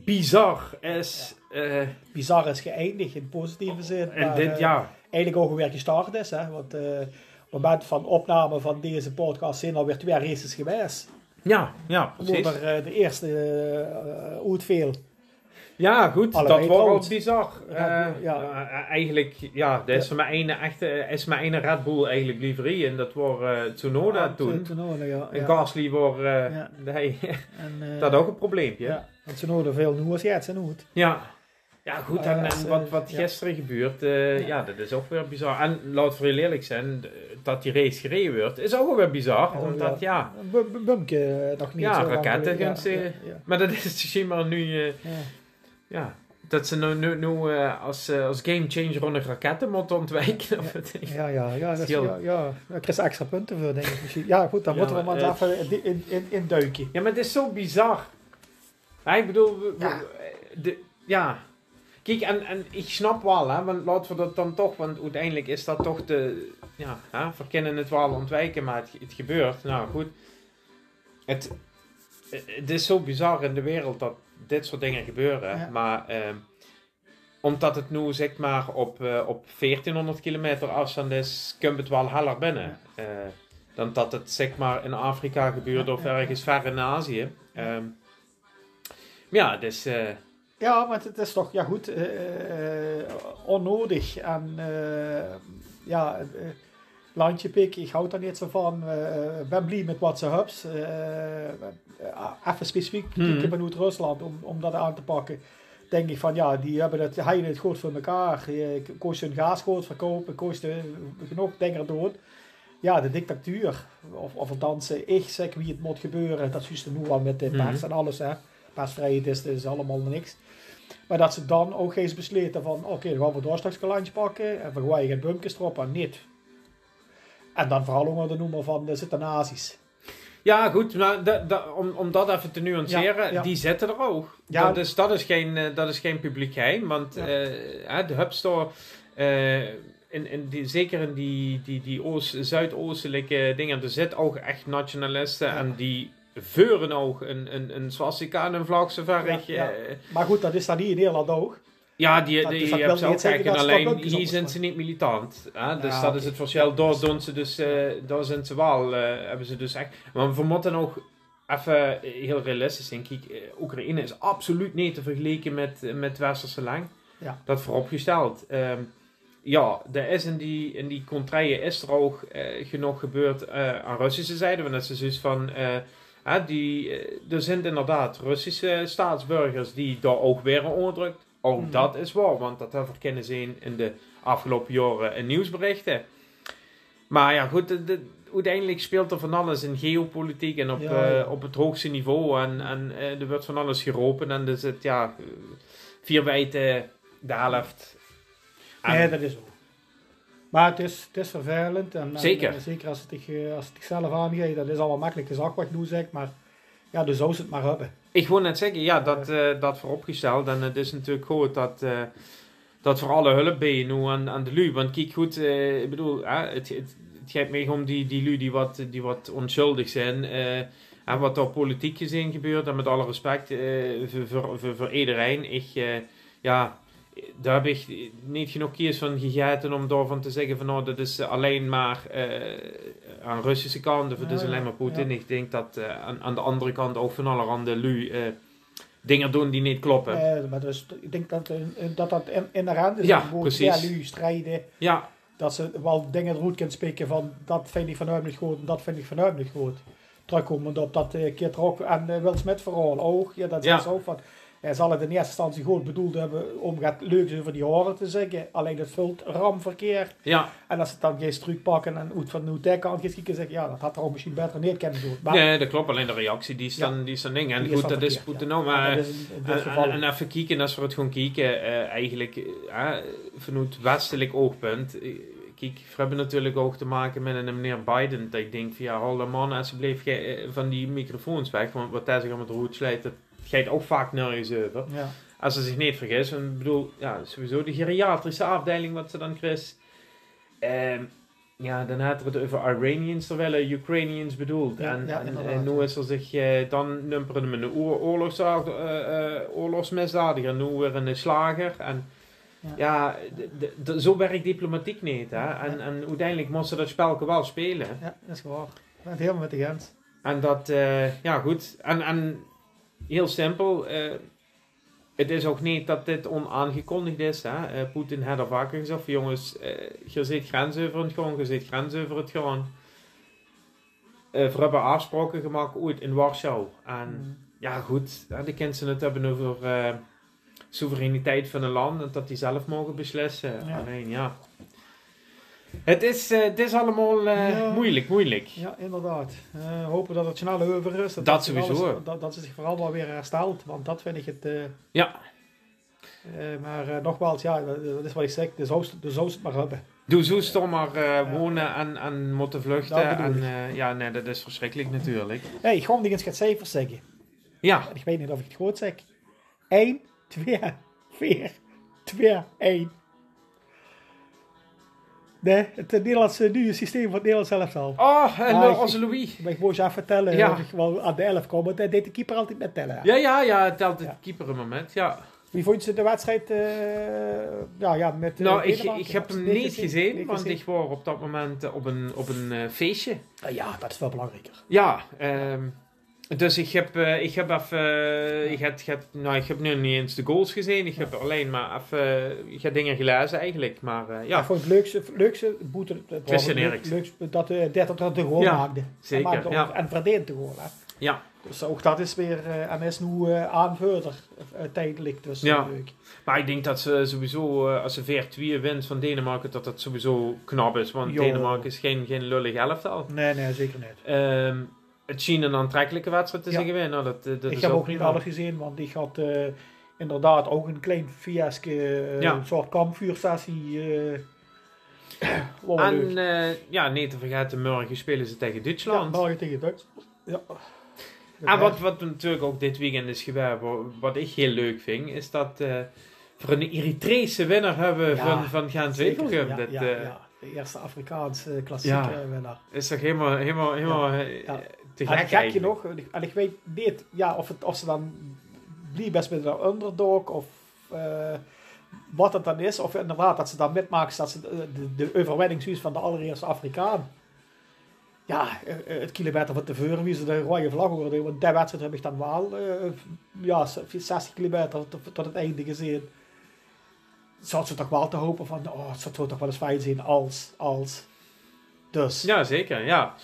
Speaker 1: bizar is. eh,
Speaker 2: bizar is geëindigd in positieve zin.
Speaker 1: en
Speaker 2: maar,
Speaker 1: dit,
Speaker 2: eh,
Speaker 1: ja,
Speaker 2: Eigenlijk ook weer gestart is. Hè? Want eh, op het moment van opname van deze podcast zijn alweer twee races geweest.
Speaker 1: ja, ja, precies.
Speaker 2: Onder eh, de eerste eh Oudveel.
Speaker 1: Ja, goed,
Speaker 2: Alle
Speaker 1: dat
Speaker 2: weet
Speaker 1: wordt wel
Speaker 2: rood.
Speaker 1: bizar. Eh,
Speaker 2: Ja, ja.
Speaker 1: eh, eigenlijk, ja, dat is mijn ene echte, is mijn ene Red Bull eigenlijk liverie en dat wordt eh, Tsunoda toen.
Speaker 2: Tsunoda, ja.
Speaker 1: En
Speaker 2: ja.
Speaker 1: Gasly wordt, eh,
Speaker 2: Ja.
Speaker 1: nee, [laughs]
Speaker 2: En, eh,
Speaker 1: dat ook een probleempje. Ja,
Speaker 2: Ja, want Tsunoda veel nu als jij het zijn hoed.
Speaker 1: ja. goed,
Speaker 2: Maar
Speaker 1: en,
Speaker 2: als,
Speaker 1: en
Speaker 2: eh,
Speaker 1: wat, wat
Speaker 2: ja.
Speaker 1: gisteren gebeurt, eh,
Speaker 2: Ja.
Speaker 1: ja. dat is ook weer bizar. En laat voor je eerlijk zijn, d- dat die race gereden wordt, is ook wel weer bizar,
Speaker 2: Ja,
Speaker 1: omdat
Speaker 2: Oh, ja.
Speaker 1: ja.
Speaker 2: Een bum- bum- Bumpje eh, nog niet
Speaker 1: Ja,
Speaker 2: zo lang
Speaker 1: raketten
Speaker 2: geleden.
Speaker 1: gaan ze-
Speaker 2: Ja, ja,
Speaker 1: Maar dat is misschien maar nu... eh,
Speaker 2: ja.
Speaker 1: Ja, dat ze nu, nu, nu eh, als, eh, als gamechanger onder raketten moeten ontwijken. Of wat ik-
Speaker 2: Ja, ja, ja, dat is,
Speaker 1: Heel-
Speaker 2: ja, ja. Daar krijg je extra punten voor, denk ik misschien. Ja, goed, dan
Speaker 1: Ja,
Speaker 2: moeten we maar
Speaker 1: eh,
Speaker 2: eens even in, in, in, in duiken.
Speaker 1: ja, maar het is zo bizar. Ja, ik bedoel, we- we-
Speaker 2: Ja.
Speaker 1: eh, de, ja. Kijk, en, en ik snap wel, hè, want laten we dat dan toch, want uiteindelijk is dat toch de. Ja, hè, we kunnen het wel ontwijken, maar het, het gebeurt. Nou goed. Het, het is zo bizar in de wereld dat dit soort dingen gebeuren.
Speaker 2: Ja.
Speaker 1: Maar ehm, omdat het nu zeg maar op, eh, op 1400 kilometer afstand is, komt het wel heller binnen. Eh, dan dat het zeg maar in Afrika gebeurt of ergens ver in Azië. Ehm, maar ja, dus. eh,
Speaker 2: Ja, want het is toch ja, goed, eh, eh, onnodig. En eh, ja, eh, landje pik, ik hou daar niet zo van. Eh, Ik ben blij met wat ze hubs. Eh, eh, even specifiek
Speaker 1: Mhm.
Speaker 2: kijken vanuit Rusland om, om dat aan te pakken. Denk ik van ja, die hebben het, hij het goed voor elkaar. Eh, Koos hun gaas goed verkopen, koos de, genoeg dingen dood. Ja, de dictatuur. Of, of althans, eh, ik zeg wie het moet gebeuren. Dat is nu al met de
Speaker 1: Mhm.
Speaker 2: pers en alles. Hè. Persvrijheid is, is allemaal niks. Maar dat ze dan ook eens besleten van... Oké, dan gaan we het doorstraks pakken. En we gooien geen bumpjes erop en niet. En dan vooral onder de noemer van... Er zitten nazi's.
Speaker 1: Ja, goed, maar da- da- om, om dat even te nuanceren,
Speaker 2: Ja, ja.
Speaker 1: die zitten er ook.
Speaker 2: Ja.
Speaker 1: Dat, is, dat, is geen, eh, dat is geen publiek geheim, want
Speaker 2: Ja.
Speaker 1: eh, hè, de Hubstore, eh, in, in die, zeker in die, die, die oost, zuidoostelijke dingen, er zitten ook echt nationalisten en die veuren ook een, een, een swastika en een vlag, zover
Speaker 2: Ja,
Speaker 1: ik... eh,
Speaker 2: ja. Maar goed, dat is dan niet in Nederland ook.
Speaker 1: ja, die,
Speaker 2: Dat-
Speaker 1: die,
Speaker 2: dus dat
Speaker 1: je
Speaker 2: wil
Speaker 1: hebt ze
Speaker 2: niet
Speaker 1: ook
Speaker 2: zeggen
Speaker 1: kijken.
Speaker 2: dat ze
Speaker 1: Alleen
Speaker 2: dat ook eens
Speaker 1: hier
Speaker 2: anders
Speaker 1: zijn ze niet militant. Hè? Dus
Speaker 2: Ja,
Speaker 1: dat
Speaker 2: oké.
Speaker 1: is het verschil. Daar doen ze dus, eh, daar zijn ze wel, eh, hebben ze dus echt. Maar we moeten ook even eh, heel realistisch zijn. Kijk, eh, Oekraïne is absoluut niet te vergelijken met, eh, met Westerse lang.
Speaker 2: Ja.
Speaker 1: Dat vooropgesteld. Ehm, ja, er is in die, in die contraien is er ook eh, genoeg gebeurd eh, aan Russische zijde. Want dat is dus van... eh, hè, die, eh, er zijn inderdaad Russische staatsburgers die daar ook weer onderdrukt. Ook
Speaker 2: Mhm.
Speaker 1: dat is waar, want dat hebben we kunnen zien in de afgelopen jaren in nieuwsberichten. Maar ja, goed, de- de- uiteindelijk speelt er van alles in geopolitiek en op,
Speaker 2: Ja, ja.
Speaker 1: eh, op het hoogste niveau. En, en eh, er wordt van alles geropen en dus het, ja, eh, vier wijten de helft. En-
Speaker 2: Nee, dat is ook. Maar het is, het is vervelend. En, en-
Speaker 1: Zeker.
Speaker 2: en zeker als het, zich, eh, als het zichzelf aangeeft. Dat is allemaal makkelijk gezag wat ik nu zeg. Maar ja, dus zou ze het maar hebben.
Speaker 1: Ik wou net zeggen, ja, dat, eh, dat vooropgesteld. En het is natuurlijk goed dat, eh, dat voor alle hulp ben je nu aan, aan de lui. Want kijk goed, eh, ik bedoel, eh, het, het, het gaat mij om die, die lui die wat, die wat onschuldig zijn. eh, en wat er politiek gezien gebeurt. En met alle respect eh, voor, voor, voor, voor iedereen. Ik, eh, ja, daar heb ik niet genoeg kies van gegeten om daarvan te zeggen van nou, dat is alleen maar eh, aan de Russische kant of het is
Speaker 2: Ja,
Speaker 1: alleen maar Poetin.
Speaker 2: ja.
Speaker 1: Ik denk dat eh, aan, aan de andere kant ook van allerhande lui eh, dingen doen die niet kloppen.
Speaker 2: Eh, maar dus, ik denk dat eh, dat, dat in, inherent is.
Speaker 1: Ja,
Speaker 2: Gewoon,
Speaker 1: precies.
Speaker 2: Ja, nu strijden.
Speaker 1: Ja,
Speaker 2: dat ze wel dingen eruit kunnen spreken van dat vind ik vanuit niet goed en dat vind ik vanuit niet goed. Terugkomend op dat eh keer ook en eh, Will Smith vooral ook. Ja, dat
Speaker 1: Ja.
Speaker 2: is dus ook van. Hij zal het in eerste instantie goed bedoeld hebben om het leuks over die horen te zeggen. Alleen dat vult ramverkeer.
Speaker 1: ja.
Speaker 2: En als ze het dan geen struik pakken en uit van de Nootijkant gaan schieten, zeggen ja, dat had er ook misschien beter neer kunnen doen. Maar
Speaker 1: nee, dat klopt. Alleen de reactie die is dan, die is dan ding. En
Speaker 2: Die is
Speaker 1: goed,
Speaker 2: dan
Speaker 1: dat is
Speaker 2: verkeerd,
Speaker 1: Poetin nou,
Speaker 2: ja,
Speaker 1: maar...
Speaker 2: dat is in, in dit
Speaker 1: En,
Speaker 2: geval.
Speaker 1: en, en even kijken, als we het gewoon kijken, eh, eigenlijk eh, eh, vanuit westelijk oogpunt. eh, kijk, we hebben natuurlijk ook te maken met een meneer Biden. Dat ik denk van ja, hou de man alsjeblieft ge- eh, van die microfoons weg. Want wat hij zich aan het roet slijt, dat gaat ook vaak nergens over.
Speaker 2: ja.
Speaker 1: Als ze zich niet vergis, want ik bedoel, ja, sowieso de geriatrische afdeling wat ze dan Chris. Ehm, ja, dan had het over Iranians terwijl er Ukrainians bedoeld.
Speaker 2: Ja,
Speaker 1: en,
Speaker 2: ja,
Speaker 1: en,
Speaker 2: inderdaad,
Speaker 1: en nu
Speaker 2: ja.
Speaker 1: is er zich eh, dan nummeren met een oor- oorlogsa- eh, eh, oorlogsmisdadiger, nu weer een slager. En
Speaker 2: Ja.
Speaker 1: ja, d- d- d- zo werkt diplomatiek niet. Hè? En, en uiteindelijk moesten ze dat spel wel spelen.
Speaker 2: ja, dat is waar. Ik ben het helemaal met de Gent.
Speaker 1: En dat, eh, ja goed. En, en heel simpel, eh, het is ook niet dat dit onaangekondigd is. Hè? Eh, Poetin had er vaker gezegd van jongens, eh, je zit grensoverend gewoon, je zit grensoverend gewoon. Eh we hebben afspraken gemaakt ooit in Warschau. En
Speaker 2: Mm.
Speaker 1: ja goed, hè, de kinderen het hebben over eh, soevereiniteit van een land en dat die zelf mogen beslissen.
Speaker 2: Ja.
Speaker 1: Alleen ja. Het is, eh, het is allemaal eh,
Speaker 2: Ja.
Speaker 1: moeilijk, moeilijk.
Speaker 2: Ja, inderdaad. Eh, hopen dat het snel over is.
Speaker 1: Dat
Speaker 2: zich
Speaker 1: sowieso.
Speaker 2: alles- dat, dat ze zich vooral wel weer herstelt. Want dat vind ik het... eh,
Speaker 1: Ja.
Speaker 2: eh, maar eh, nogmaals, ja, dat, dat is wat ik zeg. De zoust, de zoust maar hebben.
Speaker 1: Doe zo stom maar eh, wonen en, en moeten
Speaker 2: Dat
Speaker 1: vluchten.
Speaker 2: bedoel
Speaker 1: En,
Speaker 2: ik.
Speaker 1: eh, ja, nee, dat is verschrikkelijk natuurlijk.
Speaker 2: Hé, hey, ik ga hem niet eens het cijfers zeggen.
Speaker 1: Ja,
Speaker 2: Ik weet niet of ik het goed zeg. 1 [laughs] 2, 4, 2, 1. Nee, het eh, Nederlandse nieuwe systeem van het Nederlands elftal.
Speaker 1: Oh, en
Speaker 2: Maar
Speaker 1: eh,
Speaker 2: ik-
Speaker 1: onze Louis.
Speaker 2: Maar ik moest je even vertellen,
Speaker 1: Ja.
Speaker 2: dat ik wel aan de 11 kwam, want dat deed de keeper altijd met tellen.
Speaker 1: Ja, ja, ja, het telt het keeper een moment, ja.
Speaker 2: Wie vond je de wedstrijd eh, ja, ja, met eh,
Speaker 1: Nou, ik,
Speaker 2: Denemarken?
Speaker 1: ik heb hem niet gezien, want
Speaker 2: gezien.
Speaker 1: ik was op dat moment eh, op een, op een eh, feestje.
Speaker 2: Ah ja, dat is wel belangrijker.
Speaker 1: Ja, ehm, dus ik heb, eh, ik heb even, eh, ik heb, ik heb, nou, ik heb nu niet eens de goals gezien, ik heb alleen maar even, eh, ik heb dingen gelezen eigenlijk, maar eh,
Speaker 2: Ja. Ik
Speaker 1: ja,
Speaker 2: vond het leukste, leukste boete, het was
Speaker 1: Christian
Speaker 2: het leuk-
Speaker 1: Eriksen.
Speaker 2: leukste dat eh, dat dat de goal
Speaker 1: Ja,
Speaker 2: maakte. Hij
Speaker 1: zeker,
Speaker 2: maakte ook-
Speaker 1: ja.
Speaker 2: En verdedigde de goal. Hè.
Speaker 1: ja.
Speaker 2: Dus ook dat is weer, eh, en is nu eh aan verder eh, tijdelijk. Dus
Speaker 1: Ja.
Speaker 2: leuk.
Speaker 1: Maar ik denk dat ze sowieso, eh, als ze 4-2 wint van Denemarken, dat dat sowieso knap is. Want
Speaker 2: Jo.
Speaker 1: Denemarken is geen, geen lullig elftal.
Speaker 2: Nee, nee, zeker niet.
Speaker 1: Ehm, het zien een aantrekkelijke wedstrijd te
Speaker 2: Ja.
Speaker 1: zeggen winnen. Nou, dat, eh, dat
Speaker 2: ik
Speaker 1: is
Speaker 2: heb
Speaker 1: al
Speaker 2: ook niet
Speaker 1: prima.
Speaker 2: alles gezien, want ik had eh, inderdaad ook een klein fiasco, eh,
Speaker 1: Ja.
Speaker 2: een soort kampvuursessie. eh [coughs] wat wel leuk.
Speaker 1: En eh, ja, niet te vergeten, morgen spelen ze tegen Duitsland.
Speaker 2: Ja, België tegen Duitsland. Ja.
Speaker 1: En Ah, wat, wat natuurlijk ook dit weekend is gebeurd, wa- wat ik heel leuk vind, is dat eh voor een Eritrese winnaar hebben we
Speaker 2: Ja,
Speaker 1: van, van Gent
Speaker 2: Zeker,
Speaker 1: Wevelgem.
Speaker 2: ja,
Speaker 1: Dat
Speaker 2: ja,
Speaker 1: eh,
Speaker 2: ja. De eerste Afrikaanse klassieker
Speaker 1: Ja.
Speaker 2: winnaar.
Speaker 1: is toch helemaal, helemaal, helemaal eh,
Speaker 2: ja.
Speaker 1: te
Speaker 2: En
Speaker 1: gek
Speaker 2: gekje
Speaker 1: eigenlijk.
Speaker 2: nog, en ik weet niet ja, of, het, of ze dan die best met een underdog of eh, wat het dan is. Of inderdaad dat ze dan mitmaakt, dat ze de, de, de overwinning zoiets van de allereerste Afrikaan. Ja, eh, eh, het kilometer van tevoren, wie ze de rode vlag hoorden. Want die wedstrijd heb ik dan wel eh, ja, 60 kilometer tot, tot het einde gezien. Zat ze toch wel te hopen van, oh, het zou toch wel eens fijn zijn als, als. Dus.
Speaker 1: Ja, zeker. Ja,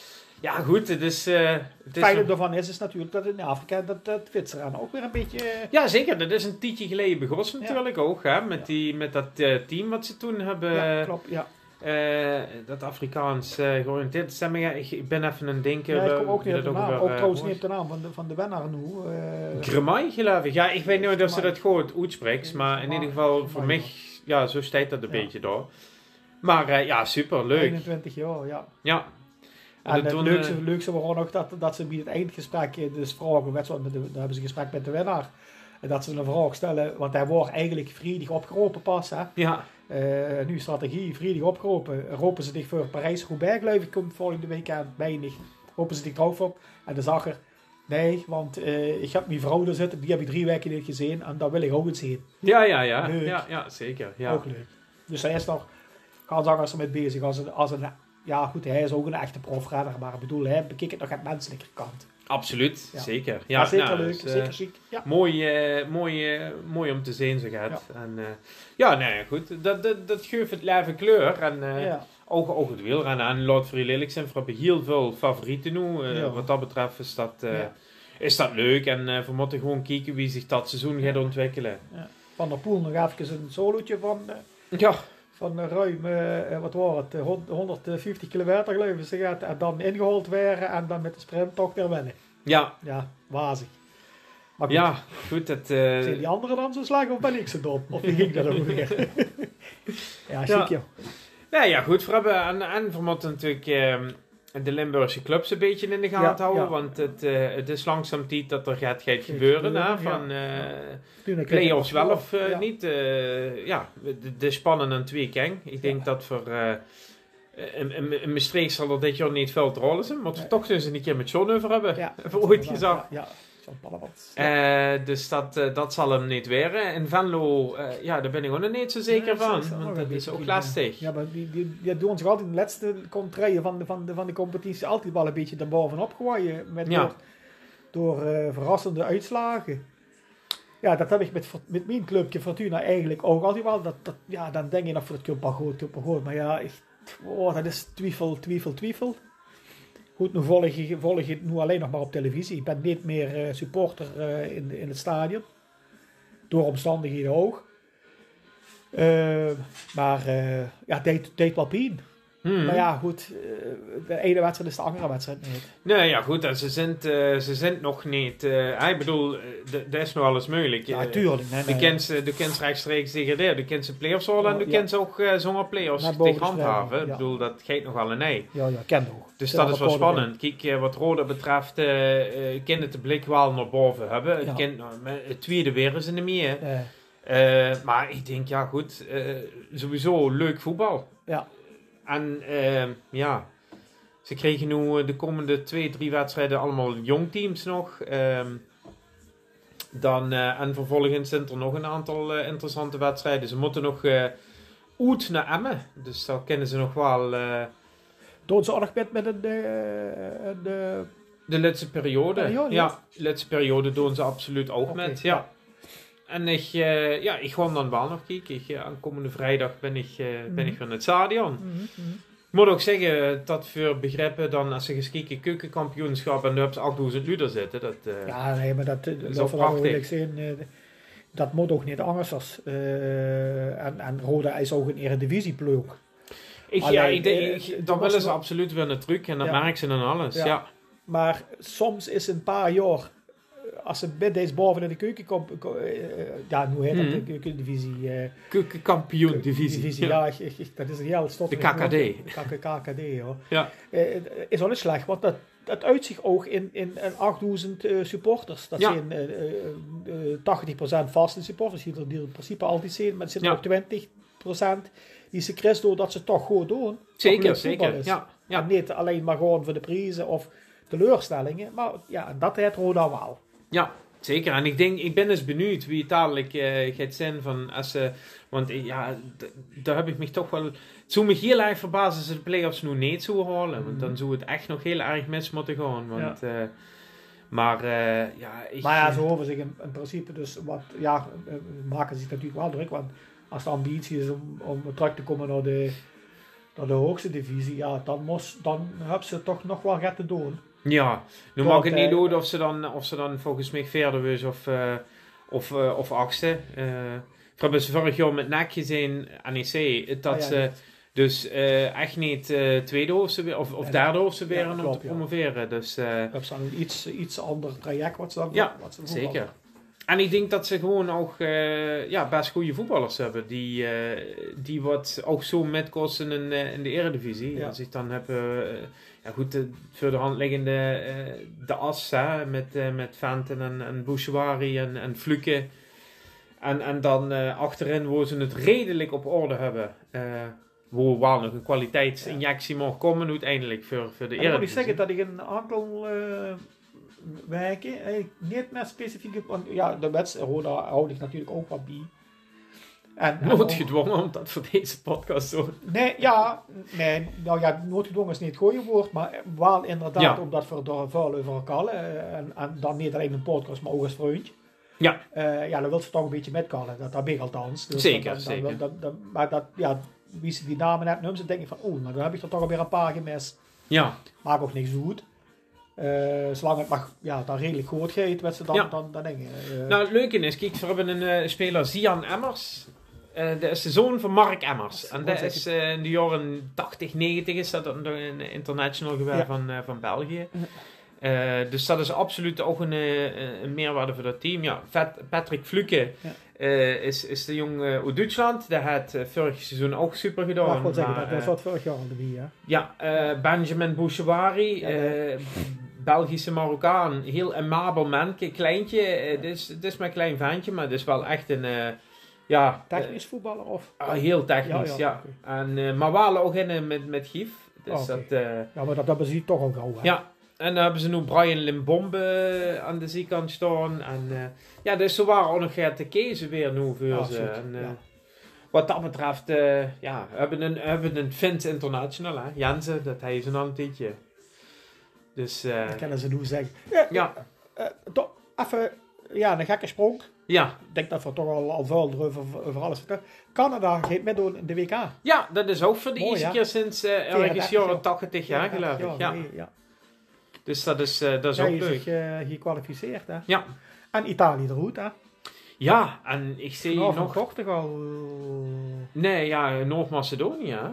Speaker 1: ja goed, het is... eh, het
Speaker 2: Het
Speaker 1: is
Speaker 2: fijne
Speaker 1: een-
Speaker 2: daarvan is, is natuurlijk dat in Afrika dat, dat Zwitserland ook weer een beetje... eh,
Speaker 1: Ja, zeker. Dat is een tijdje geleden begonnen natuurlijk ook. Hè? Met, die, met dat eh, team wat ze toen hebben.
Speaker 2: ja, klopt, ja.
Speaker 1: eh, dat Afrikaans eh georiënteerd stemmingen. Ik, ik ben even aan het denken.
Speaker 2: Ja, ik
Speaker 1: eh,
Speaker 2: kom ook
Speaker 1: wie
Speaker 2: niet op de
Speaker 1: dat
Speaker 2: naam.
Speaker 1: weer,
Speaker 2: Ook
Speaker 1: eh,
Speaker 2: trouwens
Speaker 1: hoort.
Speaker 2: niet op de naam van de, van de winnaar nu. eh,
Speaker 1: Kremai, geloof ik. Ja, ik weet niet of ze dat goed uitspreekt. Maar in ieder geval, voor
Speaker 2: Kremai,
Speaker 1: mij, ja, zo staat dat een beetje door. Maar eh, ja, super, leuk.
Speaker 2: 21 jaar, ja.
Speaker 1: Ja.
Speaker 2: En Ah,
Speaker 1: dat
Speaker 2: het
Speaker 1: doen,
Speaker 2: leukste,
Speaker 1: eh,
Speaker 2: leukste was gewoon nog dat, dat ze bij het eindgesprek, eh, dus vragen, met zo'n- met de- daar hebben ze een gesprek met de winnaar. En dat ze een vraag stellen, want hij wordt eigenlijk vredig opgeroepen pas. Hè.
Speaker 1: Ja,
Speaker 2: Eh, nu strategie, vredig opgeroepen. Ropen ze zich voor Parijs-Roubaix, geloof ik, komt volgende week aan. Weinig. Ropen ze zich drauf op. En de zag er, nee, want eh, ik heb mijn vrouw er zitten, die heb ik drie weken niet gezien. En dat wil ik ook eens zien.
Speaker 1: ja, ja, ja.
Speaker 2: Leuk.
Speaker 1: Ja, ja zeker. Ja.
Speaker 2: Ook leuk. Dus hij is nog, Kaanzanger is er mee bezig. Als een, als een, ja goed, hij is ook een echte profrenner, maar ik bedoel, hij bekijkt het nog aan de menselijke kant.
Speaker 1: Absoluut,
Speaker 2: Ja.
Speaker 1: zeker. Ja,
Speaker 2: Ja, zeker
Speaker 1: nou,
Speaker 2: leuk,
Speaker 1: dus, eh,
Speaker 2: zeker ziek. Ja.
Speaker 1: Mooi, eh, mooi, eh, mooi om te zien, zo gaat. Ja, en, eh, ja nou ja, goed. Dat, dat, dat geeft het leven kleur. En eh,
Speaker 2: Ja.
Speaker 1: ook, ook het wielrennen. En Lord Free Lelijk zijn voor hebben heel veel favorieten nu. Eh,
Speaker 2: Ja.
Speaker 1: Wat dat betreft is dat, eh,
Speaker 2: Ja.
Speaker 1: is dat leuk. En eh, we moeten gewoon kijken wie zich dat seizoen gaat ontwikkelen.
Speaker 2: Van der Poel nog even een solootje van, eh,
Speaker 1: Ja,
Speaker 2: van eh, ruim, eh, eh, wat was het, eh, hond- 150 kilometer geloof ik. Ze gaat en dan ingehold werden en dan met de sprint toch weer winnen.
Speaker 1: ja,
Speaker 2: Ja, wazig. Maar goed,
Speaker 1: ja. Goed, dat... eh,
Speaker 2: zijn die anderen dan zo slag of ben ik ze dom? Of wie ging dat ook
Speaker 1: [laughs]
Speaker 2: weer? ja,
Speaker 1: Ja.
Speaker 2: ziek joh.
Speaker 1: Nou ja, goed, we hebben en, en we moeten natuurlijk ehm, de Limburgse clubs een beetje in de gaten
Speaker 2: Ja,
Speaker 1: houden.
Speaker 2: ja.
Speaker 1: Want het, eh, het is langzaam tijd dat er gaat, gaat gebeuren. hè,
Speaker 2: gebeuren,
Speaker 1: van eh,
Speaker 2: Toen ik-
Speaker 1: play-offs wel of eh,
Speaker 2: Ja.
Speaker 1: niet. eh, ja, de, de spannen en twee keng. Ik denk dat voor... eh in, in, in Maastricht zal er dit jaar niet veel te rollen zijn. Maar
Speaker 2: Nee.
Speaker 1: toch zullen ze een keer met John over hebben. [laughs]
Speaker 2: Ja,
Speaker 1: Hebben we ooit gezag.
Speaker 2: Ja, ja. Zo'n pallenband.
Speaker 1: Eh, dus dat, eh, dat zal hem niet weren. En Venlo, eh, ja, daar ben ik ook nog niet zo zeker
Speaker 2: Ja,
Speaker 1: van.
Speaker 2: is nog
Speaker 1: want
Speaker 2: een
Speaker 1: dat is
Speaker 2: beetje
Speaker 1: ook
Speaker 2: kriebelen.
Speaker 1: lastig.
Speaker 2: Ja, maar die, die, die doen zich altijd in de laatste contraien van de, van, de, van de competitie altijd wel een beetje daarbovenop gooien. Met
Speaker 1: Ja.
Speaker 2: Door, door eh, verrassende uitslagen. Ja, dat heb ik met, Fort- met mijn clubje Fortuna eigenlijk ook altijd wel. Dat, dat, ja, dan denk je nog voor het Kumpa goed, Kumpa goed. Maar ja, echt, oh, dat is twijfel, twijfel, twijfel. Goed, nu volg je, volg je het nu alleen nog maar op televisie. Ik ben niet meer eh, supporter eh, in, in het stadion. Door omstandigheden ook. Eh, maar eh, ja, het deed, deed wel pijn.
Speaker 1: Hmm.
Speaker 2: Maar Nou ja, goed. eh, de ene wedstrijd is de andere wedstrijd niet.
Speaker 1: Nee, ja goed, en ze zijn, eh, ze zijn nog niet. eh, ik bedoel, eh, d- dat is nog alles mogelijk.
Speaker 2: Ja,
Speaker 1: Eh,
Speaker 2: tuurlijk. Nee,
Speaker 1: Je
Speaker 2: nee.
Speaker 1: kent ze- je kent ze rechtstreeks degraderen, je kent ze play-offs halen en je
Speaker 2: Ja.
Speaker 1: kent ze ook eh, zonder play-offs
Speaker 2: Naar
Speaker 1: tegen
Speaker 2: boven
Speaker 1: handhaven.
Speaker 2: springen,
Speaker 1: Ik
Speaker 2: ja.
Speaker 1: bedoel, dat geeft nog wel een nee.
Speaker 2: Ja, ja, kent ook.
Speaker 1: Dus
Speaker 2: Zijn
Speaker 1: dat is wel
Speaker 2: allemaal code
Speaker 1: spannend. Kijk, eh, wat Roda betreft, eh eh, kunnen het de blik wel naar boven hebben.
Speaker 2: Ja.
Speaker 1: Het, kind, nou, met- het tweede weer is in de meer.
Speaker 2: binnen. Eh,
Speaker 1: Eh, maar ik denk, ja goed, eh, sowieso leuk voetbal.
Speaker 2: Ja.
Speaker 1: En eh, ja, ze kregen nu eh, de komende twee, drie wedstrijden allemaal jong teams nog. Ehm, dan, eh, en vervolgens zijn er nog een aantal eh, interessante wedstrijden. Ze moeten nog eh uit naar Emmen. Dus daar kennen ze nog wel... eh,
Speaker 2: Doen ze ook nog met, met een, eh, een, eh,
Speaker 1: de laatste periode.
Speaker 2: Periode,
Speaker 1: ja,
Speaker 2: ja.
Speaker 1: de laatste periode doen ze absoluut ook met. Ja. En ik, eh, ja, ik ga hem dan wel nog kijken. Ik, eh, aankomende vrijdag ben ik, eh, ben
Speaker 2: Mhm.
Speaker 1: ik weer in het stadion.
Speaker 2: mhm, mhm.
Speaker 1: Ik moet ook zeggen dat voor begrippen dan als ze geskikken keukenkampioenschap en daar hebben ze 8000 luider zitten. Dat, eh,
Speaker 2: Ja, nee, maar dat, dat,
Speaker 1: is
Speaker 2: dat
Speaker 1: ook
Speaker 2: vooral
Speaker 1: prachtig.
Speaker 2: eerlijk zijn. eh, dat moet ook niet anders als. eh, en, en Roda is ook een eredivisieploeg.
Speaker 1: ik, ja,
Speaker 2: Alleen,
Speaker 1: ik denk,
Speaker 2: eh,
Speaker 1: ik-
Speaker 2: het
Speaker 1: dan
Speaker 2: was
Speaker 1: willen ze
Speaker 2: wel-
Speaker 1: absoluut weer een truc en dat
Speaker 2: Ja.
Speaker 1: merken ze dan alles. Ja.
Speaker 2: Maar soms is een paar jaar, eh, als ze met deze boven in de keuken komt, ko- eh, eh, ja, hoe heet dat,
Speaker 1: Mhm.
Speaker 2: de keukendivisie. eh
Speaker 1: Keukenkampioen divisie.
Speaker 2: divisie, ja, ik- ik- ik- dat is een heel stot.
Speaker 1: De KKD.
Speaker 2: KK KKD, hoor.
Speaker 1: Ja.
Speaker 2: Eh, eh, is wel eens slecht, want dat, dat uitzicht ook in, in, in 8000 eh, supporters. Dat
Speaker 1: Ja.
Speaker 2: zijn eh, eh, eh, 80% vaste supporters, die er, die er in principe altijd zijn, maar er zitten ook 20% die ze Christo dat ze toch goed doen. Toch
Speaker 1: Zeker,
Speaker 2: leuk voetbal
Speaker 1: zeker,
Speaker 2: is.
Speaker 1: ja,
Speaker 2: En niet alleen maar gewoon voor de prijzen of teleurstellingen, maar ja, en dat heeft Roda wel.
Speaker 1: Ja, zeker. En ik denk, ik ben eens benieuwd wie het dadelijk eh, gaat zijn van als ze. Want eh, ja, d- daar heb ik me toch wel. Het zou me heel erg verbazen als ze de play-offs nu niet zouden halen. Want dan zou het echt nog heel erg mis moeten gaan. Want, eh, maar eh, ja, ik.
Speaker 2: Maar ja, ze horen zich in, in principe dus wat, ja, eh, maken zich natuurlijk wel druk, want als de ambitie is om, om terug te komen naar de, naar de hoogste divisie, ja, dan, moest, dan hebben ze toch nog wel retten doen.
Speaker 1: Ja, nu
Speaker 2: Want,
Speaker 1: mag ik het niet
Speaker 2: eh,
Speaker 1: doen of ze dan, of ze dan volgens mij verder is of, eh of, eh, of achtste. Eh ik heb dus vorig jaar met NAC gezien, NEC, eh, dat
Speaker 2: Ah, ja,
Speaker 1: ze
Speaker 2: ja.
Speaker 1: dus eh, echt niet eh, tweede of, ze, weer- of, of
Speaker 2: Nee,
Speaker 1: derde of ze
Speaker 2: ja,
Speaker 1: weer om
Speaker 2: dat
Speaker 1: te
Speaker 2: klopt, ja.
Speaker 1: promoveren. Dus, eh,
Speaker 2: Dat is dan een iets, iets ander traject wat ze dan
Speaker 1: ja,
Speaker 2: wat ze voetballen.
Speaker 1: zeker. En ik denk dat ze gewoon ook eh, ja, best goede voetballers hebben. Die, eh, die wat ook zo met kosten in, eh, in de eredivisie.
Speaker 2: Ja.
Speaker 1: Als ik dan heb... eh, ja goed, de voor de hand liggende eh, de as hè, met, eh met Fenton en, en Bouchouari en, en Fluke. En, en dan eh, achterin waar ze het redelijk op orde hebben. eh waar wel nog een kwaliteitsinjectie mag komen uiteindelijk voor, voor
Speaker 2: En dan
Speaker 1: de
Speaker 2: moet ik
Speaker 1: eredivisie.
Speaker 2: zeggen dat ik een aantal eh, wijken, eh, niet meer specifiek, heb, want ja, de wedstrijd, Roda houd ik natuurlijk ook wat bij.
Speaker 1: [laughs]
Speaker 2: En, en
Speaker 1: Noodgedwongen, om dat voor deze podcast zo
Speaker 2: Nee, ja, nee, nou ja, noodgedwongen is niet het goede woord, maar wel inderdaad,
Speaker 1: Ja.
Speaker 2: omdat we er vuil over kallen. eh, En, en dan niet alleen een podcast, maar ook als vriendje.
Speaker 1: Ja.
Speaker 2: Eh, ja, dan wil ze toch een beetje metkallen, dat, dat ben ik althans. Dus
Speaker 1: Zeker,
Speaker 2: dat, dat- dat-
Speaker 1: zeker.
Speaker 2: dat- dat- maar dat, ja, wie ze die namen net noemt, dan denk ik van, oeh, maar dan heb ik er toch alweer een paar gemist.
Speaker 1: Ja.
Speaker 2: Maakt ook niks goed. Eh, zolang het mag, ja, dan redelijk goed gaat, wat ze dan,
Speaker 1: Ja.
Speaker 2: dan, dan, denken. eh,
Speaker 1: Nou, het leuke is, kijk, we hebben een eh, speler, Zian Emmers. Eh dat is de zoon van Mark Emmers. En dat is eh, in de jaren 80, 90 is dat een, een international geweest
Speaker 2: Ja.
Speaker 1: van, eh, van België. Eh, dus dat is absoluut ook een, eh, een meerwaarde voor dat team. Ja, Vet- Patrick Fluke
Speaker 2: Ja.
Speaker 1: eh, is, is de jong eh, uit Duitsland. Dat had eh, vorig seizoen ook super gedaan.
Speaker 2: mag ik wel zeggen,
Speaker 1: maar,
Speaker 2: dat, dat
Speaker 1: eh,
Speaker 2: zat vorig jaar al de wie, hè.
Speaker 1: ja, eh, Benjamin Bouchouari,
Speaker 2: Ja,
Speaker 1: eh, Belgische Marokkaan. Heel amabel man, Ke- kleintje. eh, dit, is, dit is mijn klein ventje, maar dit is wel echt een... eh, ja, eh,
Speaker 2: Technisch voetballer of?
Speaker 1: ah, heel technisch,
Speaker 2: Ja,
Speaker 1: ja.
Speaker 2: ja,
Speaker 1: En, eh, maar wel ook in eh, met, met gif. Dus
Speaker 2: Oké.
Speaker 1: dat... eh,
Speaker 2: Ja, maar dat hebben ze toch al gauw, hè.
Speaker 1: ja, en dan hebben ze nu Brian Limbombe eh, aan de zijkant staan. En eh, ja, dus ze waren ook nog eh, te kiezen weer nu voor
Speaker 2: Ah,
Speaker 1: ze.
Speaker 2: goed,
Speaker 1: En, eh,
Speaker 2: ja.
Speaker 1: Wat dat betreft, eh, ja, hebben een, hebben een Fins International, hè. Jensen, dat hij is een al een tijdje. Dus, eh,
Speaker 2: Dat kennen ze nu zeggen. Ja.
Speaker 1: Ja.
Speaker 2: eh, toch even, ja, een gekke sprong.
Speaker 1: ja.
Speaker 2: Ik denk dat we toch al, al vuil erover over alles vertellen. Canada gaat meedoen in de WK.
Speaker 1: ja, dat is ook voor de
Speaker 2: Mooi,
Speaker 1: eerste
Speaker 2: hè?
Speaker 1: keer sinds eh ergens
Speaker 2: 34
Speaker 1: jaren
Speaker 2: jaar.
Speaker 1: 80 jaar geloof ik. Ja.
Speaker 2: nee, ja.
Speaker 1: Dus dat is, eh, dat is
Speaker 2: Zij
Speaker 1: ook
Speaker 2: is
Speaker 1: leuk.
Speaker 2: zich eh, gekwalificeerd, hè.
Speaker 1: Ja.
Speaker 2: En Italië eruit, hè.
Speaker 1: Ja, en ik zie
Speaker 2: Vanavond
Speaker 1: nog...
Speaker 2: Portugal.
Speaker 1: Nee, ja, Noord-Macedonië. hè?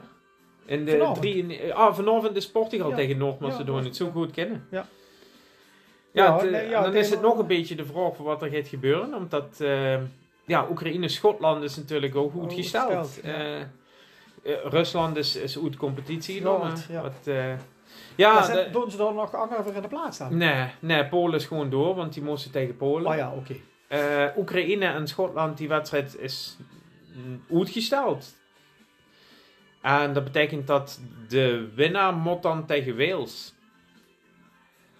Speaker 1: In de
Speaker 2: Vanavond.
Speaker 1: Drie, ah, vanavond is Portugal
Speaker 2: Ja.
Speaker 1: tegen Noord-Macedonië. het zo goed kennen.
Speaker 2: Ja.
Speaker 1: Ja,
Speaker 2: Ja,
Speaker 1: het, eh,
Speaker 2: nee, ja,
Speaker 1: dan
Speaker 2: het
Speaker 1: is het
Speaker 2: ene-
Speaker 1: nog een beetje de vraag voor wat er gaat gebeuren. Omdat eh, ja, Oekraïne-Schotland is natuurlijk ook goed
Speaker 2: Oh, Goed
Speaker 1: gesteld.
Speaker 2: gesteld,
Speaker 1: Eh, eh, Rusland is, is uit competitie genomen.
Speaker 2: Schotland, ja.
Speaker 1: Wat, eh,
Speaker 2: Ja,
Speaker 1: ja,
Speaker 2: zijn-
Speaker 1: de-
Speaker 2: doen ze dan nog anderen voor in de plaats staan? Oh,
Speaker 1: nee, nee, Polen is gewoon door, want die moesten tegen Polen.
Speaker 2: Maar ja, oké.
Speaker 1: eh, Oekraïne en Schotland, die wedstrijd is mm, uitgesteld. En dat betekent dat de winnaar moet dan tegen Wales.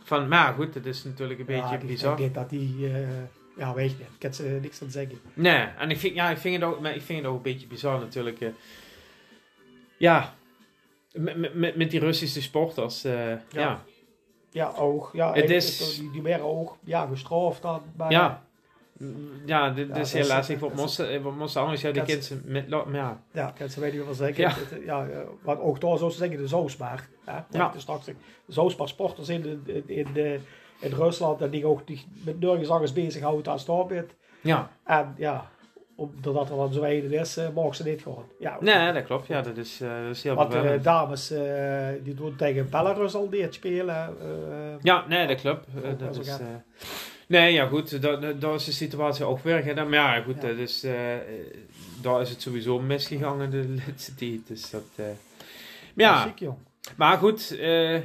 Speaker 1: Van, maar goed, het is natuurlijk een beetje
Speaker 2: ik
Speaker 1: bizar.
Speaker 2: denk dat die... eh, ja, weet je, ik kan ze niks aan zeggen.
Speaker 1: Nee, en ik vind, ja, ik vind, het, ook, maar ik vind het ook een beetje bizar natuurlijk. eh. ja, met, met, met die Russische sporters. eh, ja.
Speaker 2: Ja, oog. Ja,
Speaker 1: Het
Speaker 2: eigenlijk
Speaker 1: is-
Speaker 2: toch Die, die werden ook ja, gestraft. Dan, maar
Speaker 1: Ja. Ja,
Speaker 2: Ja,
Speaker 1: dit dit is
Speaker 2: dat is-
Speaker 1: helaas ik wat
Speaker 2: dat is-
Speaker 1: moest eh, wat moest anders. Ja, die
Speaker 2: Dat is-
Speaker 1: kinderen met... lo- maar Ja.
Speaker 2: Ja, ik kan ze weet niet wat zeggen.
Speaker 1: Ja.
Speaker 2: Het- ja, eh, wat ook daar zo zeggen, de zoosbaar. Hè? Want
Speaker 1: Ja.
Speaker 2: het is straks de zoosbaar sporters in, de, in, in, de- in Rusland. En die ook die met nergens anders bezighoudt als daar bent.
Speaker 1: Ja.
Speaker 2: En ja, omdat er dan zo'n heden is, eh, mogen ze niet gewoon. Ja,
Speaker 1: Nee, dat klopt. Ja, dat is, eh, dat is heel
Speaker 2: Want de
Speaker 1: vervelend.
Speaker 2: dames eh, die doen tegen Belarus al dit spelen. eh,
Speaker 1: Ja, nee, dat klopt. Eh,
Speaker 2: Ook
Speaker 1: dat
Speaker 2: wel
Speaker 1: is,
Speaker 2: zo gaat.
Speaker 1: eh, nee, ja, goed. da- da- Daar is de situatie ook weer. gedaan. Maar ja, goed. Dat is, eh, eh, daar is het sowieso misgegaan in de [laughs] laatste tijd. Dus dat... eh, maar ja.
Speaker 2: ja, ziek, jong.
Speaker 1: Maar goed, eh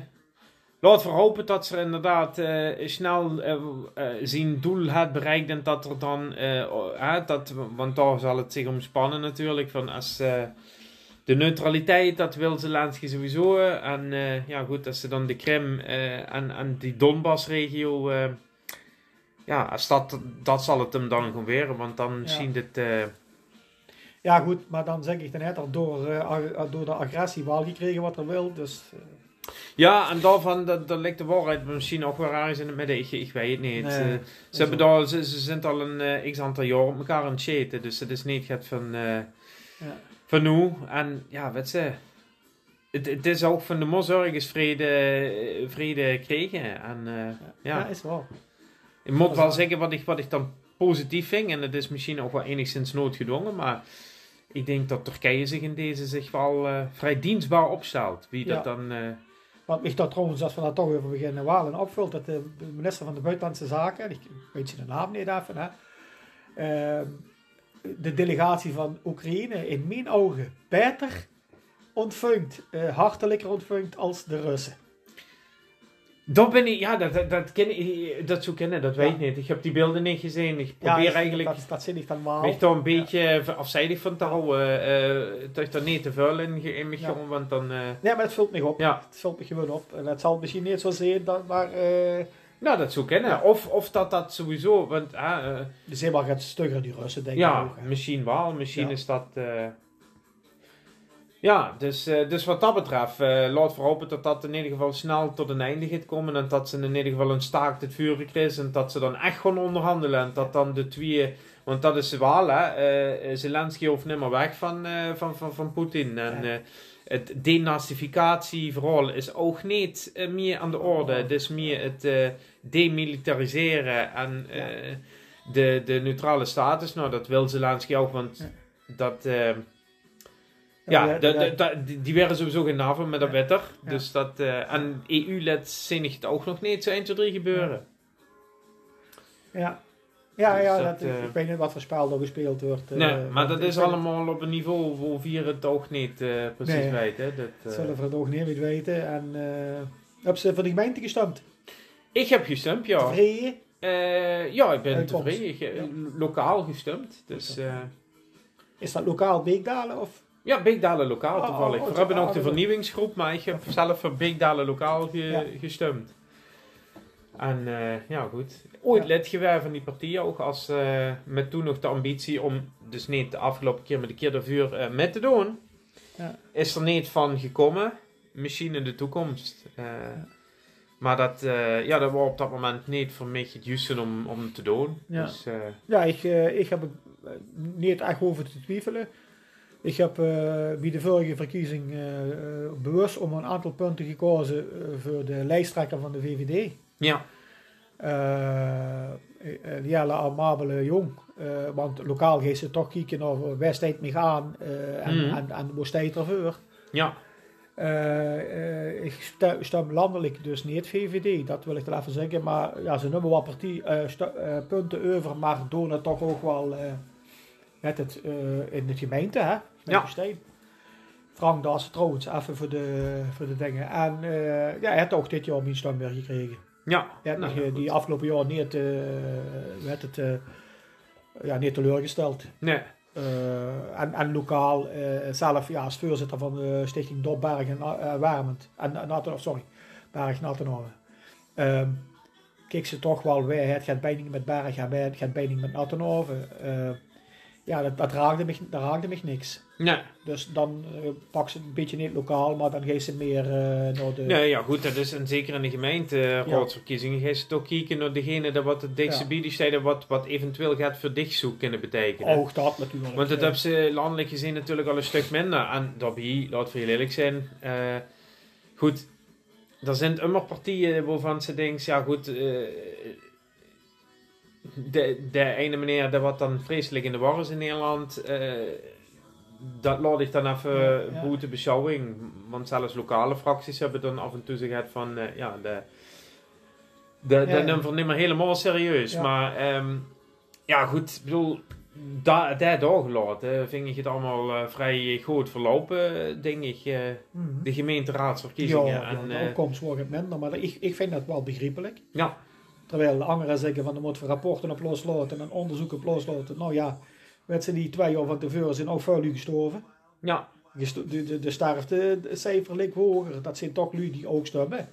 Speaker 1: laten we hopen dat ze inderdaad eh, snel eh, eh, zijn doel had bereikt. En dat er dan, eh, o- eh, dat, want daar zal het zich om spannen natuurlijk. Van als, eh, de neutraliteit, dat wil Zelensky sowieso. eh, En eh, ja, goed, als ze dan de Krim eh, en, en die Donbass-regio. eh, ja, als dat, dat zal het hem dan gewoon weer. Want dan
Speaker 2: Ja.
Speaker 1: zien dit. eh,
Speaker 2: Ja, goed, maar dan zeg ik dan net al door, eh, ag- door de agressie wel gekregen wat er wil. Dus eh,
Speaker 1: Ja, en daarvan, dat, dat lijkt de waarheid misschien ook wel ergens in het midden. Ik, ik weet het niet.
Speaker 2: Nee,
Speaker 1: Eh,
Speaker 2: dat
Speaker 1: ze, hebben daar, ze, ze zijn al een eh, x aantal jaar op elkaar aan het shaten. Dus het is niet gaat van, eh,
Speaker 2: Ja.
Speaker 1: van nu. En ja, wat ze... Het, het is ook van de mos ergens vrede, eh, vrede kregen. En, eh, ja.
Speaker 2: ja, is wel.
Speaker 1: Ik moet wel zeggen wat ik, wat ik dan positief vind. En het is misschien ook wel enigszins noodgedwongen. Maar ik denk dat Turkije zich in deze zich wel eh, vrij dienstbaar opstelt. Wie dat
Speaker 2: Ja.
Speaker 1: dan... eh,
Speaker 2: Wat ik dat trouwens, als we daar toch even beginnen, wel en opvult, dat de minister van de Buitenlandse Zaken, en ik weet je de naam niet even, hè, ehm, de delegatie van Oekraïne in mijn ogen beter ontvangt, eh, hartelijker ontvangt als de Russen.
Speaker 1: Dat ben ik, ja, dat, dat, dat, ken ik, dat zou kennen, dat weet ik niet. Ik heb die beelden niet gezien. Ik probeer
Speaker 2: dat-
Speaker 1: eigenlijk
Speaker 2: Dat, dat zit ik dan maar.
Speaker 1: mij daar een beetje eh, afzijdig van te houden. eh dat ik daar niet te vuil in, ge- in me
Speaker 2: Ja.
Speaker 1: gewoon, want dan... eh,
Speaker 2: Nee, maar het vult me op.
Speaker 1: Ja.
Speaker 2: Het vult me gewoon op. En het zal misschien niet zo zijn, dat, maar eh
Speaker 1: nou, dat zou kennen. Of, of dat dat sowieso, want... ah, eh,
Speaker 2: de zeebal gaat stugger, die Russen, denk ik
Speaker 1: ja,
Speaker 2: ook.
Speaker 1: misschien wel. Misschien
Speaker 2: Ja.
Speaker 1: is dat... eh, ja, dus, eh, dus wat dat betreft, eh laat we hopen dat dat in ieder geval snel tot een einde gaat komen. En dat ze in ieder geval een staakt het vuren is. En dat ze dan echt gewoon onderhandelen. En dat dan de twee. Want dat is wel, hè. eh, eh, Zelensky hoeft nimmer weg van, eh, van, van, van Poetin. En eh, het denazificatieverhaal is ook niet eh, meer aan de orde. Het is meer het eh, demilitariseren en eh, de, de neutrale status. Nou, dat wil Zelensky ook, want dat. eh, ja,
Speaker 2: Ja,
Speaker 1: de-
Speaker 2: ja.
Speaker 1: de- da- die die werden sowieso geen NAVO, maar dat werd er. Dus dat, eh, en EU-led zinnig het ook nog niet zo 1, 2, 3 gebeuren.
Speaker 2: Ja, ja,
Speaker 1: Dus
Speaker 2: ja
Speaker 1: dat,
Speaker 2: dat,
Speaker 1: eh,
Speaker 2: ik weet niet wat voor spel er gespeeld wordt. eh,
Speaker 1: nee, maar
Speaker 2: want
Speaker 1: dat
Speaker 2: ik
Speaker 1: is
Speaker 2: weet-
Speaker 1: allemaal op een niveau waar vier het ook niet eh, precies
Speaker 2: Nee.
Speaker 1: weet. Hè? Dat, eh,
Speaker 2: Zullen we het ook niet meer weten. En eh hebben ze voor de gemeente gestemd?
Speaker 1: ik heb gestemd, ja.
Speaker 2: Tevreden?
Speaker 1: Eh, ja, ik ben
Speaker 2: Uitkomst.
Speaker 1: tevreden. Ik, eh, Lokaal gestemd. Dus, eh,
Speaker 2: Is dat lokaal Beekdalen? Of?
Speaker 1: ja, Beekdalen lokaal
Speaker 2: Oh, oh,
Speaker 1: toevallig.
Speaker 2: oh,
Speaker 1: we hebben ook de
Speaker 2: dat-
Speaker 1: vernieuwingsgroep, maar ik heb zelf voor Beekdalen lokaal ge- gestemd. En eh, ja, goed. Ooit lid geweest van die partij ook, als, eh, met toen nog de ambitie om, dus niet de afgelopen keer, maar de keer daarvoor eh mee te doen.
Speaker 2: Ja.
Speaker 1: Is er niet van gekomen. Misschien in de toekomst. Eh, Maar dat, eh, ja, dat was op dat moment niet voor mij het juiste om, om te doen.
Speaker 2: Ja.
Speaker 1: Dus, eh,
Speaker 2: Ja, ik, eh, ik heb er eh, niet echt over te twijfelen. Ik heb eh, bij de vorige verkiezing eh, eh, bewust om een aantal punten gekozen eh, voor de lijsttrekker van de VVD.
Speaker 1: ja.
Speaker 2: eh eh, Jelle Amabele Jong. Eh, want lokaal geeft ze toch kieken naar waar staat mij aan eh, en,
Speaker 1: Mhm.
Speaker 2: en, en waar staat ervoor.
Speaker 1: Ja.
Speaker 2: Eh, eh, ik sta- stem landelijk dus niet VVD, dat wil ik wel even zeggen. Maar ja, ze noemen wat partij, eh, sta- eh, punten over, maar doen het toch ook wel eh, met het, eh, in de gemeente, hè? Met
Speaker 1: Ja.
Speaker 2: de steen. Frank Daas trouwens, even voor de, voor de dingen. En eh, ja, hij heeft ook dit jaar mijn stem weer gekregen.
Speaker 1: Ja,
Speaker 2: Hij heeft
Speaker 1: nou,
Speaker 2: nog, eh,
Speaker 1: ja,
Speaker 2: die afgelopen jaar niet, eh, hoe heet het, eh, ja, niet teleurgesteld.
Speaker 1: Nee.
Speaker 2: Eh, en, en lokaal eh, zelf ja, als voorzitter van de stichting Dorpberg en eh Warmend. En, en Natten- of sorry, Berg Nattenhoven. Ehm keek ze toch wel weer. Het gaat bijna niet met Berg en wij- het gaat bijna niet met Nattenhoven. Eh, ja, dat, dat, raakte me, dat raakte me niks.
Speaker 1: Nee.
Speaker 2: Dus dan eh, pak ze een beetje niet lokaal, maar dan geeft ze meer eh, naar de...
Speaker 1: Nee, ja, goed, dat is en zeker in de gemeenteraadsverkiezingen. Ga je toch kijken naar degene dat wat het dichtste
Speaker 2: Ja.
Speaker 1: bij die steden, wat, wat eventueel gaat voor dichtzoek kunnen betekenen.
Speaker 2: Ook dat natuurlijk. Eh,
Speaker 1: Want dat
Speaker 2: Ja.
Speaker 1: hebben ze landelijk gezien natuurlijk al een stuk minder. En daarbij, laten we heel eerlijk zijn. eh, goed, er zijn immer partijen waarvan ze denken, ja goed, eh, de, de ene meneer dat wat dan vreselijk in de war is in Nederland, eh, dat laat ik dan even
Speaker 2: Ja, ja.
Speaker 1: boete beschouwing. Want zelfs lokale fracties hebben dan af en toe zich het van, eh, ja, de, de, de
Speaker 2: Ja, ja.
Speaker 1: nummer niet meer helemaal serieus.
Speaker 2: Ja.
Speaker 1: Maar ehm, ja, goed, ik bedoel, da, dat doorgelaten vind ik het allemaal eh, vrij goed verlopen, eh, denk ik. eh,
Speaker 2: Mhm.
Speaker 1: De gemeenteraadsverkiezingen.
Speaker 2: Ja, nou,
Speaker 1: en,
Speaker 2: en,
Speaker 1: eh,
Speaker 2: de opkomst wordt het minder, maar ik, ik vind dat wel begrijpelijk.
Speaker 1: Ja.
Speaker 2: Terwijl de anderen zeggen van er moeten rapporten op loslaten en onderzoeken op loslaten. Nou ja, werd ze die twee jaar van tevoren zijn ook vuil gestorven.
Speaker 1: Ja.
Speaker 2: Gesto- De, de, de sterftecijfer ligt hoger. Dat zijn toch lui die ook stemmen.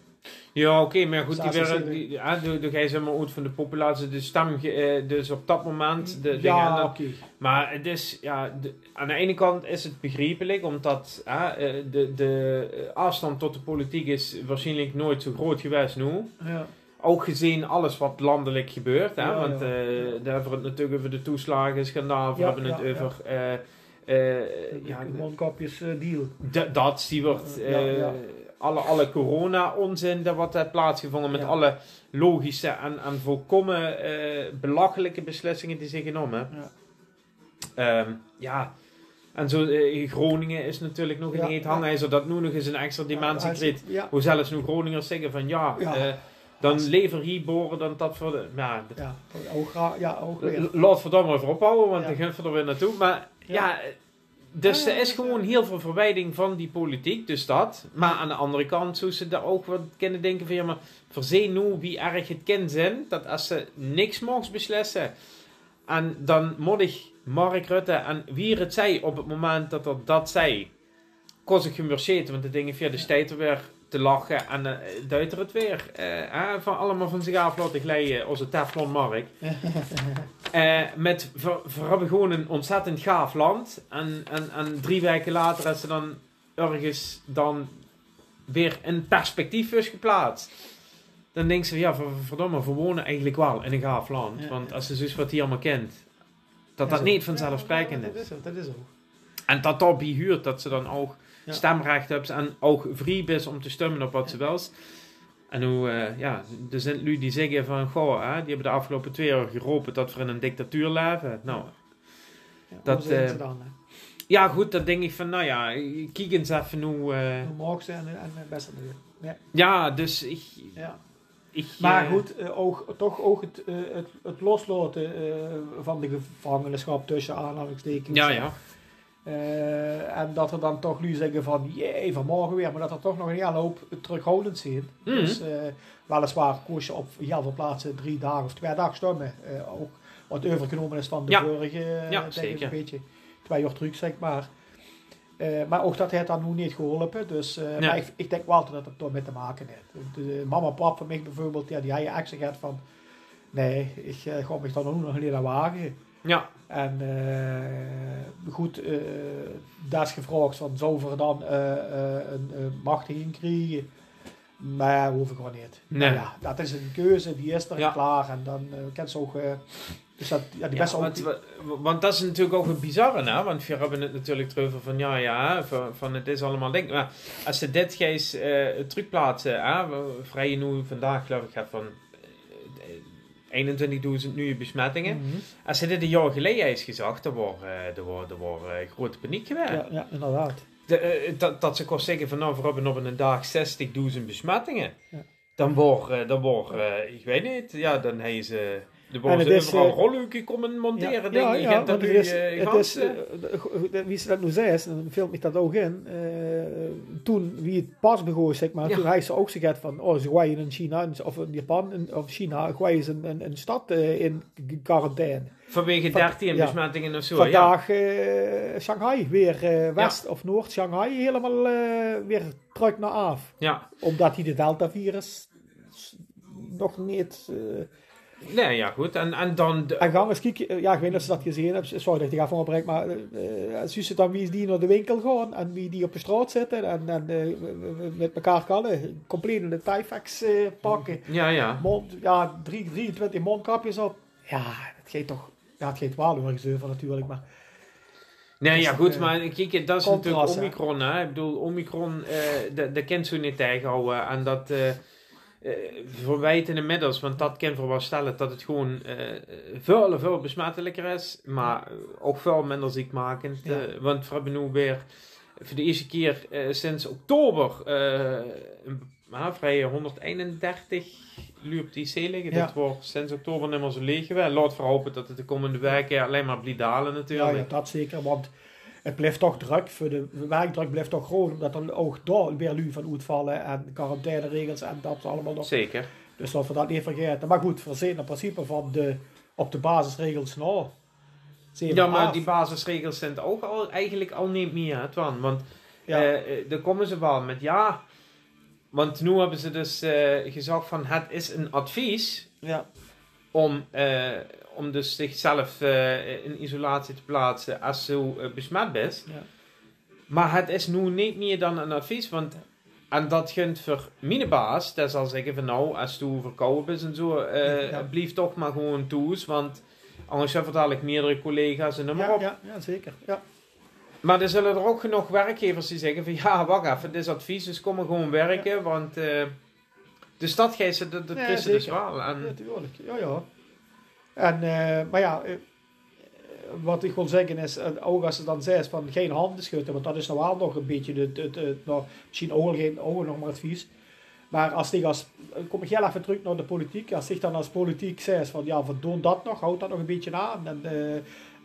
Speaker 1: Ja, oké, maar goed, die
Speaker 2: Staat
Speaker 1: werden,
Speaker 2: ze
Speaker 1: die, ja, de, de gij zijn maar uit van de populatie, de stam, ge- eh, dus op dat moment, de dingen. en
Speaker 2: ja,
Speaker 1: dat-
Speaker 2: oké.
Speaker 1: Maar het is, ja, de- aan de ene kant is het begrijpelijk, omdat hè, eh, de, de eh, afstand tot de politiek is waarschijnlijk nooit zo groot geweest nu.
Speaker 2: Ja.
Speaker 1: Ook gezien alles wat landelijk gebeurt, hè,
Speaker 2: Ja,
Speaker 1: want
Speaker 2: ja.
Speaker 1: eh daar hebben we het natuurlijk over de toeslagenschandaal, we
Speaker 2: Ja,
Speaker 1: hebben het
Speaker 2: ja, ja.
Speaker 1: over... eh, eh, ja,
Speaker 2: Ja, mondkapjes eh, deal.
Speaker 1: D- dat, Siewert.
Speaker 2: Ja,
Speaker 1: eh,
Speaker 2: ja.
Speaker 1: Alle, alle corona-onzin dat wat heeft plaatsgevonden. Met
Speaker 2: Ja.
Speaker 1: alle logische en, en volkomen eh, belachelijke beslissingen die ze genomen hebben. Ja. ja. En zo, eh, Groningen is natuurlijk nog
Speaker 2: Ja,
Speaker 1: in het
Speaker 2: ja.
Speaker 1: hangijzer. Dat nu nog eens een extra dimensie
Speaker 2: als-
Speaker 1: kreeg.
Speaker 2: ja.
Speaker 1: Hoe zelfs nu Groningers zeggen van ja,
Speaker 2: Ja.
Speaker 1: eh, dan lever hier boren dan dat voor de... Ja, d-
Speaker 2: Ja, ook, gra- ja, ook weer.
Speaker 1: L- Laat verdomme even ophouden, want dan gaan we er weer naartoe. Maar ja, dus er is gewoon heel veel verwijding van die politiek, dus dat. Maar aan de andere kant, zo ze daar ook wat kunnen denken van... Ja, maar verzee nu wie erg het kind zijn, dat als ze niks mogen beslissen... En dan moet ik Mark Rutte en wie het zij op het moment dat er dat zij... Kost ik gemerceerd, want dan denk ik, ja, de tijd er weer te lachen en eh duit er het weer. eh, hè, van allemaal van zich af laten glijden, onze
Speaker 2: [laughs]
Speaker 1: Teflon Mark. Eh, met, we, we hebben gewoon een ontzettend gaaf land. En, en, en drie weken later is ze dan ergens dan weer in perspectief is geplaatst. Dan denken ze, ja, ver- verdomme, we wonen eigenlijk wel in een gaaf land.
Speaker 2: Ja,
Speaker 1: Want als ze zus wat hier allemaal kent, dat
Speaker 2: Ja,
Speaker 1: dat
Speaker 2: zo.
Speaker 1: niet vanzelfsprekend is.
Speaker 2: ook, dat is ook.
Speaker 1: En dat dat huurt dat ze dan ook
Speaker 2: Ja.
Speaker 1: stemrecht hebben en ook vrij is om te stemmen op wat ze wel is. En hoe, eh, ja, er zijn lui die zeggen van, goh, hè, die hebben de afgelopen twee jaar geroepen dat we in een dictatuur leven. Nou, dat,
Speaker 2: Hoe zijn ze
Speaker 1: eh,
Speaker 2: dan? hè?
Speaker 1: ja goed, dan denk ik van, nou ja, kijk eens even hoe... eh,
Speaker 2: Hoe mogen ze en, en eh, best wel weer. Ja.
Speaker 1: ja, dus ik...
Speaker 2: Ja.
Speaker 1: ik
Speaker 2: Maar
Speaker 1: eh,
Speaker 2: goed, eh, ook, toch ook het, eh, het, het loslaten eh, van de gevangenschap tussen aanhalingstekens.
Speaker 1: Ja, ja.
Speaker 2: Eh, en dat er dan toch nu zeggen van, jee, vanmorgen weer. Maar dat er toch nog een hele hoop terughoudend zijn.
Speaker 1: Mhm.
Speaker 2: Dus eh, weliswaar koos je op heel veel plaatsen drie dagen of twee dagen stemmen. Eh, ook wat overgenomen is van de
Speaker 1: Ja.
Speaker 2: vorige. eh,
Speaker 1: Ja,
Speaker 2: denk ik,
Speaker 1: zeker.
Speaker 2: Een beetje twee jaar terug, zeg maar. Eh, maar ook dat heeft dan nu niet geholpen. Dus, eh,
Speaker 1: Ja.
Speaker 2: maar ik, ik denk wel dat het er toch mee te maken heeft. De mama en pap van mij bijvoorbeeld, ja, die hij actie gaat van... Nee, ik eh, ga me dan ook nog niet aan wagen.
Speaker 1: Ja.
Speaker 2: En eh, goed, eh daar is gevraagd van, zouden we er dan eh, eh, een eh, machtiging krijgen? Maar hoef ik gewoon niet.
Speaker 1: Nee.
Speaker 2: Nou ja, dat is een keuze, die is er
Speaker 1: Ja.
Speaker 2: klaar. En dan eh kan ze ook... eh, dus dat, ja, die beste
Speaker 1: Ja,
Speaker 2: ook-
Speaker 1: want, wa- want dat is natuurlijk ook een bizarre, hè? want we hebben het natuurlijk erover van ja, ja, van, van het is allemaal denk. Maar als ze dit geest eh truc plaatsen, hè? we- vrij nu vandaag geloof ik gaat van eh, eh, 21.000 nieuwe besmettingen.
Speaker 2: Mhm.
Speaker 1: Als ze dit een jaar geleden is gezegd, dan was eh, er was- er was, eh, grote paniek geweest.
Speaker 2: ja, ja, inderdaad.
Speaker 1: De, eh, dat, dat ze kon zeggen van nou, we hebben op een dag 60.000 besmettingen.
Speaker 2: Ja.
Speaker 1: Dan wordt, eh, dan wordt eh, ik weet niet, ja, dan hebben ze Er worden overal rolluiken komen monteren, denk ik. En dat
Speaker 2: want
Speaker 1: nu,
Speaker 2: het is,
Speaker 1: eh,
Speaker 2: het is,
Speaker 1: gasten.
Speaker 2: eh, go- go- wie ze dat nu zei, is, en dan filmt ik dat ook in. eh, toen, wie het pas begon, zeg maar,
Speaker 1: Ja.
Speaker 2: toen hij ze ook zegt van, oh, ze gooien in China, of in Japan, in- of China, gooien ze een, een, een stad eh, in quarantaine.
Speaker 1: Vanwege
Speaker 2: Van-
Speaker 1: 13
Speaker 2: ja.
Speaker 1: besmettingen of zo. ja.
Speaker 2: Vandaag eh, Shanghai, weer eh, West of Noord Shanghai, helemaal eh, weer terug naar af.
Speaker 1: Ja.
Speaker 2: Omdat hij de Delta-virus s- nog niet... eh,
Speaker 1: Nee, ja, goed. En, en dan... de-
Speaker 2: en gaan we eens kijken, ja, ik weet niet of ze dat gezien hebben, sorry dat ik er even opbreng, maar eh, als je ziet dan wie is die naar de winkel gaan en wie die op de straat zitten en, en eh, we- we- we met elkaar kallen, compleet in de Tyvex eh, pakken.
Speaker 1: Ja, ja.
Speaker 2: Mond, ja, drie- 23 mondkapjes op. Ja, het geeft toch, ja, het geeft wel een gezeur van natuurlijk, maar
Speaker 1: Nee,
Speaker 2: Dus,
Speaker 1: ja, goed,
Speaker 2: eh,
Speaker 1: maar kijk, dat
Speaker 2: contrast,
Speaker 1: is natuurlijk
Speaker 2: hè?
Speaker 1: Omicron, hè. Ik bedoel, Omicron, eh dat- dat kent zo niet tegenhouden. En dat eh eh verwijten inmiddels, want dat kan voor wel stellen dat het gewoon eh veel, veel besmettelijker is, maar ook veel minder ziekmakend.
Speaker 2: Ja.
Speaker 1: eh, want we hebben nu weer voor de eerste keer eh, sinds oktober eh een ah, vrij 131 lu op de IC liggen.
Speaker 2: Ja.
Speaker 1: Dat wordt sinds oktober niet meer zo leeg geweest. Laat voor hopen dat het de komende weken alleen maar blijft dalen natuurlijk.
Speaker 2: ja, ja, dat zeker, want het blijft toch druk, voor de werkdruk blijft toch groot, omdat er ook daar weer lui van uitvallen en quarantaineregels en dat is allemaal nog.
Speaker 1: Zeker.
Speaker 2: Dus laten we dat niet vergeten. Maar goed, we zijn in principe van de, op de basisregels nou. Zeven
Speaker 1: Ja, maar
Speaker 2: af.
Speaker 1: die basisregels zijn het ook al, eigenlijk al niet meer, hè, Twan. Want
Speaker 2: Ja.
Speaker 1: eh, eh, daar komen ze wel met ja. Want nu hebben ze dus eh, gezegd van het is een advies
Speaker 2: Ja.
Speaker 1: om, eh, om dus zichzelf eh, in isolatie te plaatsen als ze eh, besmet bent.
Speaker 2: Ja.
Speaker 1: Maar het is nu niet meer dan een advies, want en dat gunt voor mijn baas, dat zal zeggen van nou, als je verkouden bent en zo, eh
Speaker 2: Ja.
Speaker 1: blijf toch maar gewoon toes, want anders hebben we dadelijk meerdere collega's en noem maar
Speaker 2: ja,
Speaker 1: op.
Speaker 2: ja, ja, zeker. Ja.
Speaker 1: Maar er zullen er ook genoeg werkgevers die zeggen van ja, wacht even, dit is advies, dus kom maar gewoon werken, want eh dus dat geeft ze dat, dat
Speaker 2: Ja,
Speaker 1: is ze dus
Speaker 2: zeker.
Speaker 1: wel. En,
Speaker 2: Ja, tuurlijk. Ja, ja. En, eh, maar ja, eh, eh, wat ik wil zeggen is, eh, ook als ze dan zei is van geen handen schudden, want dat is nou wel nog een beetje, de, de, de- nou, misschien ook, al geen, ook al nog maar advies. Maar als die als, eh, kom ik heel even terug naar de politiek, als zich dan als politiek zegt van ja, we doen dat nog, houd dat nog een beetje aan. En, eh,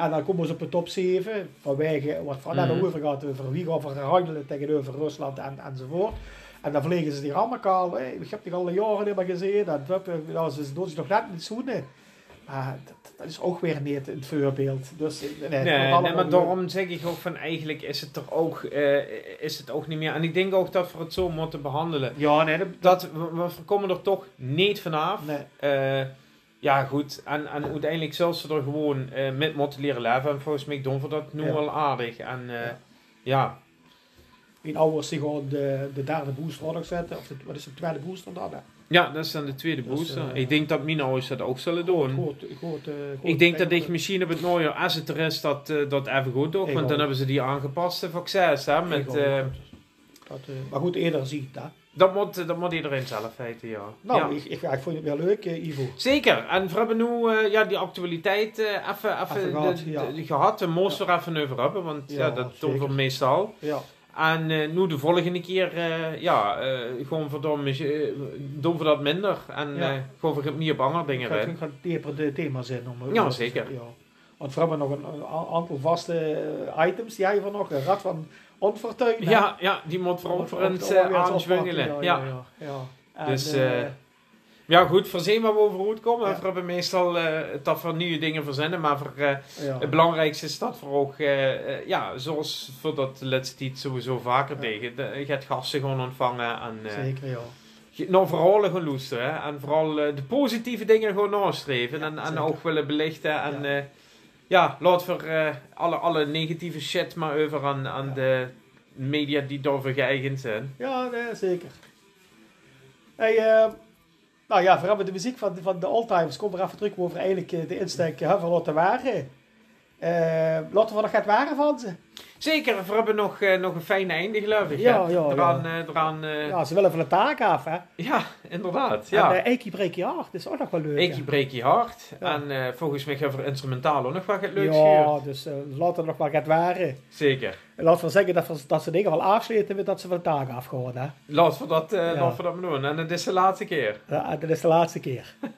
Speaker 2: en dan komen ze op de top 7, vanwege wat van
Speaker 1: Mhm.
Speaker 2: mm. over gaat, over wie gaan we handelen tegenover Rusland en, enzovoort. En dan vliegen ze die rammenkaal. Hey, ik heb die al jaren niet meer gezien. En dat, nou, ze doen zich nog net niet zoenen. Maar dat, dat is ook weer niet het voorbeeld. Dus, eh, nee,
Speaker 1: nee,
Speaker 2: het
Speaker 1: nee,
Speaker 2: komt allemaal
Speaker 1: maar
Speaker 2: weer-
Speaker 1: daarom zeg ik ook van eigenlijk is het toch ook, eh, is het ook niet meer. En ik denk ook dat we het zo moeten behandelen.
Speaker 2: Ja, nee, dat,
Speaker 1: we, we komen er toch niet vanaf.
Speaker 2: Nee.
Speaker 1: Eh, ja, goed. En, en uiteindelijk zullen ze er gewoon eh, met moeten leren leven. En volgens mij doen we dat nu
Speaker 2: Ja.
Speaker 1: wel aardig. En eh, ja.
Speaker 2: In ouders die gewoon de, de derde booster ook zetten. Of de, wat is de tweede booster dan? hè?
Speaker 1: Ja, dat is dan de tweede
Speaker 2: Dus,
Speaker 1: booster.
Speaker 2: eh,
Speaker 1: ik denk dat mijn ouders dat ook zullen doen.
Speaker 2: Goed, goed, eh, goed
Speaker 1: ik denk dat ik misschien op het nieuwjaar, als het er is, dat, eh, dat even goed doe.
Speaker 2: Ik
Speaker 1: Want
Speaker 2: ook.
Speaker 1: dan hebben ze die aangepaste vaccins. Hè, met,
Speaker 2: ook.
Speaker 1: eh,
Speaker 2: Dat, eh, maar goed, eerder ziet dat.
Speaker 1: dat, moet, dat moet iedereen zelf weten, ja.
Speaker 2: Nou,
Speaker 1: Ja.
Speaker 2: ik, ik, ja, ik vond het wel leuk, eh, Ivo.
Speaker 1: Zeker. En we hebben nu eh, ja, die actualiteit eh, even, even,
Speaker 2: Even
Speaker 1: de-
Speaker 2: gehad,
Speaker 1: de-
Speaker 2: ja.
Speaker 1: de- gehad. We moesten er even over hebben, want ja,
Speaker 2: Ja,
Speaker 1: dat doen
Speaker 2: zeker.
Speaker 1: we meestal.
Speaker 2: Ja.
Speaker 1: En eh, nu de volgende keer, eh, ja, eh, gewoon verdomme, eh, doen we dat minder. En
Speaker 2: Ja.
Speaker 1: eh, gewoon voor het niet op andere
Speaker 2: Ik
Speaker 1: dingen
Speaker 2: ga,
Speaker 1: rijden.
Speaker 2: ik ga dieper de thema's in. Om,
Speaker 1: Ja, zeker.
Speaker 2: Ja. Want we hebben nog een, een a- aantal vaste eh, items. Jij van nog een rad van onfortuin. hè?
Speaker 1: Ja, ja, die moet
Speaker 2: Onfortuin
Speaker 1: verontrend uh,
Speaker 2: weer eens oppakken,
Speaker 1: aanzwengelen. Ja,
Speaker 2: ja, ja. En,
Speaker 1: Dus,
Speaker 2: eh,
Speaker 1: eh, ja, goed, voor zien waar we over hoe komen. We hebben meestal eh dat we nieuwe dingen verzinnen, maar voor, eh,
Speaker 2: Ja.
Speaker 1: het belangrijkste is dat we ook, eh, eh, ja, zoals voor dat laatste tijd sowieso vaker tegen, de- je gaat gasten gewoon ontvangen. En, eh,
Speaker 2: Zeker, ja.
Speaker 1: je- Nou, vooral gewoon loesteren. hè. En vooral eh, de positieve dingen gewoon nastreven. en, en
Speaker 2: zeker.
Speaker 1: ook willen belichten. En ja, ja laat voor eh, alle, alle negatieve shit maar over aan, aan de media die daarvoor geëigend zijn.
Speaker 2: Ja, nee, zeker. Hey, eh, nou ja, vooral met de muziek van, van de oldtimers. Kom er even terug over eigenlijk eh, de insteek hè, van Lotte Waren. Eh Lotte, wat nog gaat waren van ze?
Speaker 1: Zeker, we hebben nog, eh, nog een fijne einde, geloof ik.
Speaker 2: Ja,
Speaker 1: hè.
Speaker 2: ja, ja.
Speaker 1: Eraan, eh, eraan, eh,
Speaker 2: Ja, ze willen van de taak af, hè?
Speaker 1: ja, inderdaad. Ja.
Speaker 2: En eh Eiki Breek je hart, dat is ook nog wel leuk.
Speaker 1: Eentje
Speaker 2: hè?
Speaker 1: breek je hart. En eh, volgens mij gaan we instrumentaal ook nog wat het leuks
Speaker 2: Ja,
Speaker 1: gebeuren.
Speaker 2: dus eh laten we nog maar gaat waren.
Speaker 1: Zeker.
Speaker 2: En laten we zeggen dat, we- dat ze dingen wel afsluiten met dat ze van de taak afgehouden. hè.
Speaker 1: Laten we dat, eh
Speaker 2: Ja.
Speaker 1: laten we dat maar doen. En het is de laatste keer.
Speaker 2: Ja, dat is Eh, de laatste keer.